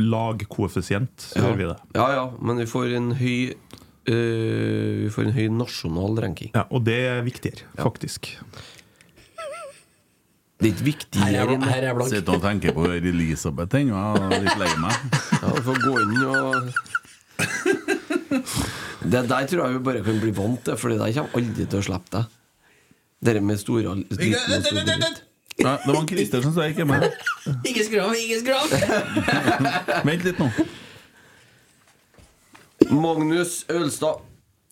[SPEAKER 3] lagkoeffisient, så gjør vi det.
[SPEAKER 5] Ja ja, men vi får en høy eh, Vi får en høy nasjonal ranking.
[SPEAKER 3] Ja, og det er viktigere, faktisk.
[SPEAKER 5] Det er ikke
[SPEAKER 2] Her
[SPEAKER 5] viktigere
[SPEAKER 2] er,
[SPEAKER 5] enn
[SPEAKER 2] her er blank.
[SPEAKER 1] Sitter og tenker på Elisabeth ennå, jeg er litt lei meg.
[SPEAKER 5] Ja, vi får gå inn og Det der tror jeg vi bare kan bli vant til, for det der kommer aldri til å slippe deg. Dere med store al- liten og stor dritt.
[SPEAKER 1] Nei, det var en Christer som sa ikke meg.
[SPEAKER 2] Ikke skrav, ikke skrav!
[SPEAKER 1] Vent litt nå.
[SPEAKER 5] Magnus Ølstad.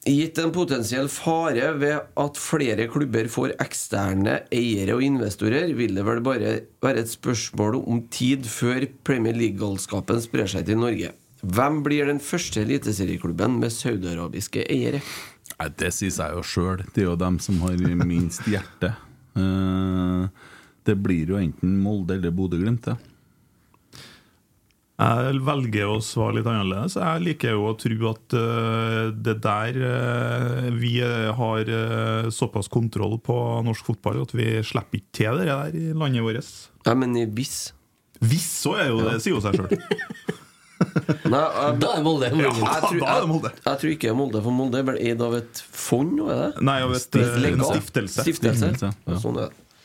[SPEAKER 5] Gitt en potensiell fare ved at flere klubber får eksterne eiere og investorer, vil det vel bare være et spørsmål om tid før Premier League-galskapen sprer seg til Norge. Hvem blir den første eliteserieklubben med saudiarabiske eiere?
[SPEAKER 1] Nei, det sier jeg jo sjøl. Det er jo dem som har minst hjerte. Eh, det blir jo enten Molde eller Bodø-Glimt, det.
[SPEAKER 3] Jeg velger å svare litt annerledes. Jeg liker jo å tro at øh, det der øh, Vi øh, har øh, såpass kontroll på norsk fotball at vi slipper ikke til det der i landet vårt.
[SPEAKER 5] Nei, men i BIS
[SPEAKER 3] Hvis så er jo det, sier jo seg sjøl.
[SPEAKER 5] Nei, jeg,
[SPEAKER 2] Da er Molde
[SPEAKER 5] jeg,
[SPEAKER 2] morgen.
[SPEAKER 5] tror,
[SPEAKER 3] da er det
[SPEAKER 5] jeg,
[SPEAKER 3] Molde.
[SPEAKER 5] jeg tror ikke det er Molde, for Molde er vel eid av et fond? nå, Er det?
[SPEAKER 3] Nei, av et, øh, en
[SPEAKER 5] Legal.
[SPEAKER 3] stiftelse.
[SPEAKER 5] stiftelse.
[SPEAKER 1] Stiftelse, ja.
[SPEAKER 5] Sånn er det.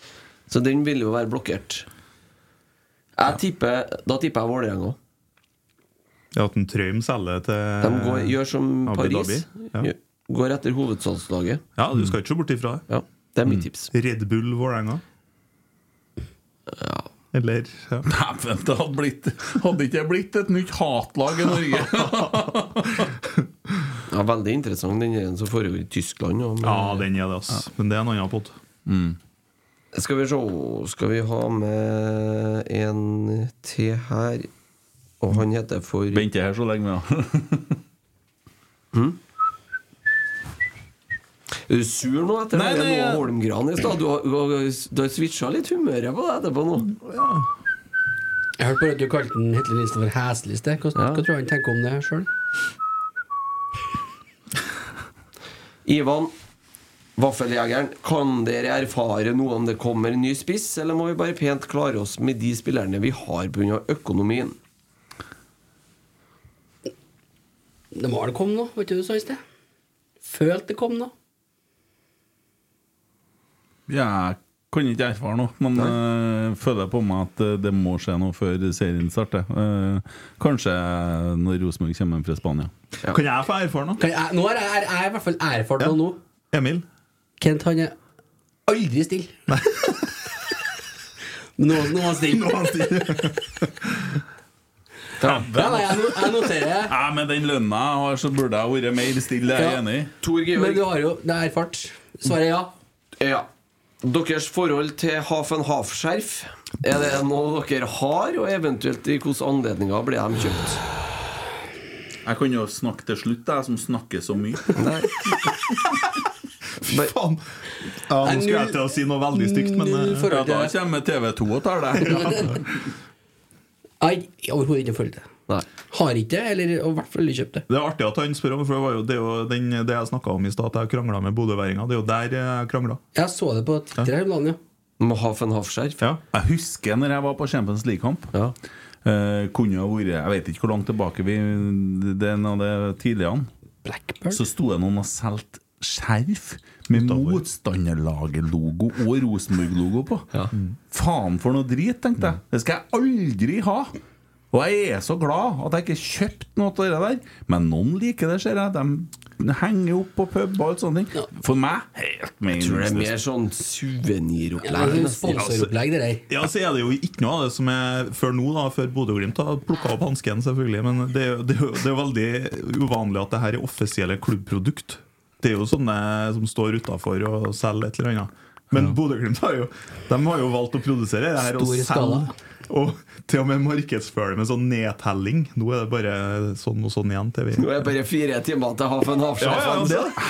[SPEAKER 5] Så den vil jo være blokkert. Jeg tipper, da tipper jeg Vålerenga.
[SPEAKER 3] Ja, At en Trøim selger
[SPEAKER 5] De
[SPEAKER 3] til
[SPEAKER 5] går, gjør som
[SPEAKER 3] Eh, Abu
[SPEAKER 5] Paris.
[SPEAKER 3] Dhabi, ja.
[SPEAKER 5] gjør- Går etter hovedstadslaget.
[SPEAKER 3] Ja, du skal ikke se bort ifra det.
[SPEAKER 5] Ja, det
[SPEAKER 3] Mm.
[SPEAKER 5] er mitt tips.
[SPEAKER 3] Red Bull Vålerenga. Eller ja.
[SPEAKER 1] Dæven, det hadde blitt Hadde ikke det blitt et nytt hatlag i Norge?
[SPEAKER 5] Ja, veldig interessant den der som foregår i Tyskland. og med-
[SPEAKER 3] ja, den er det, ass. Men det er en annen pott.
[SPEAKER 5] Skal vi se Skal vi ha med en til her? Og han heter for
[SPEAKER 1] Venter her så lenge, ja.
[SPEAKER 5] Er du sur nå etter
[SPEAKER 1] Nei,
[SPEAKER 5] det
[SPEAKER 1] nei,
[SPEAKER 5] Noah
[SPEAKER 1] jeg-
[SPEAKER 5] Holmgren i stad? Du har, du har, du har switcha litt humøret på deg etterpå nå.
[SPEAKER 2] Jeg hørte bare at du kalte den Hitler Nilsen for hesliste. Hva,
[SPEAKER 5] Ja.
[SPEAKER 2] hva tror du han tenker om det sjøl?
[SPEAKER 5] Ivan, Vaffeljegeren, kan dere erfare noe om det kommer en ny spiss, eller må vi bare pent klare oss med de spillerne vi har pga. økonomien?
[SPEAKER 2] Det må vel komme noe, var ikke det du sa i sted? Følte det kom noe.
[SPEAKER 1] Jeg kan ikke erfare noe, men eh, føler på meg at eh, det må skje noe før serien starter. Eh, kanskje når Rosenborg kommer fra Spania.
[SPEAKER 3] Kan jeg få erfare noe?
[SPEAKER 2] Kan jeg, nå har jeg, jeg, jeg i hvert fall erfart
[SPEAKER 3] Ja.
[SPEAKER 2] noe nå.
[SPEAKER 3] Emil?
[SPEAKER 2] Kent han er aldri stille. Men nå, nå er han stille. Ja, nei, jeg, no- jeg noterer.
[SPEAKER 1] Nei, Med den lønna jeg har, så burde jeg vært mer stille, jeg er
[SPEAKER 2] Ja.
[SPEAKER 1] enig. i.
[SPEAKER 5] Tor
[SPEAKER 2] Men
[SPEAKER 5] Georg,
[SPEAKER 2] du har jo det er erfart. Svaret er ja.
[SPEAKER 5] ja. deres forhold til Hafen-Haf-skjerf. Er det noe dere har, og eventuelt i hvilke anledninger ble de kjøpt?
[SPEAKER 1] Jeg kan jo snakke til slutt, jeg som snakker så mye.
[SPEAKER 3] Fy faen! Ja, nå skulle jeg til å si noe veldig stygt, men
[SPEAKER 2] Null
[SPEAKER 3] eh,
[SPEAKER 1] Ja,
[SPEAKER 2] forhold
[SPEAKER 1] da
[SPEAKER 2] til det.
[SPEAKER 1] kommer TV 2 og tar deg.
[SPEAKER 2] Nei, overhodet ikke forhold til det.
[SPEAKER 5] Nei.
[SPEAKER 2] Har ikke det, eller i hvert fall ikke kjøpt det.
[SPEAKER 3] det er artig at han spør om, for det var jo det, er jo den, det jeg snakka om i stad, at jeg krangla med bodøværinga. Det er jo der jeg krangla.
[SPEAKER 2] Jeg så det på Twitter her om dagen, ja.
[SPEAKER 5] Med Hafen-Haf-skjerf?
[SPEAKER 3] Ja.
[SPEAKER 1] Jeg husker når jeg var på Champions League-kamp.
[SPEAKER 5] Ja.
[SPEAKER 1] Eh, kunne ha vært Jeg vet ikke hvor langt tilbake vi Det er en av de tidligere.
[SPEAKER 2] Blackbird.
[SPEAKER 1] Så sto det noen og solgte skjerf med motstanderlaget-logo og Rosenborg-logo på.
[SPEAKER 2] Mm.
[SPEAKER 1] Faen for noe drit, tenkte jeg. Det skal jeg aldri ha! Og jeg er så glad at jeg ikke kjøpte noe av det der. Men noen liker det, ser jeg. De henger opp på puber og alt sånne ting. For meg helt
[SPEAKER 5] tror det er
[SPEAKER 1] meningsløst.
[SPEAKER 5] mer sånn suveniropplegg.
[SPEAKER 2] Eller
[SPEAKER 5] nesten.
[SPEAKER 2] sponsoropplegg, det der.
[SPEAKER 3] Ja, så er det jo ikke noe av det som er før nå, da, før Bodø-Glimt har plukka opp hansken, selvfølgelig. Men det er, jo- det, er jo, det er veldig uvanlig at det her er offisielle klubbprodukt. Det er jo sånne som står utafor og selger et eller annet. Men Bodø-Glimt har jo De har jo valgt å produsere det her og
[SPEAKER 2] Stor skala.
[SPEAKER 3] selge. Og til og med markedsføre det med sånn nedtelling. Nå er det bare sånn og sånn igjen til vi
[SPEAKER 5] Nå er det bare fire timer til Hafen
[SPEAKER 3] Ja, ja, altså.
[SPEAKER 5] Havsjef.
[SPEAKER 3] det,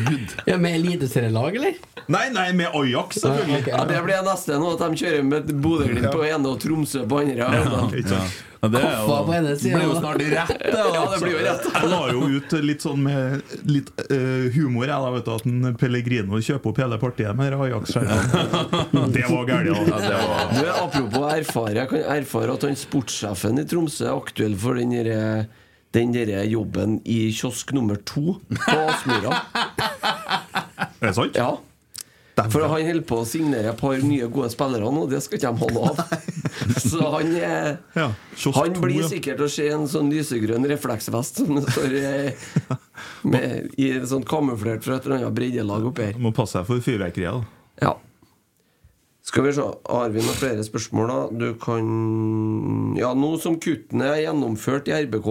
[SPEAKER 1] Herregud!
[SPEAKER 2] Ja, Med eliteserielag, eller?
[SPEAKER 3] Nei, nei, med Ajax, selvfølgelig.
[SPEAKER 2] ok.
[SPEAKER 5] Ja, det blir neste nå, at de kjører med Bodø-Glimt på ene og Tromsø på andre. Ja.
[SPEAKER 3] Ikke sant?
[SPEAKER 1] Ja, det er
[SPEAKER 2] Koffa på henne siden,
[SPEAKER 1] blir jo
[SPEAKER 2] da.
[SPEAKER 1] snart rett, det.
[SPEAKER 5] Ja, det blir jo rett.
[SPEAKER 3] Jeg la jo ut litt sånn med litt eh, humor, jeg da, vet du, at en Pellegrino kjøper opp hele partiet med disse Ajax-skjermene. Det var gærent, da. Det var-
[SPEAKER 5] Du, apropos erfare, jeg kan erfare at han sportssjefen i Tromsø er aktuell for den derre den derre jobben i kiosk nummer to på Aspmyra.
[SPEAKER 3] Er det sant?
[SPEAKER 5] Ja. For han holder på å signere et par nye gode spillere nå, det skal ikke de ha noe av. Så han er
[SPEAKER 3] Ja, kiosk
[SPEAKER 5] Han
[SPEAKER 3] to,
[SPEAKER 5] blir
[SPEAKER 3] ja.
[SPEAKER 5] sikkert å se en sånn lysegrønn refleksvest som det står eh, med, i en sånn kamuflert fra et eller annet breddelag oppi her.
[SPEAKER 3] Må passe seg for fyrverkeriet, da.
[SPEAKER 5] Ja. Skal vi se, har vi noen flere spørsmål, da? Du kan Ja, nå som kuttene er gjennomført i RBK,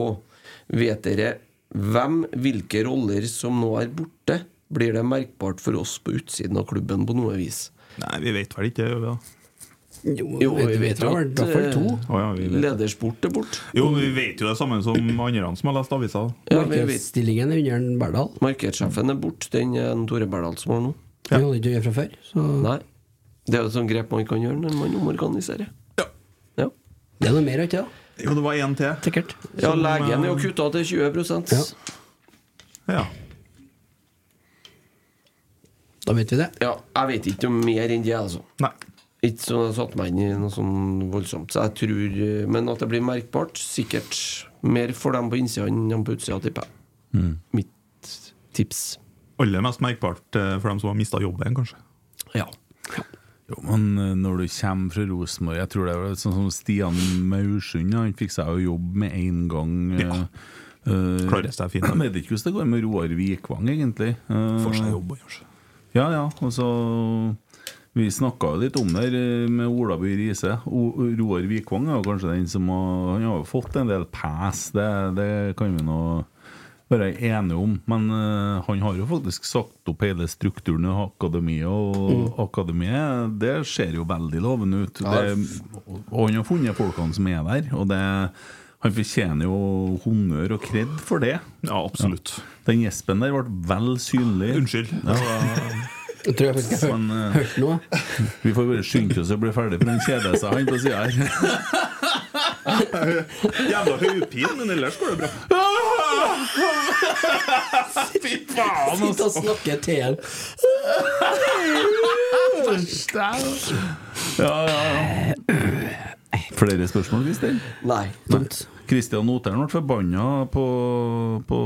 [SPEAKER 5] vet dere hvem, hvilke roller som nå er borte? Blir det merkbart for oss på utsiden av klubben på noe vis?
[SPEAKER 3] Nei, vi vet vel ikke det. gjør vi da?
[SPEAKER 2] Jo, vi vet jo at,
[SPEAKER 5] eh,
[SPEAKER 3] Å ja, vi vet.
[SPEAKER 5] ledersport er borte.
[SPEAKER 3] Jo, men vi vet jo det samme som andre som har lest avisa.
[SPEAKER 5] Ja, vi vet.
[SPEAKER 2] Markedsstillingen er under en Berdal.
[SPEAKER 5] Markedssjefen er borte, den er en Tore Berdal som har nå.
[SPEAKER 2] Vi holder ikke å gjøre fra før. Så
[SPEAKER 5] Nei. Det er jo et sånt grep man kan gjøre når man omorganiserer. Ja.
[SPEAKER 2] det er noe mer, ikke det?
[SPEAKER 3] Jo, det var én til.
[SPEAKER 2] Sikkert.
[SPEAKER 5] Ja, legen er jo kutta til 20
[SPEAKER 2] eh, Ja.
[SPEAKER 3] Ja.
[SPEAKER 2] Da vet vi det.
[SPEAKER 5] Ja, jeg vet ikke noe mer enn det, altså.
[SPEAKER 3] Nei.
[SPEAKER 5] Ikke sånn jeg satte meg inn i noe sånn voldsomt. Så jeg tror eh, Men at det blir merkbart, sikkert mer for dem på innsida enn dem på utsida, tipper jeg.
[SPEAKER 2] Mm.
[SPEAKER 5] Mitt tips.
[SPEAKER 3] Aller mest merkbart eh, for dem som har mista jobben, kanskje.
[SPEAKER 5] Ja.
[SPEAKER 1] Jo, men eh, når du kommer fra Rosenborg Jeg tror det var sånn som Stian Maursund. ja, Han fikk seg jo jobb med en gang. eh,
[SPEAKER 3] Ja.
[SPEAKER 1] eh,
[SPEAKER 3] Klarer seg fint.
[SPEAKER 1] Jeg vet ikke hvordan det går med Roar Vikvang, egentlig. Eh,
[SPEAKER 3] Får seg jobb, kanskje.
[SPEAKER 1] Ja, ja. Og så Vi snakka jo litt om det her eh, med Ola By Riise. O- Roar Vikvang er jo kanskje den som har Han har jo fått en del pes, det, det kan vi nå være enige om. Men eh, han har jo faktisk sagt opp hele strukturen i akademiet, og akademiet det ser jo veldig lovende ut. Det, og han har funnet folkene som er der, og det han fortjener jo honnør og kred for det.
[SPEAKER 3] Ja, absolutt.
[SPEAKER 1] Den gjespen der ble vel synlig.
[SPEAKER 3] Unnskyld.
[SPEAKER 2] Jeg tror jeg faktisk jeg har
[SPEAKER 1] Men,
[SPEAKER 2] hørt,
[SPEAKER 1] eh,
[SPEAKER 2] hørt noe.
[SPEAKER 1] Vi får bare skynde oss å bli ferdig, for den kjeder seg, han på sida her.
[SPEAKER 3] Jævla høypin, men ellers går det bra. Fy faen!
[SPEAKER 1] altså.
[SPEAKER 2] Sitte og snakke til en.
[SPEAKER 1] Ja, ja, ja. Flere spørsmål, Christer?
[SPEAKER 5] Nei.
[SPEAKER 1] Kristian Noteren ble forbanna på, på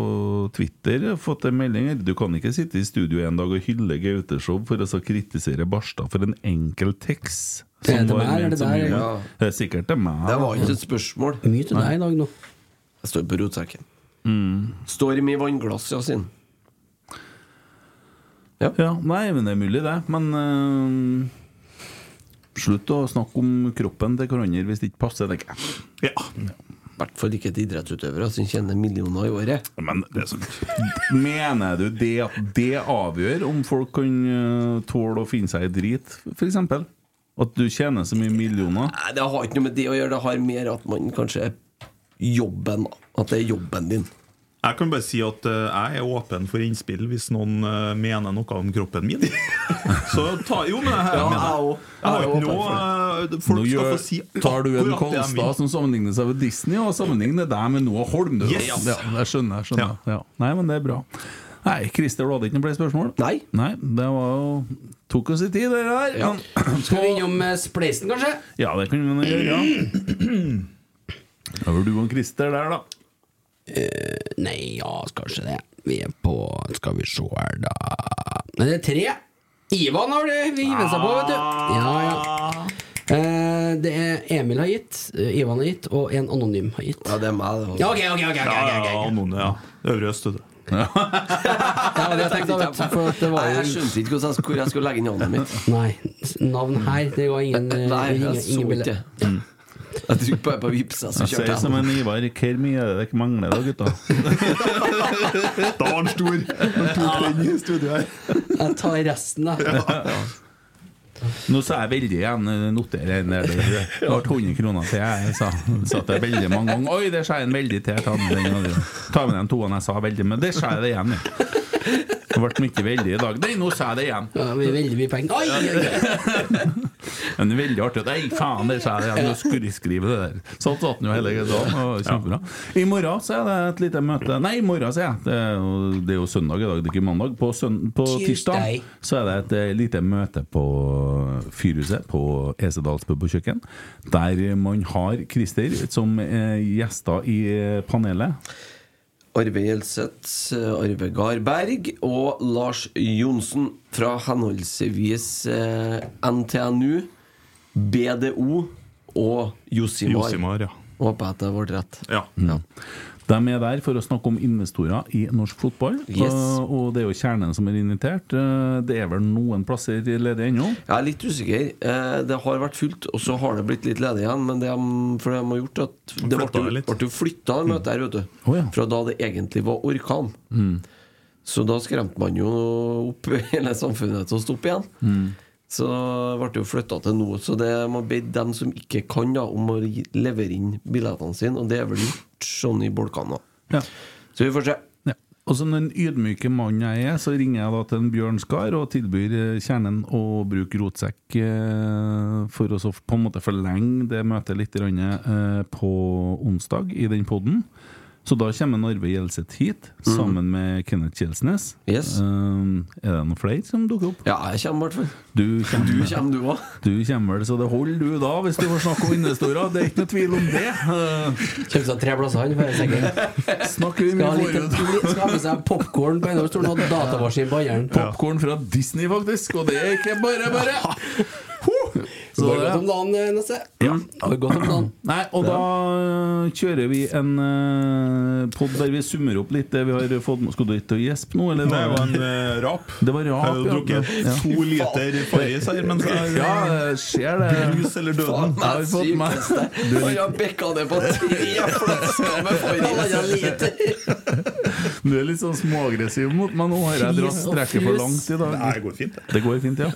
[SPEAKER 1] Twitter. Jeg har Fått en melding her. Du kan ikke sitte i studio en dag og hylle Gauteshow for å så kritisere Barstad for en enkel tekst.
[SPEAKER 2] Det er
[SPEAKER 1] som
[SPEAKER 2] til
[SPEAKER 1] var
[SPEAKER 2] meg, er
[SPEAKER 1] ment
[SPEAKER 2] det
[SPEAKER 1] som
[SPEAKER 2] der?
[SPEAKER 1] humor.
[SPEAKER 5] Ja.
[SPEAKER 1] Det er sikkert til meg.
[SPEAKER 5] Det var ikke et spørsmål.
[SPEAKER 2] Mye til deg i dag nå.
[SPEAKER 5] Jeg står på rotsekken. Mm. Storm i vannglass, ja, sin.
[SPEAKER 1] Ja, nei, men det er mulig det. Men eh, slutt å snakke om kroppen til hverandre hvis det ikke passer. tenker jeg.
[SPEAKER 3] Ja,
[SPEAKER 5] I hvert fall ikke et idrettsutøvere som tjener millioner i året.
[SPEAKER 1] Men det er sånn. Mener du det at det avgjør om folk kan eh, tåle å finne seg i drit, f.eks.? At du tjener så mye millioner?
[SPEAKER 5] Nei, det har ikke noe med det å gjøre. Det har mer at man kanskje er jobben. da. At det er jobben din.
[SPEAKER 3] Jeg kan bare si at eh, jeg er åpen for innspill hvis noen eh, mener noe om kroppen min. Så ta Jo, men jeg, jeg, mener-
[SPEAKER 5] jeg er også-
[SPEAKER 3] jeg har
[SPEAKER 5] jeg er
[SPEAKER 3] ikke
[SPEAKER 5] åpen
[SPEAKER 3] noe eh, Folk
[SPEAKER 1] Nå
[SPEAKER 3] skal
[SPEAKER 1] gjør-
[SPEAKER 3] få si
[SPEAKER 1] tar du en
[SPEAKER 3] akkurat det de vil.
[SPEAKER 1] Kolstad som sammenligner seg med Disney, og sammenligner deg med Noah Holm. Du.
[SPEAKER 3] Yes.
[SPEAKER 1] Ja, jeg skjønner. jeg skjønner ja. Nei, men det er bra. Nei, Christer, du hadde ikke noe flere spørsmål?
[SPEAKER 5] Nei.
[SPEAKER 1] Nei, Det var jo tok oss i tid, det der.
[SPEAKER 5] Ja.
[SPEAKER 1] Men-
[SPEAKER 2] Skal vi innom eh, Spleisen, kanskje?
[SPEAKER 1] Ja, det kan vi nå gjøre, ja. Da var du og Christer der, da.
[SPEAKER 2] Nei, Eh, ja, kanskje det. Vi er på Skal vi se her, da Nei, det er tre. Ivan har det hivet seg på, vet du. Ja, ja. Eh, det er Emil har gitt, eh, Ivan har gitt, og en anonym har gitt.
[SPEAKER 5] Ja, det er meg, det.
[SPEAKER 2] Ja, ok, ok, ok, ok,
[SPEAKER 3] Ja,
[SPEAKER 2] ok,
[SPEAKER 3] ja,
[SPEAKER 2] ok.
[SPEAKER 3] Anone, ja. Øvre øst, vet du.
[SPEAKER 2] Ja, det jeg tenkte, vet du, for at det
[SPEAKER 5] Nei,
[SPEAKER 2] var
[SPEAKER 5] jeg
[SPEAKER 2] jo
[SPEAKER 5] skjønte ikke hvordan jeg skulle- hvor jeg skulle legge inn navnet mitt.
[SPEAKER 2] Nei, s- navn her, det var ingen eh,
[SPEAKER 5] Nei,
[SPEAKER 2] ingen,
[SPEAKER 5] jeg så
[SPEAKER 2] ingen
[SPEAKER 5] ikke.
[SPEAKER 2] bille-
[SPEAKER 5] Jeg trykte bare på vips, jeg, så
[SPEAKER 1] Jeg sier
[SPEAKER 5] kjørte
[SPEAKER 1] som
[SPEAKER 5] jeg.
[SPEAKER 1] en Ivar, hvor mye er det dere mangler da, gutta?
[SPEAKER 3] Da var han stor! Han tok den i studio her.
[SPEAKER 2] Jeg tar resten, da.
[SPEAKER 1] Nå sa jeg veldig igjen, noterer jeg ned det. Det ble 100 kroner til jeg sa. sa at jeg veldig mange ganger. Oi, der sa jeg en veldig til. Ta med den, andre. ta med den toen jeg sa veldig, men der sa jeg det igjen. ja. Det ble mye veldig i dag. Nei, nå sa jeg det igjen.
[SPEAKER 2] Ja, vi er veldig mye penger. Oi, oi, oi.
[SPEAKER 1] Men det er veldig artig. at, Nei, faen, der sa jeg det igjen. Nå skulle jeg skrive det der. Sånn satt den jo hele dagen. og det var Kjempebra. I morgen så er det et lite møte Nei, i morgen, sier jeg. Det er jo, det er jo søndag i dag, det er ikke mandag. På, søn- på tirsdag
[SPEAKER 2] Tuesday.
[SPEAKER 1] så er det et eh, lite møte på Fyrhuset, på Esedals pub og kjøkken, der man har Christer som eh, gjester i eh, panelet.
[SPEAKER 5] Arve Gjelseth, Arve Garberg og Lars Johnsen fra henholdsvis eh, NTNU, BDO og Josimar.
[SPEAKER 3] Josimar, ja.
[SPEAKER 5] Håper jeg at det ble rett.
[SPEAKER 3] ja.
[SPEAKER 1] De er der for å snakke om investorer i norsk fotball,
[SPEAKER 5] Yes.
[SPEAKER 1] og, og det er jo kjernen som er invitert. Eh, Det er vel noen plasser ledige ennå?
[SPEAKER 5] Jeg er litt usikker. Eh, det har vært fullt, og så har det blitt litt ledig igjen. Men det de, for de har gjort at det
[SPEAKER 3] Flytta det
[SPEAKER 5] ble,
[SPEAKER 3] litt.
[SPEAKER 5] ble jo flytta det møtet her, vet du.
[SPEAKER 1] Å ja. Mm.
[SPEAKER 5] Fra da det egentlig var orkan. Så da skremte man jo opp hele samfunnet til å stoppe igjen.
[SPEAKER 1] Mm.
[SPEAKER 5] Så ble det jo flytta til nå. Så det må be dem som ikke kan, da, om å gi- levere inn billettene sine. Og det er vel gjort sånn i bolkene, da.
[SPEAKER 1] Ja.
[SPEAKER 5] Så vi får se.
[SPEAKER 1] Ja. Og som den ydmyke mannen jeg er, så ringer jeg da til en Bjørn Skar og tilbyr eh, kjernen å bruke rotsekk eh, for å så på en måte forlenge det møtet litt grann, eh, på onsdag i den podden. Så da kommer Arve Gjelseth hit, sammen med Kenneth Kjelsnes.
[SPEAKER 5] Yes.
[SPEAKER 1] Eh, er det noen flere som dukker opp?
[SPEAKER 5] Ja, jeg kommer i hvert fall.
[SPEAKER 1] Du
[SPEAKER 5] Du
[SPEAKER 1] kommer,
[SPEAKER 5] kommer, du òg.
[SPEAKER 1] du kommer vel, så det holder du da, hvis du får snakke om investorer. Det er ikke noe tvil om det. Eh,
[SPEAKER 2] Kjøpte seg tre plasser, han, for jeg er sikker.
[SPEAKER 1] snakker vi
[SPEAKER 2] Skal ha
[SPEAKER 1] mye
[SPEAKER 2] litt-
[SPEAKER 1] forut.
[SPEAKER 2] litt- skal ha med seg popkorn på ene stolen og datamaskin på andre.
[SPEAKER 1] Popkorn fra Disney, faktisk, og det er ikke bare, bare.
[SPEAKER 2] Så det går godt om dagen, eh, Nesse. Det går godt om dagen.
[SPEAKER 1] Nei, og da øh, kjører vi en uh, pod der vi summer opp litt det vi har fått med. Skulle du ikke gjespe nå, eller?
[SPEAKER 3] Det var en eh, rap.
[SPEAKER 1] det var
[SPEAKER 3] Jeg har jo
[SPEAKER 1] rap,
[SPEAKER 3] drukket
[SPEAKER 1] ja.
[SPEAKER 3] to liter Farris her mens jeg
[SPEAKER 1] Ja, det skjer det.
[SPEAKER 3] Brus eller døden.
[SPEAKER 1] Jeg har fått med- Du er
[SPEAKER 5] Han har bekka det på tre flasker med Farris.
[SPEAKER 1] Du er litt sånn småaggressiv mot meg nå. Har jeg dratt strekket for langt i dag?
[SPEAKER 3] Nei, det går fint, det.
[SPEAKER 1] Det går fint, ja.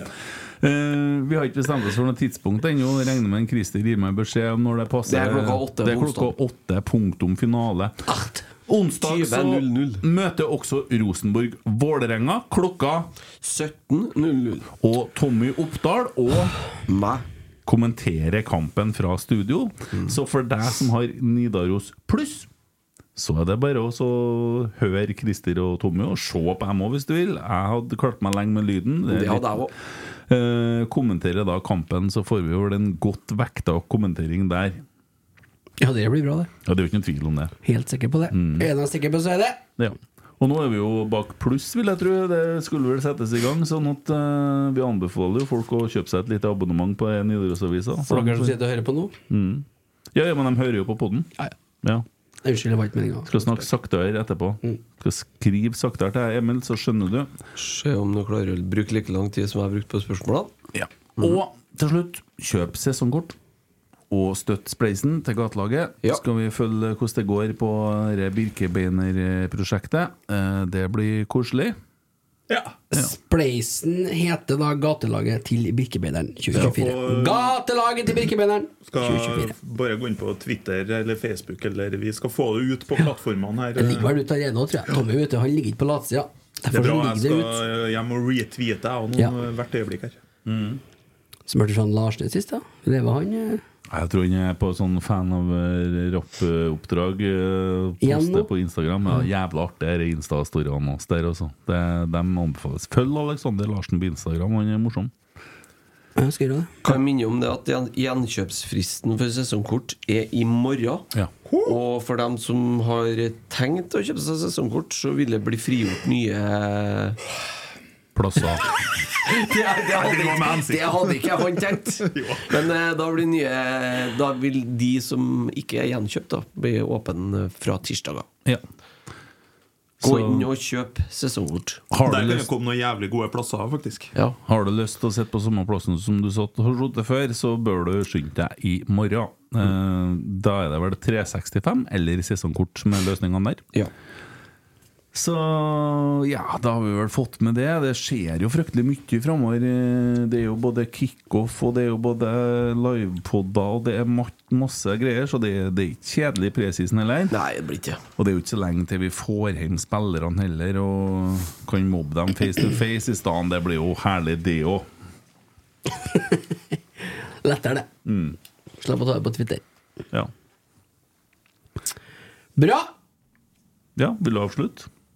[SPEAKER 1] Eh, vi har ikke bestemt oss for noe tidspunkt ennå. Regner med en Christer gir meg beskjed om når det passer.
[SPEAKER 5] Det er klokka åtte
[SPEAKER 1] Det er
[SPEAKER 5] på
[SPEAKER 1] klokka åtte, punktum finale. Onsdag så
[SPEAKER 5] 20.00.
[SPEAKER 1] møter også Rosenborg Vålerenga klokka
[SPEAKER 5] 17.00.
[SPEAKER 1] Og Tommy Oppdal og
[SPEAKER 5] Meg.
[SPEAKER 1] kommentere kampen fra studio. Så for deg som har Nidaros pluss, så er det bare å så høre Christer og Tommy, og se på dem òg hvis du vil. Jeg hadde klart meg lenge med lyden. er
[SPEAKER 5] Det
[SPEAKER 1] litt-
[SPEAKER 5] hadde jeg òg.
[SPEAKER 1] Eh, kommentere da kampen, så får vi vel en godt vekta kommentering der.
[SPEAKER 2] Ja, det blir bra, det.
[SPEAKER 1] Ja, Det er jo ikke noen tvil om det.
[SPEAKER 2] Helt sikker på det.
[SPEAKER 5] Mm.
[SPEAKER 2] Er det noe sikker på, så er det.
[SPEAKER 1] Ja. Og nå er vi jo bak pluss, vil jeg tro. Det skulle vel settes i gang. Sånn at eh, vi anbefaler jo folk å kjøpe seg et lite abonnement på Nidarosavisa.
[SPEAKER 2] For dere som
[SPEAKER 1] Så-
[SPEAKER 2] sitter og hører på nå.
[SPEAKER 1] Ja, ja, men de hører jo på poden.
[SPEAKER 2] Ja, ja.
[SPEAKER 1] Ja.
[SPEAKER 2] Unnskyld, det var ikke meninga.
[SPEAKER 1] Skal snakke saktere etterpå.
[SPEAKER 2] Mm.
[SPEAKER 1] Skal skrive saktere til deg, Emil, så skjønner du.
[SPEAKER 5] Se om du klarer å bruke like lang tid som jeg har brukt på spørsmålene.
[SPEAKER 1] Og til slutt, kjøp sesongkort. Og støtt spleisen til gatelaget.
[SPEAKER 5] Ja.
[SPEAKER 1] Skal vi følge hvordan det går på det Birkebeiner-prosjektet. Eh, Det blir koselig.
[SPEAKER 2] Spleisen heter da Gatelaget til Birkebeineren 2024. Gatelaget til Birkebeineren
[SPEAKER 3] Skal
[SPEAKER 2] 2024.
[SPEAKER 3] bare gå inn på Twitter eller Facebook, eller vi skal få det ut på plattformene her.
[SPEAKER 2] Det ligger vel ute allerede nå, tror jeg. Tommy vet du, han ligger ikke på latsida.
[SPEAKER 3] Det er
[SPEAKER 2] Derfor
[SPEAKER 3] bra,
[SPEAKER 2] så
[SPEAKER 3] jeg
[SPEAKER 2] ligger det ut.
[SPEAKER 3] skal hjem og retweete jeg og
[SPEAKER 2] Ja.
[SPEAKER 3] noen hvert øyeblikk her.
[SPEAKER 2] Som hørte sånn Larsen sist, da. Lever han eh,
[SPEAKER 1] Jeg tror han er på sånn fan av eh, rapp-oppdrag. eh,
[SPEAKER 2] Igjen
[SPEAKER 1] Poster
[SPEAKER 2] nå?
[SPEAKER 1] på Instagram. Ja, jævla artig er Insta-storyene hans der, altså. Det- Dem anbefales. Følg Alexander Larsen på Instagram, han er morsom.
[SPEAKER 2] Ja, skal gjøre det.
[SPEAKER 5] Kan jeg minne om det at gjen- gjenkjøpsfristen for sesongkort er i morgen.
[SPEAKER 1] Ja.
[SPEAKER 5] Og for dem som har tenkt å kjøpe seg sesongkort, så vil det bli frigjort nye
[SPEAKER 1] Plasser.
[SPEAKER 5] det, det, hadde
[SPEAKER 3] var med
[SPEAKER 5] ikke,
[SPEAKER 3] hensikt.
[SPEAKER 5] det hadde ikke han tenkt. Men eh, da, blir nye, da vil de som ikke er gjenkjøpt, da, bli åpne fra tirsdager.
[SPEAKER 1] Ja.
[SPEAKER 5] Gå
[SPEAKER 1] Så-
[SPEAKER 5] inn og kjøp sesongkort.
[SPEAKER 1] Har du
[SPEAKER 3] Der kan det
[SPEAKER 1] lyst
[SPEAKER 3] komme noen jævlig gode plasser, faktisk.
[SPEAKER 5] Ja.
[SPEAKER 1] Har du lyst til å sitte på samme plassen som du satt har sittet før, så bør du skynde deg i morgen. Eh, Da er det vel 365 eller sesongkort som er løsningene der.
[SPEAKER 5] Ja.
[SPEAKER 1] Så ja, da har vi vel fått med det. Det skjer jo fryktelig mye framover. Eh, Det er jo både kickoff, og det er jo både livepoder, og det er ma- masse greier. Så det, det er ikke kjedelig i presisen heller.
[SPEAKER 5] Nei, det blir ikke
[SPEAKER 1] Og det er jo ikke så lenge til vi får hjem spillerne heller, og kan mobbe dem face to face i stedet. Det blir jo herlig, det òg.
[SPEAKER 2] Lettere, det.
[SPEAKER 5] Mm.
[SPEAKER 2] Slapp å ta det på Twitter.
[SPEAKER 1] Ja.
[SPEAKER 2] Bra!
[SPEAKER 1] ja, vil du avslutte?